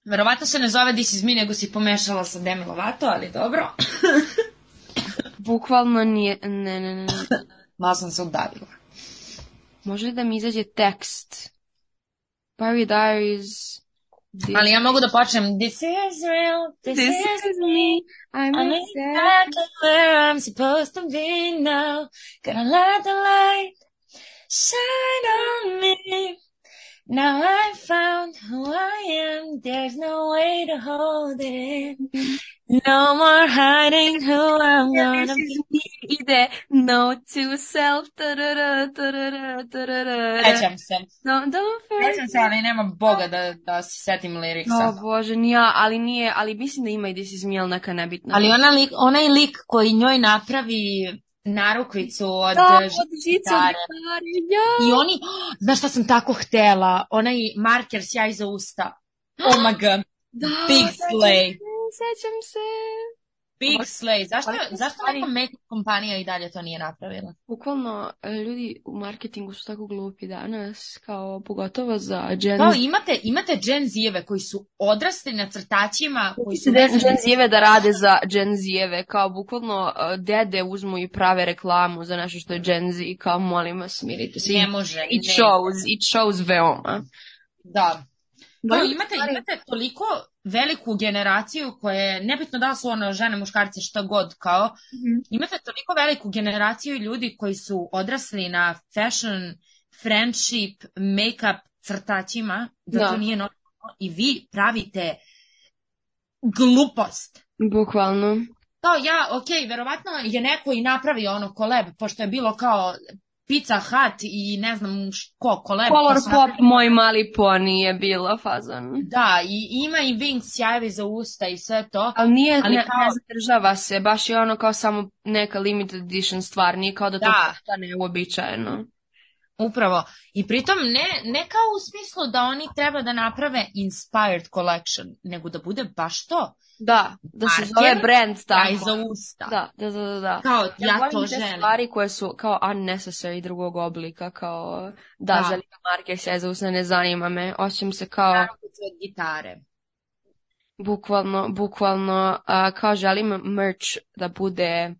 [SPEAKER 2] Verovatno se ne zove This is me, nego si pomešala sa Demi Lovato, ali dobro.
[SPEAKER 1] Bukvalno nije... Ne, ne, ne. ne.
[SPEAKER 2] Malo sam se udavila.
[SPEAKER 1] Može da mi izađe tekst. Barbie Diaries... This-
[SPEAKER 2] Ali ja mogu da počnem. This is real, this,
[SPEAKER 1] This
[SPEAKER 2] is
[SPEAKER 1] is me. I'm
[SPEAKER 2] I'm
[SPEAKER 1] upset.
[SPEAKER 2] exactly where I'm supposed to be now. Gonna let the light shine on me. Now I found who I am. There's no way to hold it. No more hiding who I'm gonna
[SPEAKER 1] This
[SPEAKER 2] be.
[SPEAKER 1] is me. Ide no to self. tarara, tarara, tarara.
[SPEAKER 2] Sećam se.
[SPEAKER 1] No, don't
[SPEAKER 2] Sećam se, ali nema boga da, da se setim liriksa.
[SPEAKER 1] O bože, nija, ali nije, ali mislim da ima i This is me, ali neka nebitna.
[SPEAKER 2] Ali ona lik, onaj lik koji njoj napravi narukvicu od
[SPEAKER 1] da,
[SPEAKER 2] eh,
[SPEAKER 1] od žicu
[SPEAKER 2] gitare.
[SPEAKER 1] gitare, ja.
[SPEAKER 2] I oni, znaš šta sam tako htela? Onaj marker sjaj za usta. Oh my god,
[SPEAKER 1] Da,
[SPEAKER 2] Big
[SPEAKER 1] sećam
[SPEAKER 2] Slay.
[SPEAKER 1] se, Sećam se.
[SPEAKER 2] Big Slay. Zašto,
[SPEAKER 1] Ali to
[SPEAKER 2] zašto
[SPEAKER 1] stvari-
[SPEAKER 2] neka make kompanija i dalje to nije napravila?
[SPEAKER 1] Bukvalno, e, ljudi u marketingu su tako glupi danas, kao pogotovo za Gen
[SPEAKER 2] Kao
[SPEAKER 1] Z.
[SPEAKER 2] imate, imate Gen Zijeve koji su odrasli na crtačima, koji su
[SPEAKER 1] Gen, Gen Zijeve da rade za Gen Zijeve, kao bukvalno e, dede uzmu i prave reklamu za nešto što je Gen Z, kao molim vas, smirite se.
[SPEAKER 2] ne može.
[SPEAKER 1] It
[SPEAKER 2] ne.
[SPEAKER 1] shows, it shows veoma.
[SPEAKER 2] Da.
[SPEAKER 1] Da,
[SPEAKER 2] Kao imate, imate toliko veliku generaciju koja je, nebitno da li su ono žene, muškarci, šta god, kao, imate toliko veliku generaciju ljudi koji su odrasli na fashion, friendship, make-up crtačima, da,
[SPEAKER 1] Da.
[SPEAKER 2] to nije normalno i vi pravite glupost.
[SPEAKER 1] Bukvalno.
[SPEAKER 2] Kao ja, ok, verovatno je neko i napravio ono koleb, pošto je bilo kao Pizza Hut i ne znam š- ko, koleb. pa
[SPEAKER 1] Color
[SPEAKER 2] su
[SPEAKER 1] pop,
[SPEAKER 2] napravili-
[SPEAKER 1] moj mali poni je bila fazon.
[SPEAKER 2] Da, i ima i Wings sjajevi za usta i sve to.
[SPEAKER 1] Ali nije,
[SPEAKER 2] Ali
[SPEAKER 1] ne,
[SPEAKER 2] kao-
[SPEAKER 1] ne zadržava se, baš je ono kao samo neka limited edition stvar, nije kao da to
[SPEAKER 2] Da.
[SPEAKER 1] postane uobičajeno.
[SPEAKER 2] Upravo. I pritom ne, ne kao u smislu da oni treba da naprave inspired collection, nego da bude baš to.
[SPEAKER 1] Da, da se
[SPEAKER 2] Marker,
[SPEAKER 1] zove brand
[SPEAKER 2] Taj
[SPEAKER 1] tako.
[SPEAKER 2] za usta.
[SPEAKER 1] Da, da, da, da, da.
[SPEAKER 2] Kao, ja,
[SPEAKER 1] volim
[SPEAKER 2] to
[SPEAKER 1] te
[SPEAKER 2] želim.
[SPEAKER 1] stvari koje su kao unnecessary drugog oblika, kao
[SPEAKER 2] Da.
[SPEAKER 1] da, da. želim marker se za usne, ne zanima me, osjećam se kao...
[SPEAKER 2] Naručice od gitare.
[SPEAKER 1] Bukvalno, bukvalno, a, kao želim merch da bude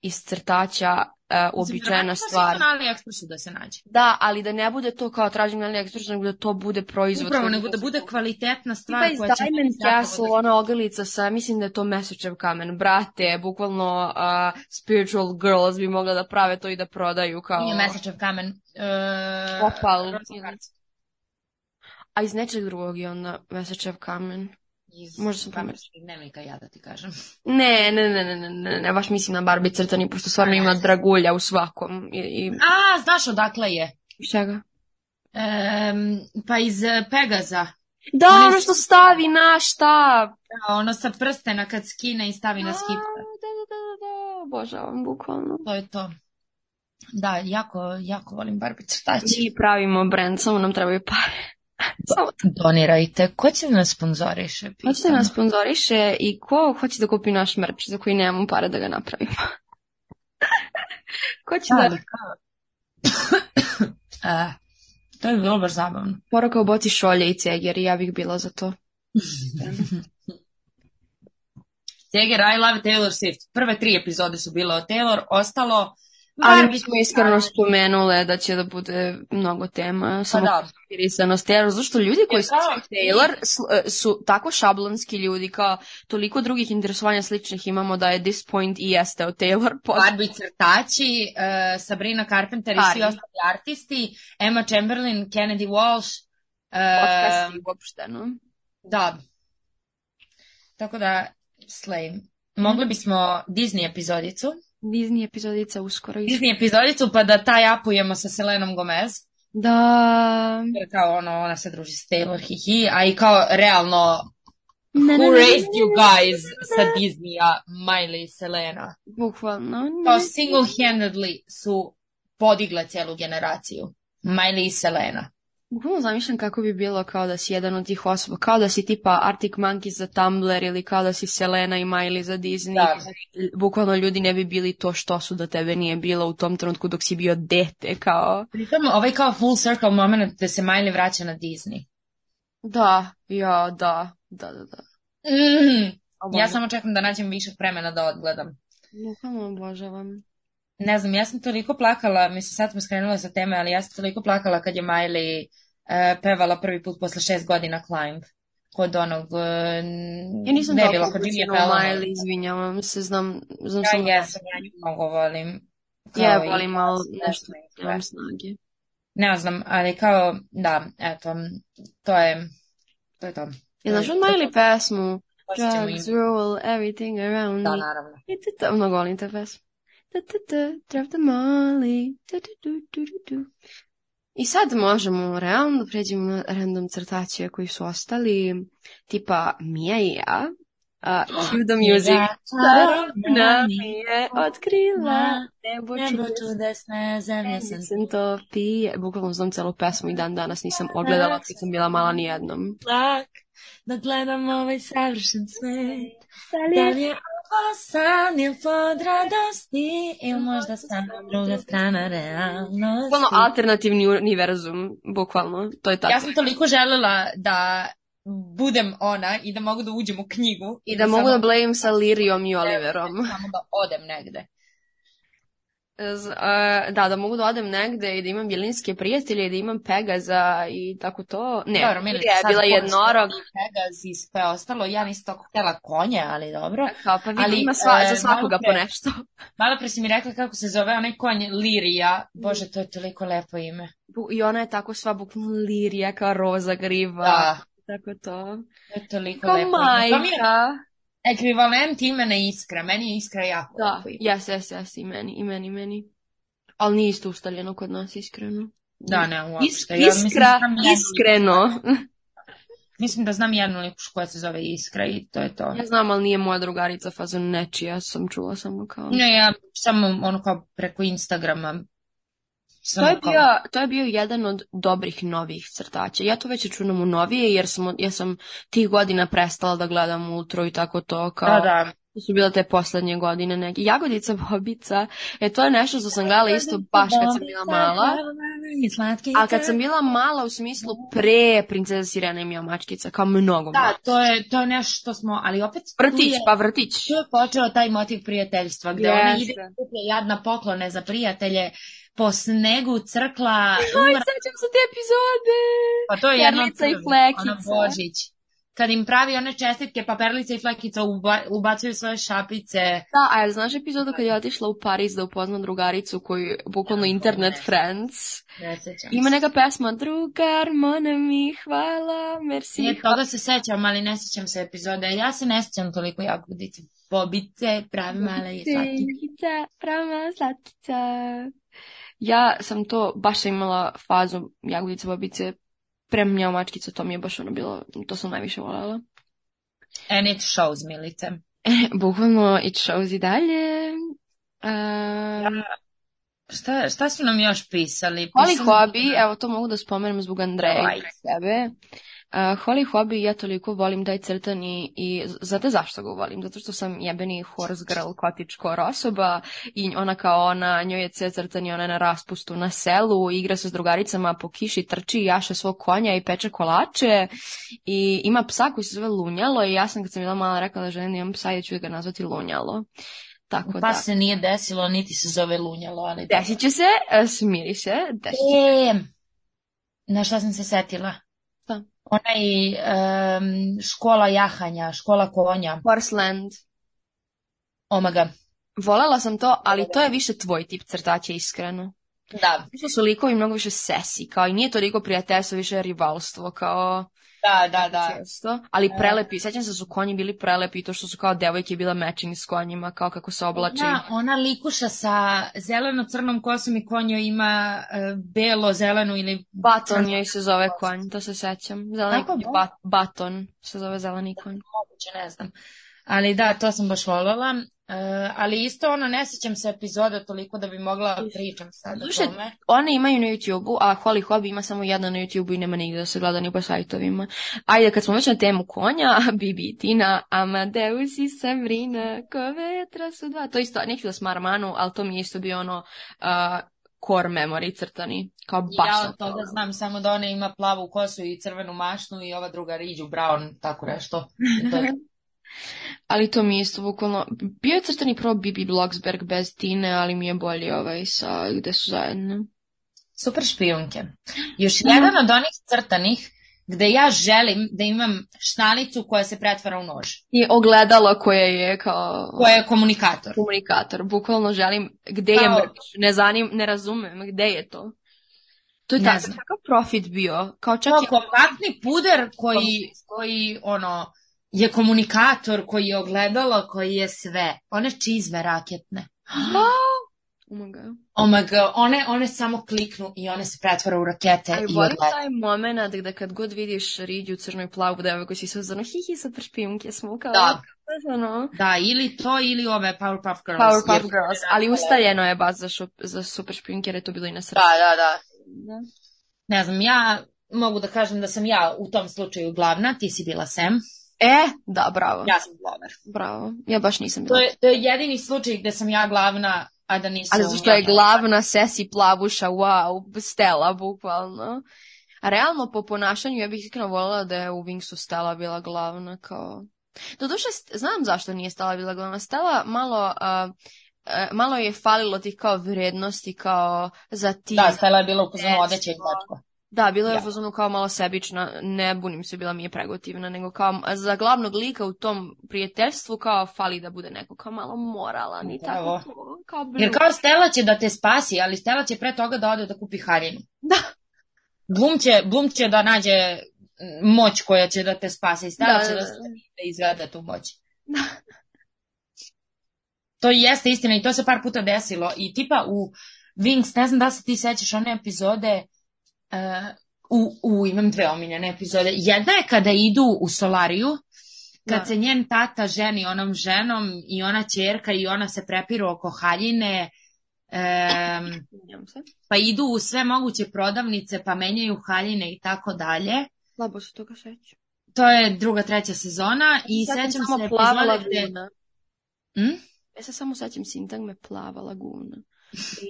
[SPEAKER 1] iz crtaća a, uobičajena
[SPEAKER 2] Verovatno
[SPEAKER 1] stvar.
[SPEAKER 2] Sve to na AliExpressu da se nađe.
[SPEAKER 1] Da, ali da ne bude to kao tražim na AliExpressu, nego da to bude proizvod.
[SPEAKER 2] Upravo,
[SPEAKER 1] koji-
[SPEAKER 2] nego da bude kvalitetna stvar
[SPEAKER 1] Tipa iz
[SPEAKER 2] koja će...
[SPEAKER 1] Diamond ono
[SPEAKER 2] biti
[SPEAKER 1] Castle,
[SPEAKER 2] zapravo-
[SPEAKER 1] ona ogrlica sa, mislim da je to mesečev kamen, brate, bukvalno a, spiritual girls bi mogla da prave to i da prodaju kao...
[SPEAKER 2] Nije mesečev kamen. E,
[SPEAKER 1] Opal.
[SPEAKER 2] rosa kvarc.
[SPEAKER 1] a iz nečeg drugog je onda Mesečev kamen.
[SPEAKER 2] Iz
[SPEAKER 1] Možda sam pametna.
[SPEAKER 2] Pametnih dnevnika ja da ti kažem.
[SPEAKER 1] Ne, ne, ne, ne, ne, ne, ne, baš mislim na Barbie crtani, pošto stvarno ima dragulja u svakom. I, i...
[SPEAKER 2] A, znaš odakle je?
[SPEAKER 1] iz čega?
[SPEAKER 2] Em, pa iz e, Pegaza.
[SPEAKER 1] Da,
[SPEAKER 2] One
[SPEAKER 1] ono
[SPEAKER 2] su-
[SPEAKER 1] što stavi na štab.
[SPEAKER 2] Da, Ono sa prstena kad skine i stavi na
[SPEAKER 1] A,
[SPEAKER 2] skipta.
[SPEAKER 1] Da, da, da, da, da, obožavam, bukvalno.
[SPEAKER 2] To je to. Da, jako, jako volim Barbie crtaće.
[SPEAKER 1] Mi pravimo brand, samo nam trebaju pare. Samo
[SPEAKER 2] Donirajte. Ko će da nas sponzoriše?
[SPEAKER 1] Ko će da nas sponzoriše i ko hoće da kupi naš merch za koji nemamo pare da ga napravimo? ko će da...
[SPEAKER 2] Da. E, to je bilo baš zabavno.
[SPEAKER 1] Poruka oboci šolje i ceger i ja bih bila za to.
[SPEAKER 2] Ceger, I love Taylor Swift. Prve tri epizode su bile o Taylor, ostalo... pa
[SPEAKER 1] Ali mi
[SPEAKER 2] Barbie-
[SPEAKER 1] smo iskreno spomenule da će da bude mnogo tema.
[SPEAKER 2] Pa
[SPEAKER 1] Samo
[SPEAKER 2] da,
[SPEAKER 1] inspirisanost Taylor, zašto ljudi koji su
[SPEAKER 2] Kao-
[SPEAKER 1] Taylor sl- e, su tako šablonski ljudi kao toliko drugih interesovanja sličnih imamo da je this point i jeste o Taylor post.
[SPEAKER 2] Barbie crtači, e, Sabrina Carpenter i svi
[SPEAKER 1] Cardi.
[SPEAKER 2] ostali artisti, Emma Chamberlain, Kennedy Walsh, e,
[SPEAKER 1] podcast i uopšte, no.
[SPEAKER 2] da. Tako da, slay. Mogli bismo Disney epizodicu.
[SPEAKER 1] Disney epizodica uskoro. iz-
[SPEAKER 2] Disney epizodicu pa da taj apujemo sa Selenom Gomez.
[SPEAKER 1] Da.
[SPEAKER 2] Jer kao ono, ona se druži s Taylor, hihi, a i kao realno
[SPEAKER 1] Ne, ne,
[SPEAKER 2] Who
[SPEAKER 1] ne,
[SPEAKER 2] raised
[SPEAKER 1] ne,
[SPEAKER 2] you
[SPEAKER 1] ne,
[SPEAKER 2] guys sa Disneya, Miley i Selena.
[SPEAKER 1] Bukvalno. ne.
[SPEAKER 2] Kao single-handedly su podigle cijelu generaciju. Miley i Selena.
[SPEAKER 1] Bukvalno zamišljam kako bi bilo kao da si jedan od tih osoba. Kao da si tipa Arctic Monkeys za Tumblr ili kao da si Selena i Miley za Disney.
[SPEAKER 2] Da.
[SPEAKER 1] Bukvalno ljudi ne bi bili to što su da tebe nije bilo u tom trenutku dok si bio dete. Kao...
[SPEAKER 2] Pritom ovaj kao full circle moment gde se Miley vraća na Disney.
[SPEAKER 1] Da, ja, da. Da, da, da.
[SPEAKER 2] Mm, ja
[SPEAKER 1] Obožavam.
[SPEAKER 2] samo čekam da nađem više vremena da odgledam.
[SPEAKER 1] Bukvalno obožavam.
[SPEAKER 2] Ne znam, ja sam toliko plakala, mislim sad smo skrenula sa teme, ali ja sam toliko plakala kad je Miley e, pevala prvi put posle šest godina Climb. Kod onog e,
[SPEAKER 1] Ja nisam
[SPEAKER 2] debila,
[SPEAKER 1] toliko
[SPEAKER 2] kod Jimmy'a
[SPEAKER 1] upućena u
[SPEAKER 2] Fallona.
[SPEAKER 1] Miley, izvinjavam se, znam, znam
[SPEAKER 2] Ja
[SPEAKER 1] samo da
[SPEAKER 2] jesam, ja nju mnogo volim.
[SPEAKER 1] ja
[SPEAKER 2] Kao i-
[SPEAKER 1] volim, ali nešto
[SPEAKER 2] sve.
[SPEAKER 1] nemam snage.
[SPEAKER 2] Ne znam, ali kao, da, eto, to je, to je to.
[SPEAKER 1] Ja znaš
[SPEAKER 2] To
[SPEAKER 1] od
[SPEAKER 2] je-
[SPEAKER 1] Miley pesmu?
[SPEAKER 2] to ćemo im-
[SPEAKER 1] Drugs rule everything around
[SPEAKER 2] Da,
[SPEAKER 1] me.
[SPEAKER 2] naravno.
[SPEAKER 1] I tu- tu- Mnogo volim te pesmu. Tu, tu, tu, Drop the Molly. Tu, tu, tu, tu, tu, tu. I sad možemo realno da pređemo na random crtače koji su ostali, tipa Mija i ja, a Cue the Music. Čarobna mi je otkrila nebo
[SPEAKER 2] Nebo
[SPEAKER 1] čudesne
[SPEAKER 2] čudesne zemlje sam
[SPEAKER 1] sam to pije. Bukvalno znam celu pesmu i dan danas nisam ogledala kad sam bila mala nijednom.
[SPEAKER 2] tlak, da gledam ovaj savršen svet. Da li je ovo san ili pod radosti, ili možda samo druga strana realnosti.
[SPEAKER 1] Bukvalno alternativni univerzum, bukvalno. To je tako.
[SPEAKER 2] Ono, Ja sam toliko željela da budem ona i da mogu da uđem u knjigu.
[SPEAKER 1] I da mogu da
[SPEAKER 2] samo-
[SPEAKER 1] blame sa Lirijom i Oliverom.
[SPEAKER 2] Samo da odem negde.
[SPEAKER 1] Z- e, da, da mogu da odem negde i da imam bjelinske prijatelje i da imam Pegaza i tako to. Ne,
[SPEAKER 2] Dobro,
[SPEAKER 1] Lirija
[SPEAKER 2] Milena,
[SPEAKER 1] je
[SPEAKER 2] sad
[SPEAKER 1] bila
[SPEAKER 2] konj,
[SPEAKER 1] jednorog.
[SPEAKER 2] i Pegaz i sve ostalo. Ja nisam toliko htjela konje, ali dobro.
[SPEAKER 1] Kao, pa vidi,
[SPEAKER 2] Ali,
[SPEAKER 1] ima sva,
[SPEAKER 2] e,
[SPEAKER 1] za svakoga
[SPEAKER 2] malo pre-
[SPEAKER 1] po nešto.
[SPEAKER 2] Malo pre si mi rekla kako se zove onaj konj Lirija. Bože, to je toliko lepo ime.
[SPEAKER 1] Bu- I ona je tako sva bukvalno Lirija, kao roza griva.
[SPEAKER 2] Da,
[SPEAKER 1] Tako to.
[SPEAKER 2] to je toliko
[SPEAKER 1] Kao
[SPEAKER 2] lepo ime.
[SPEAKER 1] Pa
[SPEAKER 2] To mi je
[SPEAKER 1] majka.
[SPEAKER 2] ekvivalent imena Iskra. Meni je Iskra jako
[SPEAKER 1] Da,
[SPEAKER 2] lepo ime.
[SPEAKER 1] jes, jes, jes, i meni, i meni, i meni. Ali nije isto ustaljeno kod nas, iskreno.
[SPEAKER 2] Da, ne, uopšte.
[SPEAKER 1] Is-
[SPEAKER 2] Ja mislim
[SPEAKER 1] iskra,
[SPEAKER 2] da znam jednu-
[SPEAKER 1] iskreno.
[SPEAKER 2] Mislim da znam jednu lipušu koja se zove Iskra i to je to.
[SPEAKER 1] Ja znam, ali nije moja drugarica fazon nečija, sam čula samo kao...
[SPEAKER 2] Ne, ja samo ono kao preko Instagrama.
[SPEAKER 1] To
[SPEAKER 2] Samo
[SPEAKER 1] je,
[SPEAKER 2] kao-
[SPEAKER 1] bio, to je bio jedan od dobrih novih crtača. Ja to već računam u novije, jer sam, ja sam tih godina prestala da gledam Ultru i tako to. Kao,
[SPEAKER 2] Da, da.
[SPEAKER 1] To su bile te poslednje godine neke. Jagodica Bobica, e, to je nešto što sam gledala isto baš kad sam bila mala.
[SPEAKER 2] I slatki
[SPEAKER 1] A kad sam bila mala u smislu pre Princeza Sirena i Mija Mačkica, kao mnogo
[SPEAKER 2] Da,
[SPEAKER 1] mala.
[SPEAKER 2] to je, to je nešto što smo, ali opet tu
[SPEAKER 1] Vrtić,
[SPEAKER 2] je,
[SPEAKER 1] pa vrtić.
[SPEAKER 2] tu je počeo taj motiv prijateljstva, gde ona
[SPEAKER 1] Jeste.
[SPEAKER 2] ide i kuplja jadna poklone za prijatelje, po snegu crkla,
[SPEAKER 1] Aj,
[SPEAKER 2] umra,
[SPEAKER 1] sećam se te epizode!
[SPEAKER 2] pa to je jedno od
[SPEAKER 1] perlica i
[SPEAKER 2] prvih, ono
[SPEAKER 1] flekica.
[SPEAKER 2] Božić. kad im pravi one čestitke, pa Perlica i Flekica uba, ubacuju svoje šapice.
[SPEAKER 1] Da, a jel znaš epizodu kad je otišla u Pariz da upozna drugaricu koju je bukvalno
[SPEAKER 2] Ja,
[SPEAKER 1] internet
[SPEAKER 2] ne.
[SPEAKER 1] friends?
[SPEAKER 2] Ne sećam se.
[SPEAKER 1] Ima neka pesma Drugar, mona mi, hvala, merci.
[SPEAKER 2] Ne, toga se sećam, ali ne sećam se epizode. Ja se ne sećam toliko jako dice. Bobice, pravi male i slatki.
[SPEAKER 1] Slatica, prava slatica. Ja sam to baš sam imala fazu jagodice, bobice, premnjao mačkica, to mi je baš ono bilo, to sam najviše voljela.
[SPEAKER 2] And it shows, Milice.
[SPEAKER 1] Bukvalno it shows i dalje. Um,
[SPEAKER 2] Šta, šta su nam još pisali?
[SPEAKER 1] Holly
[SPEAKER 2] Pisali-
[SPEAKER 1] Hobby, evo to mogu da spomenem zbog Andreja i
[SPEAKER 2] Ovaj.
[SPEAKER 1] zbog sebe. Uh, Holly Hobby ja toliko volim taj crtani i znate zašto ga volim? Zato što sam jebeni horse girl, kotič kor osoba i ona kao ona, njoj je sve crtani, ona je na raspustu na selu, igra se s drugaricama po kiši, trči, jaše svog konja i peče kolače i ima psa koji se zove Lunjalo i ja sam kad sam bila mala rekla da želim da imam psa i da ću ga nazvati Lunjalo. Tako
[SPEAKER 2] Pa
[SPEAKER 1] da,
[SPEAKER 2] se nije desilo, niti se zove Lunjalo, ali...
[SPEAKER 1] desit će se, e, smiri se, desit će
[SPEAKER 2] E, na šta sam se setila?
[SPEAKER 1] Šta?
[SPEAKER 2] Ona i škola jahanja, škola konja.
[SPEAKER 1] Horseland.
[SPEAKER 2] Omaga.
[SPEAKER 1] Volela sam to, ali to je više tvoj tip crtaća, iskreno.
[SPEAKER 2] Da,
[SPEAKER 1] Više su likovi mnogo više sesi, kao i nije toliko prijateljstvo, više je rivalstvo, kao
[SPEAKER 2] da, da, da.
[SPEAKER 1] često. Ali prelepi, sećam se da su konji bili prelepi, to što su kao devojke bile mečini s konjima, kao kako se oblači.
[SPEAKER 2] Ona, ona likuša sa zeleno-crnom kosom i konjo ima e, belo-zelenu ili...
[SPEAKER 1] Baton joj se zove konj, to se sećam. Zeleni
[SPEAKER 2] Kako
[SPEAKER 1] konj,
[SPEAKER 2] bo?
[SPEAKER 1] ba- baton se zove zeleni konj.
[SPEAKER 2] moguće, ne znam. Ali da, to sam baš voljela. E, ali isto ono, ne sjećam se epizoda toliko da bi mogla pričam sad
[SPEAKER 1] Slušaj,
[SPEAKER 2] o tome.
[SPEAKER 1] One imaju na YouTube-u, a Holly Hobby ima samo jedno na YouTube-u i nema nigde da se gleda ni po sajtovima. Ajde, kad smo već na temu konja, Bibi i Tina, Amadeus i Sabrina, ko vetra su dva. To isto, neću da smaram Anu, ali to mi je isto bio ono uh, core memory crtani. Kao baš
[SPEAKER 2] Ja
[SPEAKER 1] sam
[SPEAKER 2] od toga znam samo da ona ima plavu kosu i crvenu mašnu i ova druga Riđu Brown, tako nešto. I to je
[SPEAKER 1] Ali to mi je isto bukvalno... Bio je crtani prvo Bibi Blocksberg bez Tine, ali mi je bolji ovaj sa gde su zajedno.
[SPEAKER 2] Super špijunke. Još jedan od onih crtanih gde ja želim da imam šnalicu koja se pretvara u nož,
[SPEAKER 1] I ogledalo koje je kao...
[SPEAKER 2] koja je komunikator.
[SPEAKER 1] komunikator. Bukvalno želim gde je
[SPEAKER 2] Kao-
[SPEAKER 1] mrviš, ne zanim, ne razumem gde je to. To je
[SPEAKER 2] Ne
[SPEAKER 1] tako,
[SPEAKER 2] znam.
[SPEAKER 1] takav profit bio, kao čak
[SPEAKER 2] Kao
[SPEAKER 1] i
[SPEAKER 2] kompaktni puder koji, koji ono, je komunikator, koji je ogledalo, koji je sve. One čizme raketne.
[SPEAKER 1] Oh my God.
[SPEAKER 2] Omg, one, one samo kliknu i one se pretvara u rakete
[SPEAKER 1] Ali
[SPEAKER 2] i
[SPEAKER 1] volim
[SPEAKER 2] ogledalo.
[SPEAKER 1] taj moment da kad god vidiš Riđu crnu i plavu devojku si se uzano hihi super špijunke smo kao
[SPEAKER 2] Da.
[SPEAKER 1] ono,
[SPEAKER 2] Da, ili to, ili ove Powerpuff Girls.
[SPEAKER 1] Powerpuff
[SPEAKER 2] jer-
[SPEAKER 1] Girls, ali ustaljeno je baš za, šup- za super špijunke jer je to bilo i na
[SPEAKER 2] Da,
[SPEAKER 1] srcu.
[SPEAKER 2] da, da.
[SPEAKER 1] Da.
[SPEAKER 2] Ne znam, ja mogu da kažem da sam ja u tom slučaju glavna, ti si bila Sam,
[SPEAKER 1] E, da, bravo.
[SPEAKER 2] ja sam Glover.
[SPEAKER 1] Bravo. Ja baš nisam
[SPEAKER 2] To
[SPEAKER 1] bila.
[SPEAKER 2] je, to je jedini slučaj gde sam ja glavna, a da nisam...
[SPEAKER 1] Ali zato što je glavna sesi plavuša, wow, Stella, bukvalno. A realno, po ponašanju, ja bih iskreno voljela da je u Wingsu Stella bila glavna, kao... Doduše, st- znam zašto nije Stella bila glavna. Stella malo... a, e, malo je falilo tih kao vrijednosti, kao za tim.
[SPEAKER 2] Da, Stella je bila u poznu
[SPEAKER 1] Yes.
[SPEAKER 2] odeće i tačko.
[SPEAKER 1] Da, bila je
[SPEAKER 2] Ja.
[SPEAKER 1] u fazonu kao malo sebična, ne bunim se, bila mi je pregotivna, nego kao za glavnog lika u tom prijateljstvu kao fali da bude neko kao malo moralan i
[SPEAKER 2] Upravo.
[SPEAKER 1] tako. to, Kao
[SPEAKER 2] Jer kao Stella će da te spasi, ali Stella će pre toga da ode da kupi haljinu.
[SPEAKER 1] Da.
[SPEAKER 2] Blum će, Blum će da nađe mm, moć koja će da te spasi. Stella će da, da izvede tu moć.
[SPEAKER 1] Da.
[SPEAKER 2] To i jeste istina i to se par puta desilo. I tipa u Wings, ne znam da li se ti sećaš one epizode, eh, u, u, imam dve omiljene epizode. Jedna je kada idu u solariju, kad
[SPEAKER 1] Da.
[SPEAKER 2] se njen tata ženi onom ženom i ona ćerka i ona se prepiru oko haljine, em,
[SPEAKER 1] Izvinjam se.
[SPEAKER 2] pa idu u sve moguće prodavnice, pa menjaju haljine i tako dalje.
[SPEAKER 1] Slabo se toga sećam.
[SPEAKER 2] To je druga, treća sezona i sećam se
[SPEAKER 1] plava
[SPEAKER 2] epizode gde...
[SPEAKER 1] laguna.
[SPEAKER 2] Hm?
[SPEAKER 1] Ja se samo sećam sintagme plava laguna.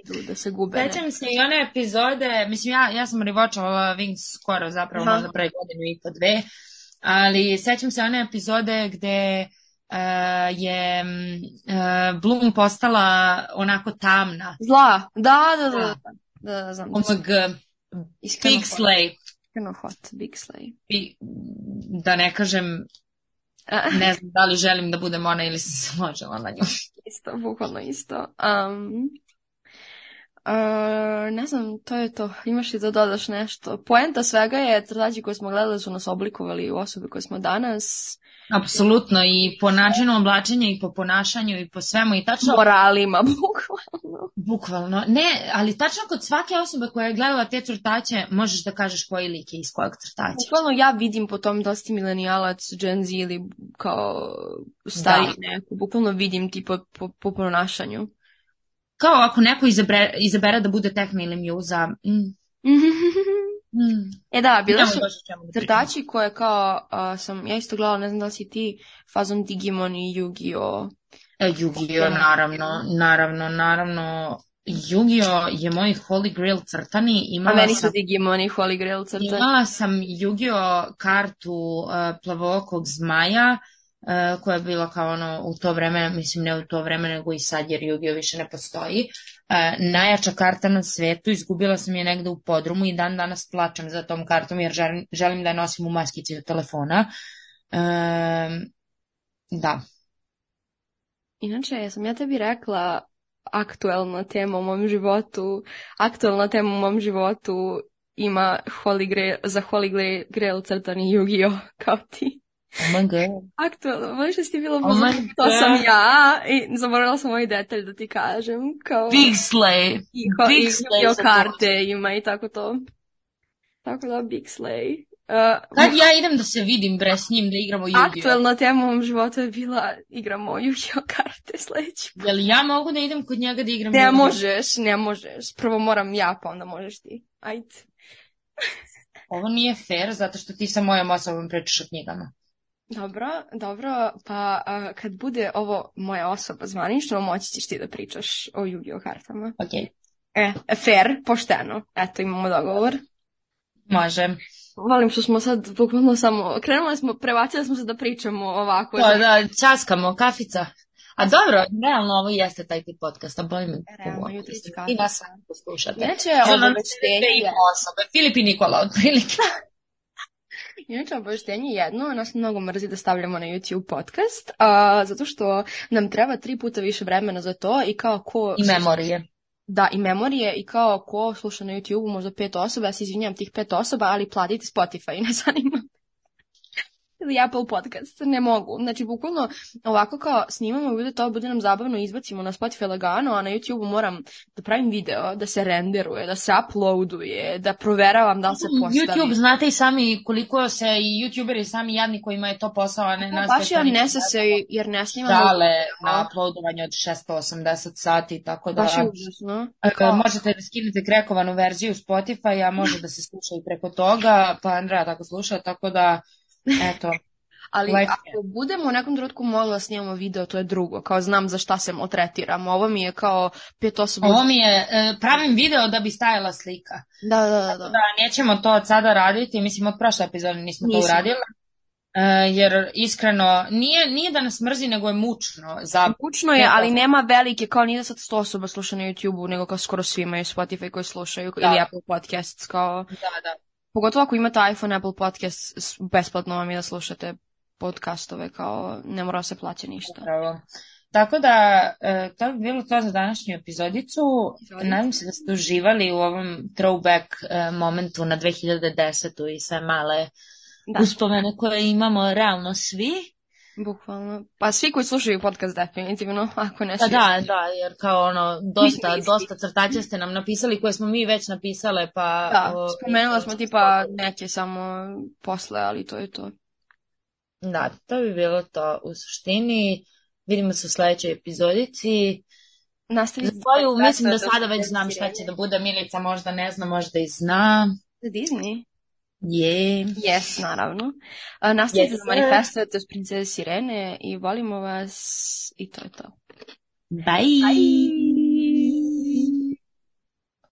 [SPEAKER 1] Idu da se gube. ne?
[SPEAKER 2] Sećam se i one epizode, mislim ja, ja sam rivočala Wings skoro zapravo,
[SPEAKER 1] Aha.
[SPEAKER 2] možda pre godinu i po dve, ali sećam se one epizode gde eh, je mm, eh, Bloom postala onako tamna. e,
[SPEAKER 1] Zla. Da, da, da.
[SPEAKER 2] Da. Ono
[SPEAKER 1] Da, da, da, znam.
[SPEAKER 2] Omg,
[SPEAKER 1] Iskreno,
[SPEAKER 2] Pixley.
[SPEAKER 1] iskreno hot, Bixley.
[SPEAKER 2] I da ne kažem, ne znam da li želim da budem ona ili se složila na nju.
[SPEAKER 1] isto, bukvalno isto. Um, e, ne znam, to je to. Imaš li da dodaš nešto? Poenta svega je, crtači koje smo gledali su nas oblikovali u osobi koje smo danas.
[SPEAKER 2] Apsolutno, i po načinu oblačenja, i po ponašanju, i po svemu, i tačno...
[SPEAKER 1] Moralima, bukvalno.
[SPEAKER 2] Bukvalno. Ne, ali tačno kod svake osobe koja je gledala te crtaće, možeš da kažeš koji lik je iz kojeg crtaća.
[SPEAKER 1] Bukvalno ja vidim po tom da li si milenijalac, Gen Z ili kao stari
[SPEAKER 2] Da.
[SPEAKER 1] neko. Bukvalno vidim ti po, po, po ponašanju.
[SPEAKER 2] Kao ako neko izabere, izabere da bude tehna ili mjuza. Mm, mm.
[SPEAKER 1] e da, bile
[SPEAKER 2] Nemam
[SPEAKER 1] su
[SPEAKER 2] baš o čemu da pričam.
[SPEAKER 1] crtači koje kao a, sam, ja isto gledala, ne znam da li si ti, fazon Digimon i Yu-Gi-Oh!
[SPEAKER 2] E, Yu-Gi-Oh, naravno, naravno, naravno. Yu-Gi-Oh je moj holy grail crtani.
[SPEAKER 1] A
[SPEAKER 2] Imala
[SPEAKER 1] meni
[SPEAKER 2] sam,
[SPEAKER 1] su Digimon i Holy Grail crta.
[SPEAKER 2] imala sam Yu-Gi-Oh kartu uh, plavookog zmaja, uh, koja je bila kao ono u to vreme, mislim ne u to vreme, nego i sad jer Yu-Gi-Oh više ne postoji. Uh, najjača karta na svetu, izgubila sam je negde u podrumu i dan danas plačem za tom kartom jer želim, želim da je nosim u maskici od telefona. Um, da.
[SPEAKER 1] Inače, sam ja tebi rekla aktuelna tema u mom životu, aktuelna tema u mom životu ima Holy Grail, za Holy Grail, Grail crtani Yu-Gi-Oh! kao ti.
[SPEAKER 2] Oh my god.
[SPEAKER 1] Aktuelno, možeš da Ono si ti
[SPEAKER 2] Oh
[SPEAKER 1] bilo
[SPEAKER 2] my
[SPEAKER 1] pozorna, to
[SPEAKER 2] God.
[SPEAKER 1] sam ja i zaboravila sam ovaj detalj da ti kažem, kao
[SPEAKER 2] Big Slay.
[SPEAKER 1] i, kao, i
[SPEAKER 2] Big Slay
[SPEAKER 1] Yu-Gi-Oh!
[SPEAKER 2] sam
[SPEAKER 1] karte ima i tako to. Tako da, Big Slay. Uh,
[SPEAKER 2] Kad ja idem da se vidim bre s njim da igramo Yu-Gi-Oh?
[SPEAKER 1] Aktuelna tema u mom životu je bila igramo Yu-Gi-Oh karte sledeći.
[SPEAKER 2] Je li ja mogu da idem kod njega da igram
[SPEAKER 1] Ne
[SPEAKER 2] Yu-Gi-Oh?
[SPEAKER 1] možeš, ne možeš. Prvo moram ja, pa onda možeš ti. Ajde.
[SPEAKER 2] Ovo nije fair zato što ti sa mojom osobom pričaš o knjigama.
[SPEAKER 1] Dobro, dobro, pa a, kad bude ovo moja osoba zvanično, moći ćeš ti da pričaš o Yu-Gi-Oh kartama.
[SPEAKER 2] Ok,
[SPEAKER 1] E, fair, pošteno. Eto, imamo dogovor.
[SPEAKER 2] može.
[SPEAKER 1] Volim što smo sad bukvalno samo, krenuli smo, prebacili smo se da pričamo ovako.
[SPEAKER 2] To Pa, da, časkamo, kafica. A dobro, realno ovo jeste taj tip podcasta, bojim me.
[SPEAKER 1] Realno,
[SPEAKER 2] ovo.
[SPEAKER 1] jutros je
[SPEAKER 2] I
[SPEAKER 1] kafica.
[SPEAKER 2] nas sami poslušate.
[SPEAKER 1] Inače,
[SPEAKER 2] Ono, dve i
[SPEAKER 1] obaveštenje.
[SPEAKER 2] po osobe, Filip i Nikola, otprilike.
[SPEAKER 1] Inače, obaveštenje jedno, nas mnogo mrzi da stavljamo na YouTube podcast, a, zato što nam treba tri puta više vremena za to i kao ko...
[SPEAKER 2] I memorije.
[SPEAKER 1] Da, i memorije i kao ko sluša na YouTube možda pet osoba, ja se izvinjam tih pet osoba, ali platite Spotify, ne zanima. Ili Apple podcast, ne mogu. Znači, bukvalno ovako kao snimamo bude to, bude nam zabavno, izbacimo na Spotify lagano, a na YouTube moram da pravim video, da se renderuje, da se uploaduje, da proveravam da li se postavi.
[SPEAKER 2] Mm, YouTube, znate i sami koliko se i youtuberi sami jadni kojima je to posao, a ne
[SPEAKER 1] Pa,
[SPEAKER 2] nas.
[SPEAKER 1] Baš je ali
[SPEAKER 2] koji-
[SPEAKER 1] ne se, jer ne snimamo
[SPEAKER 2] dale
[SPEAKER 1] Da.
[SPEAKER 2] na uploadovanje od 680 sati, tako da
[SPEAKER 1] Baš je užasno.
[SPEAKER 2] e,
[SPEAKER 1] kao-
[SPEAKER 2] možete da skinete krekovanu verziju Spotify, a može da se sluša i preko toga, pa Andreja tako sluša, tako da, eto,
[SPEAKER 1] Ali
[SPEAKER 2] Life
[SPEAKER 1] ako budemo u nekom trenutku mogli da snimamo video, to je drugo. Kao znam za šta se maltretiram. Ovo mi je kao pet osoba.
[SPEAKER 2] ovo mi je, e, pravim video da bi stajala slika.
[SPEAKER 1] Da, da, da. da.
[SPEAKER 2] Da, nećemo to od sada raditi, mislim od prošle epizode nismo to
[SPEAKER 1] Nismo.
[SPEAKER 2] uradile. e, jer iskreno, nije, nije da nas mrzi, nego je mučno za
[SPEAKER 1] Kućno je, ali nema velike, kao nije da sad 100 osoba sluša na YouTube-u, nego kao skoro svi imaju Spotify koji slušaju ili Apple Podcasts, kao...
[SPEAKER 2] da, da.
[SPEAKER 1] Pogotovo ako imate iPhone, Apple Podcast, s- besplatno vam je da slušate podcastove, kao ne mora se plaćati ništa.
[SPEAKER 2] Upravo. Tako da, e, to bi bilo to za današnju epizodicu.
[SPEAKER 1] Izvolite.
[SPEAKER 2] Nadam se da ste uživali u ovom throwback e, momentu na 2010. i sve male
[SPEAKER 1] Da.
[SPEAKER 2] uspomene koje imamo realno svi.
[SPEAKER 1] Bukvalno. Pa svi koji slušaju podcast definitivno, ako ne
[SPEAKER 2] Pa
[SPEAKER 1] svi.
[SPEAKER 2] da, da, jer kao ono,
[SPEAKER 1] Mi
[SPEAKER 2] dosta,
[SPEAKER 1] smo isti.
[SPEAKER 2] dosta crtaća ste nam napisali koje smo mi već napisale, pa...
[SPEAKER 1] Da,
[SPEAKER 2] o,
[SPEAKER 1] spomenula smo tipa neke samo posle, ali to je to.
[SPEAKER 2] Da, to bi bilo to u suštini. Vidimo se u sledećoj epizodici.
[SPEAKER 1] Nastavite.
[SPEAKER 2] Za koju mislim da sada već znam šta će da bude. Milica možda ne zna, možda i zna.
[SPEAKER 1] Za Disney?
[SPEAKER 2] Je.
[SPEAKER 1] Yes, naravno. A, nastavite
[SPEAKER 2] Yes,
[SPEAKER 1] da manifestujete uz princeze Sirene i volimo vas i to je to.
[SPEAKER 2] Bye.